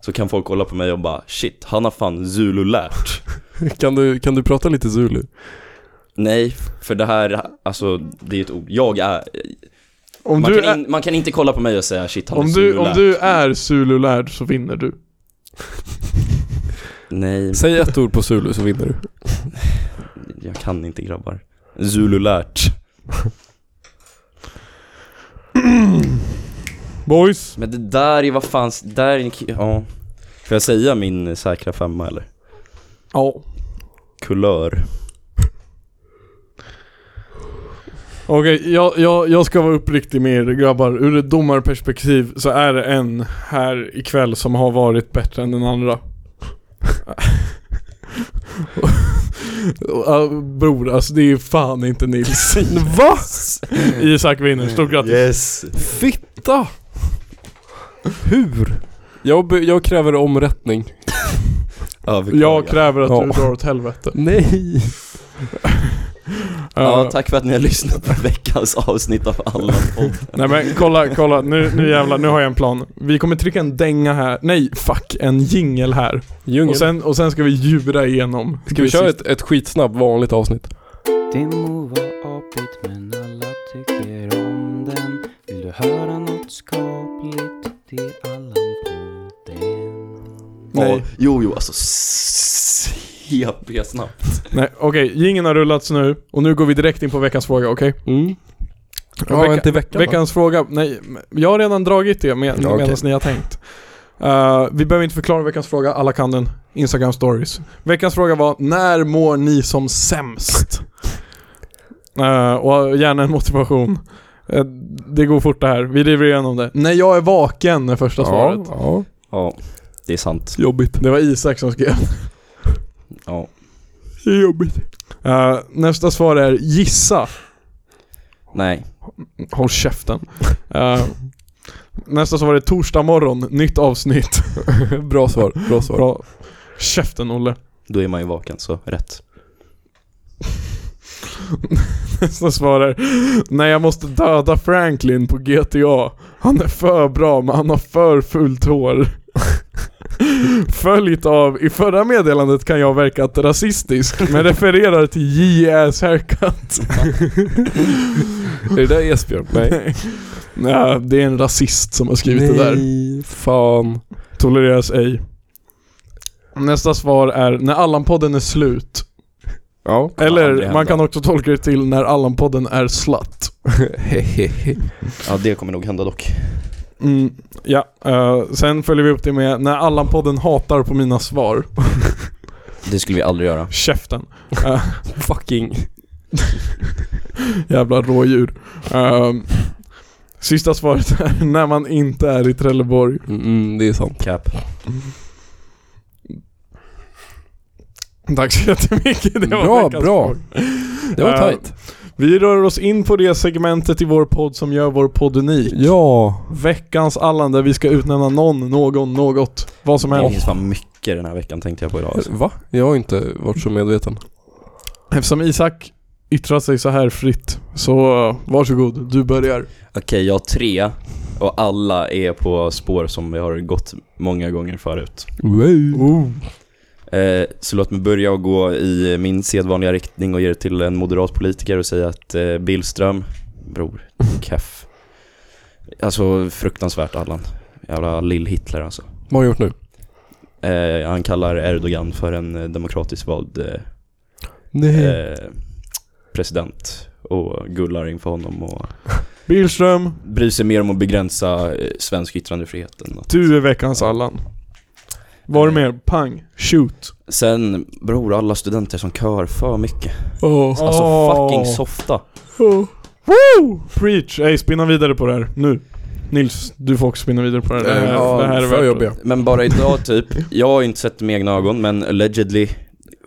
D: så kan folk kolla på mig och bara shit, han har fan Zulu-lärt.
C: Kan du, kan du prata lite zulu?
D: Nej, för det här, alltså det är ett ord. Jag är,
E: Om
D: man,
E: du,
D: kan
E: är,
D: in, man kan inte kolla på mig och säga shit, han
E: om
D: är
E: du, om
D: Zulu-lärt.
E: du är zululärd så vinner du.
D: Nej,
C: Säg ett ord på zulu så vinner du.
D: jag kan inte grabbar. Zulu-lärt.
E: Boys.
D: Men det där är vad fan, det där är en ki- ja. Får jag säga min säkra femma eller?
E: Ja.
D: Kulör.
E: Okej, jag, jag, jag ska vara uppriktig med er grabbar. Ur ett domarperspektiv så är det en här ikväll som har varit bättre än
C: <laughs>
E: den andra. Uh, bror, alltså det är fan
C: <laughs>
E: inte Nils. Va? Isak vinner, stort grattis.
D: Yes!
C: Fitta! Hur? Jag, be- jag kräver omrättning.
E: Jag kräver att
C: Ja.
E: du drar åt helvete.
C: Nej!
D: Ja,
E: Eh,
D: tack för att ni har lyssnat på veckans avsnitt av alla podd.
E: Nej men kolla, kolla, nu, nu jävlar, nu har jag en plan. Vi kommer trycka en dänga här, nej fuck, en jingle här.
C: Djungel.
E: Och sen, och sen ska vi djura igenom.
C: Ska vi köra ett, ett skitsnabbt vanligt avsnitt?
I: Det må vara apigt men alla tycker om den Vill du höra något skapligt? Det är Allan på den
D: Ja, jo, jo, alltså s- CP snabbt.
E: Nej, okej, jingeln har rullats nu och nu går vi direkt in på veckans fråga, okej?
C: Mm. Ja,
E: Vecka-
C: inte veckan va?
E: veckans fråga, nej, men jag har redan dragit det med,
C: Ja, okej.
E: medan ni har tänkt. Eh, vi behöver inte förklara veckans fråga, alla kan den. Instagram stories. Veckans fråga var, när mår ni som sämst? Eh, och gärna en motivation. Eh, det går fort det här, vi driver igenom det. När jag är vaken är första
C: Ja,
E: svaret.
C: ja.
D: Ja, det är sant.
E: Jobbigt. Det var Isak
C: <laughs>
E: som skrev.
D: Ja.
E: Det är jobbigt. Eh, nästa svar är gissa.
D: Nej.
E: Håll käften. Eh, nästa svar är torsdag morgon, nytt avsnitt.
C: Bra svar, bra svar.
E: Bra. Käften Olle. <laughs>
D: Då är man ju vaken, så rätt.
E: Nästa svar är Nej jag måste döda Franklin på GTA. Han är för bra men han har för fult hår. <laughs> Följt av i förra meddelandet kan jag ha verkat rasistisk men refererar till JS haircut.
C: Är det där Esbjörn? Nej.
E: Nej, det är en rasist som har skrivit det där.
C: Nej, fan.
E: Tolereras ej. Nästa svar är när Allan-podden är slut.
C: Ja.
E: Eller
D: aldrig
E: man
D: hända.
E: kan också tolka det till när Allan-podden är slatt.
D: Ja, det kommer nog hända dock.
E: Mm, ja, eh, sen följer vi upp det med när Allan-podden hatar på mina svar.
D: Det skulle vi aldrig göra.
E: Käften.
C: Fucking.
E: Jävla rådjur. Eh, sista svaret är när man inte är i Trelleborg.
C: Mm, det är <laughs> sant.
D: Cap.
E: Tack så jättemycket. Det var
C: Bra,
E: veckans
C: bra.
E: fråga.
C: Det var
E: Eh,
C: tajt.
E: Vi rör oss in på det segmentet i vår podd som gör vår podd unik.
C: Ja.
E: Veckans Allan där vi ska utnämna någon, någon, något. Vad som
D: Det
E: helst.
D: finns fan mycket den här veckan tänkte jag på idag. Alltså.
C: Va? Jag har inte varit så medveten.
E: Eftersom Isak yttrar sig så här fritt, så eh, varsågod, du börjar.
D: Okej, jag har tre och alla är på spår som vi har gått många gånger förut.
E: Oh.
D: Eh, så låt mig börja och gå i min sedvanliga riktning och ge det till en moderat politiker och säga att eh, Billström, bror, keff. Alltså fruktansvärt Allan. Jävla lill-Hitler alltså.
C: Vad har jag gjort nu?
D: Eh, han kallar Erdogan för en eh, demokratiskt vald eh,
C: Nej.
D: eh, president och gullar inför honom och
E: Billström,
D: bryr sig mer om att begränsa eh, svensk yttrandefrihet än att
E: du är veckans Allan. Var det mer? Pang, shoot.
D: Sen, bror, alla studenter som kör för mycket.
E: Oh.
D: Alltså fucking softa.
E: Woo! Preach! Ey, spinna vidare på det här, nu. Nils, du får också spinna vidare på det här. Det här,
C: Ja,
E: det här är
C: för
E: värt
C: jobbiga.
D: Men bara idag typ, jag har inte sett det med egna ögon men allegedly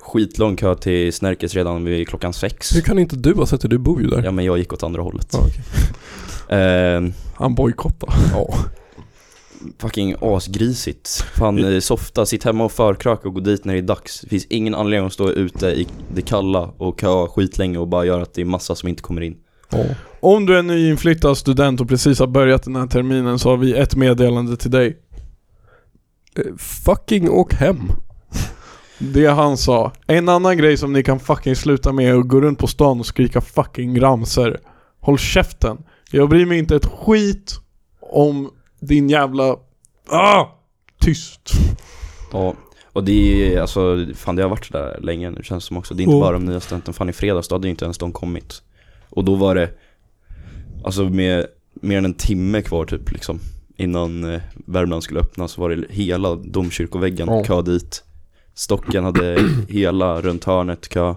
D: skitlång kö till Snärkes redan vid klockan sex.
C: Hur kan inte du ha sett det? Du bor ju där.
D: Ja men jag gick åt andra hållet.
C: Ja, okej.
D: Eh,
E: Han bojkottar.
C: Ja.
D: fucking asgrisigt. Fan eh, softa, sitt hemma och förkröka och gå dit när det är dags. Det finns ingen anledning att stå ute i det kalla och köa skitlänge och bara göra att det är massa som inte kommer in.
C: Ja.
E: Om du är nyinflyttad student och precis har börjat den här terminen så har vi ett meddelande till dig.
C: Eh, Fucking åk hem.
E: Det han sa. En annan grej som ni kan fucking sluta med är att gå runt på stan och skrika fucking ramser. Håll käften. Jag bryr mig inte ett skit om din jävla... Ah! Tyst.
D: Ja, och det är alltså, fan det har varit sådär länge nu känns det som också. Det är inte
E: Ja.
D: bara de nya studenten, fan i fredags då hade ju inte ens de kommit. Och då var det, alltså med mer än en timme kvar typ liksom. Innan eh, Värmland skulle öppna så var det hela domkyrkoväggen
C: Ja.
D: kö dit. Stocken hade
C: <clears throat>
D: hela runt hörnet kö.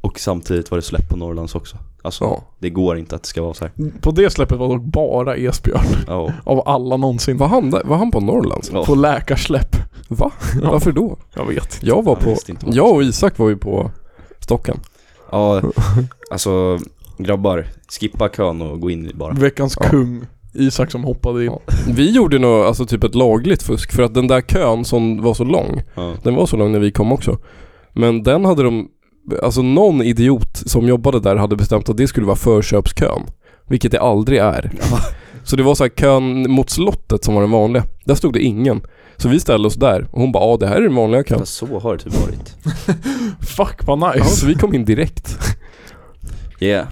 D: Och samtidigt var det släpp på Norrlands också. Alltså
C: Ja.
D: det går inte att det ska vara så här.
E: På det släppet var dock bara Esbjörn.
D: Ja.
E: Av alla någonsin.
C: Var han, där? var han på Norrlands?
D: Ja.
E: På läkarsläpp.
C: Va? Varför då?
E: Jag vet.
C: Jag var
D: Jag
C: på...
D: visste inte vad-
C: Jag och Isak var ju på Stocken.
D: <laughs> ja, alltså grabbar, skippa kön och gå in i bara.
E: Veckans
C: Ja.
E: kung. Isak som hoppade in.
C: Ja. Vi gjorde nog alltså typ ett lagligt fusk för att den där kön som var så lång,
D: Ja.
C: den var så lång när vi kom också. Men den hade de, alltså någon idiot som jobbade där hade bestämt att det skulle vara förköpskön. Vilket det aldrig är. Så det var så här kön mot slottet som var den vanliga. Där stod det ingen. Så vi ställde oss där och hon bara ja det här är den vanliga kön.
D: Fast så har det typ varit.
E: Fuck vad
C: Ja, <laughs>
E: nice.
C: så vi kom in direkt.
D: Yeah.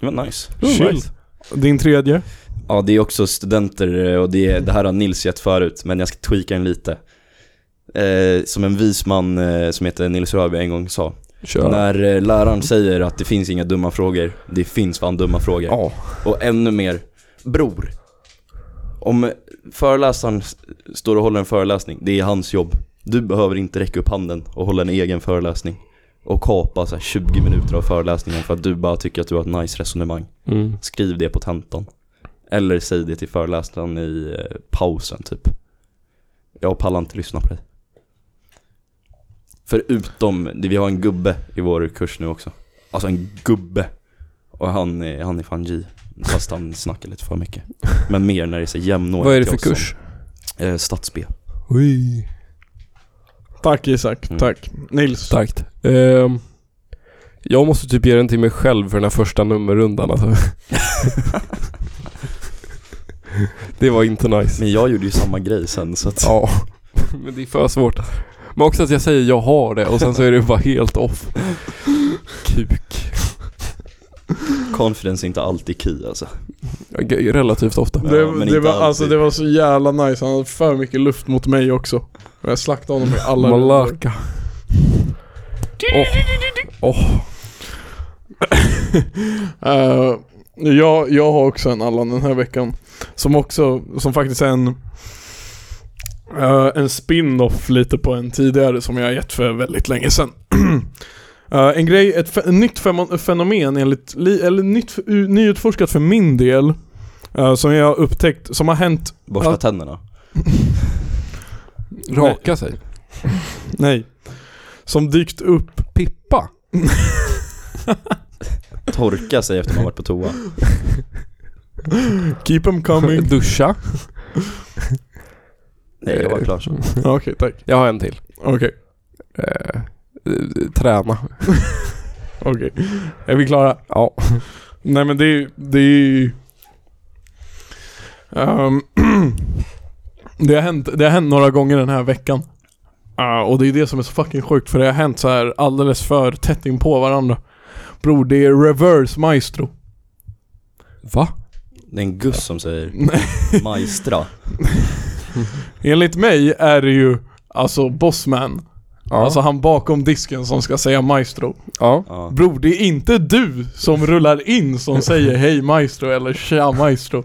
D: Det var Oh, nice.
C: Det var
E: Chill.
C: nice.
E: Din tredje?
D: Ja, det är också studenter eh, och det, är, det här har Nils gett förut, men jag ska tweaka den lite. Eh, som en vis man eh, som heter Nils Röby en gång sa.
C: Kör.
D: När eh, läraren säger att det finns inga dumma frågor, det finns fan dumma frågor.
C: Ja.
D: Och ännu mer, bror. Om föreläsaren s- står och håller en föreläsning, det är hans jobb. Du behöver inte räcka upp handen och hålla en egen föreläsning. Och kapa så här 20 minuter av föreläsningen för att du bara tycker att du har ett nice resonemang.
C: Mm.
D: Skriv det på tentan. Eller säg det till föreläsaren i eh, pausen typ. Jag pallar inte lyssna på dig. Förutom, det- vi har en gubbe i vår kurs nu också. Alltså en gubbe. Och han är, han är fan G. Fast han snackar lite för mycket. Men mer när det är så jämnåriga
C: Vad är det
D: till
C: för
D: oss som-
C: kurs?
D: Eh, Stats-B.
C: Oj.
E: Tack Isak,
D: Mm.
E: tack. Nils?
C: Starkt. Ehm, jag måste typ ge den till mig själv för den här första nummerrundan alltså. <laughs> Det var inte nice.
D: Men jag gjorde ju samma grej sen <laughs> så att...
C: Ja, men det är för svårt. Men också att jag säger jag har det och sen så är det bara helt off. Kuk.
D: Confidence är inte alltid key alltså.
C: Jag- jag- Relativt ofta.
D: Ja,
E: Det,
D: men
E: det,
D: inte
E: var,
D: alltid.
E: alltså, det var så jävla nice, han hade för mycket luft mot mig också. Och jag slaktade honom i alla rundor.
C: Malaka. Åh, åh.
E: Eh, jag, jag har också en Allan den här veckan. Som också, som faktiskt är en eh, en spin-off lite på en tidigare som jag har gett för väldigt länge sedan. <clears throat> Eh, en grej, ett, fe- ett nytt femo- fenomen enligt, li, eller nytt, u- nyutforskat för min del. eh, som jag har upptäckt, som har hänt,
D: Borsta
E: Ja.
D: tänderna.
C: Raka sig.
E: nej. Som dykt upp,
C: Pippa.
D: Torka sig efter man varit på toa.
E: keep em coming.
D: <laughs>
C: Duscha.
D: Nej, jag var klar så.
E: Ja, Okej, tack.
C: Jag har en till.
E: Okej,
C: Eh, eh, träna.
E: okej. Är vi klara?
C: Ja.
E: <laughs> Nej men det är ju- det är ju... Ehm, <clears throat> det, har hänt, det har hänt några gånger den här veckan. Ja, och det är det som är så fucking sjukt för det har hänt så här alldeles för tätt in på varandra. Bror, det är reverse maestro. <laughs>
C: Va?
D: Det är en Gus
C: <laughs>
D: som säger
E: Nej.
D: Majstra.
E: Enligt mig är det ju alltså bossman.
C: Ja.
E: Alltså han bakom disken som ska säga maestro.
C: ja.
D: Ja.
E: Bror, det är inte du som rullar in som säger hej maestro eller
C: <laughs>
E: tja maestro.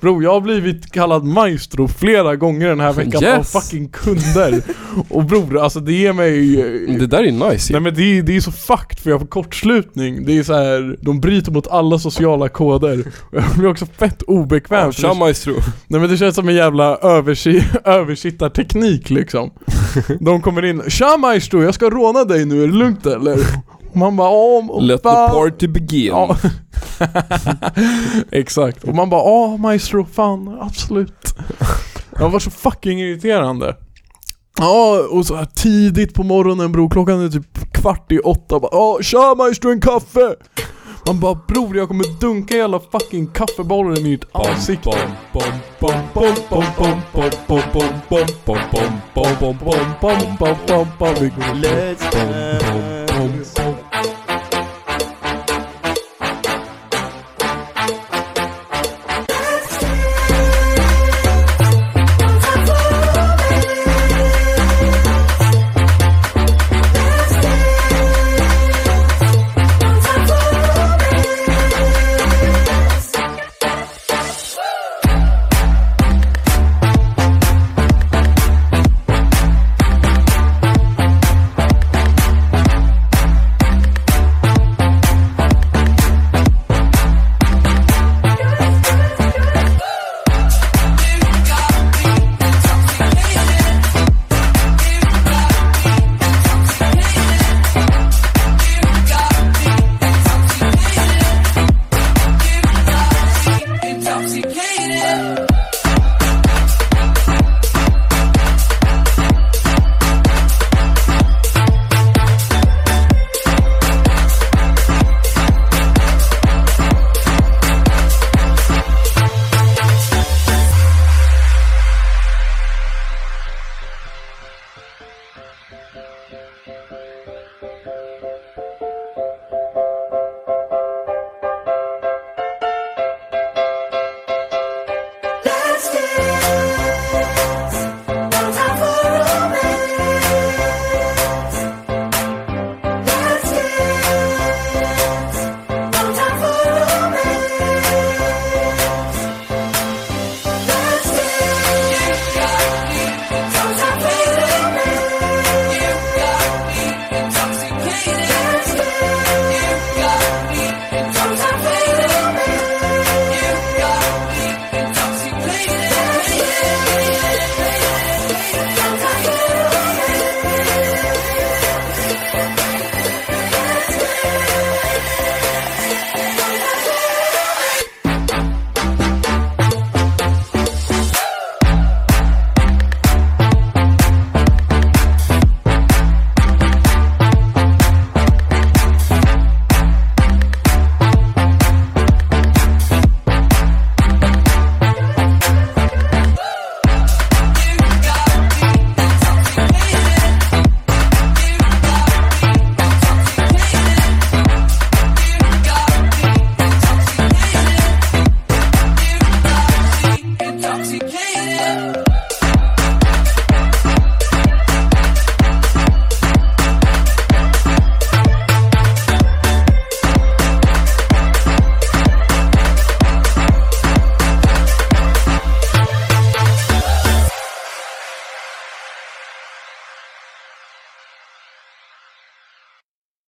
E: Bror, jag har blivit kallad maestro flera gånger den här veckan
C: Yes.
E: av fucking kunder. Och bror, alltså det ger mig...
C: Det där är ju nice ju.
E: Nej men det är, det är så fucked för jag får kortslutning. Det är så här, de bryter mot alla sociala koder. <laughs> Och jag blir också fett obekväm. för det-
C: Tja maestro.
E: Nej men det känns som en jävla översi- <laughs>
C: <laughs>
E: översittarteknik liksom. De kommer in, 'Tja maestro, jag ska råna dig nu, är det lugnt eller?' Och man bara 'Åh, oh,
C: Let the party begin.
E: Ja. Exakt. Och man bara 'Åh maestro, fan, absolut' Det var så fucking irriterande. Ja, och så här tidigt på morgonen bror, klockan är typ kvart i åtta bara 'Åh, tja maestro, en kaffe!' Man bara 'Bror, jag kommer dunka hela fucking kaffebollen i ditt ansikte' Vilket-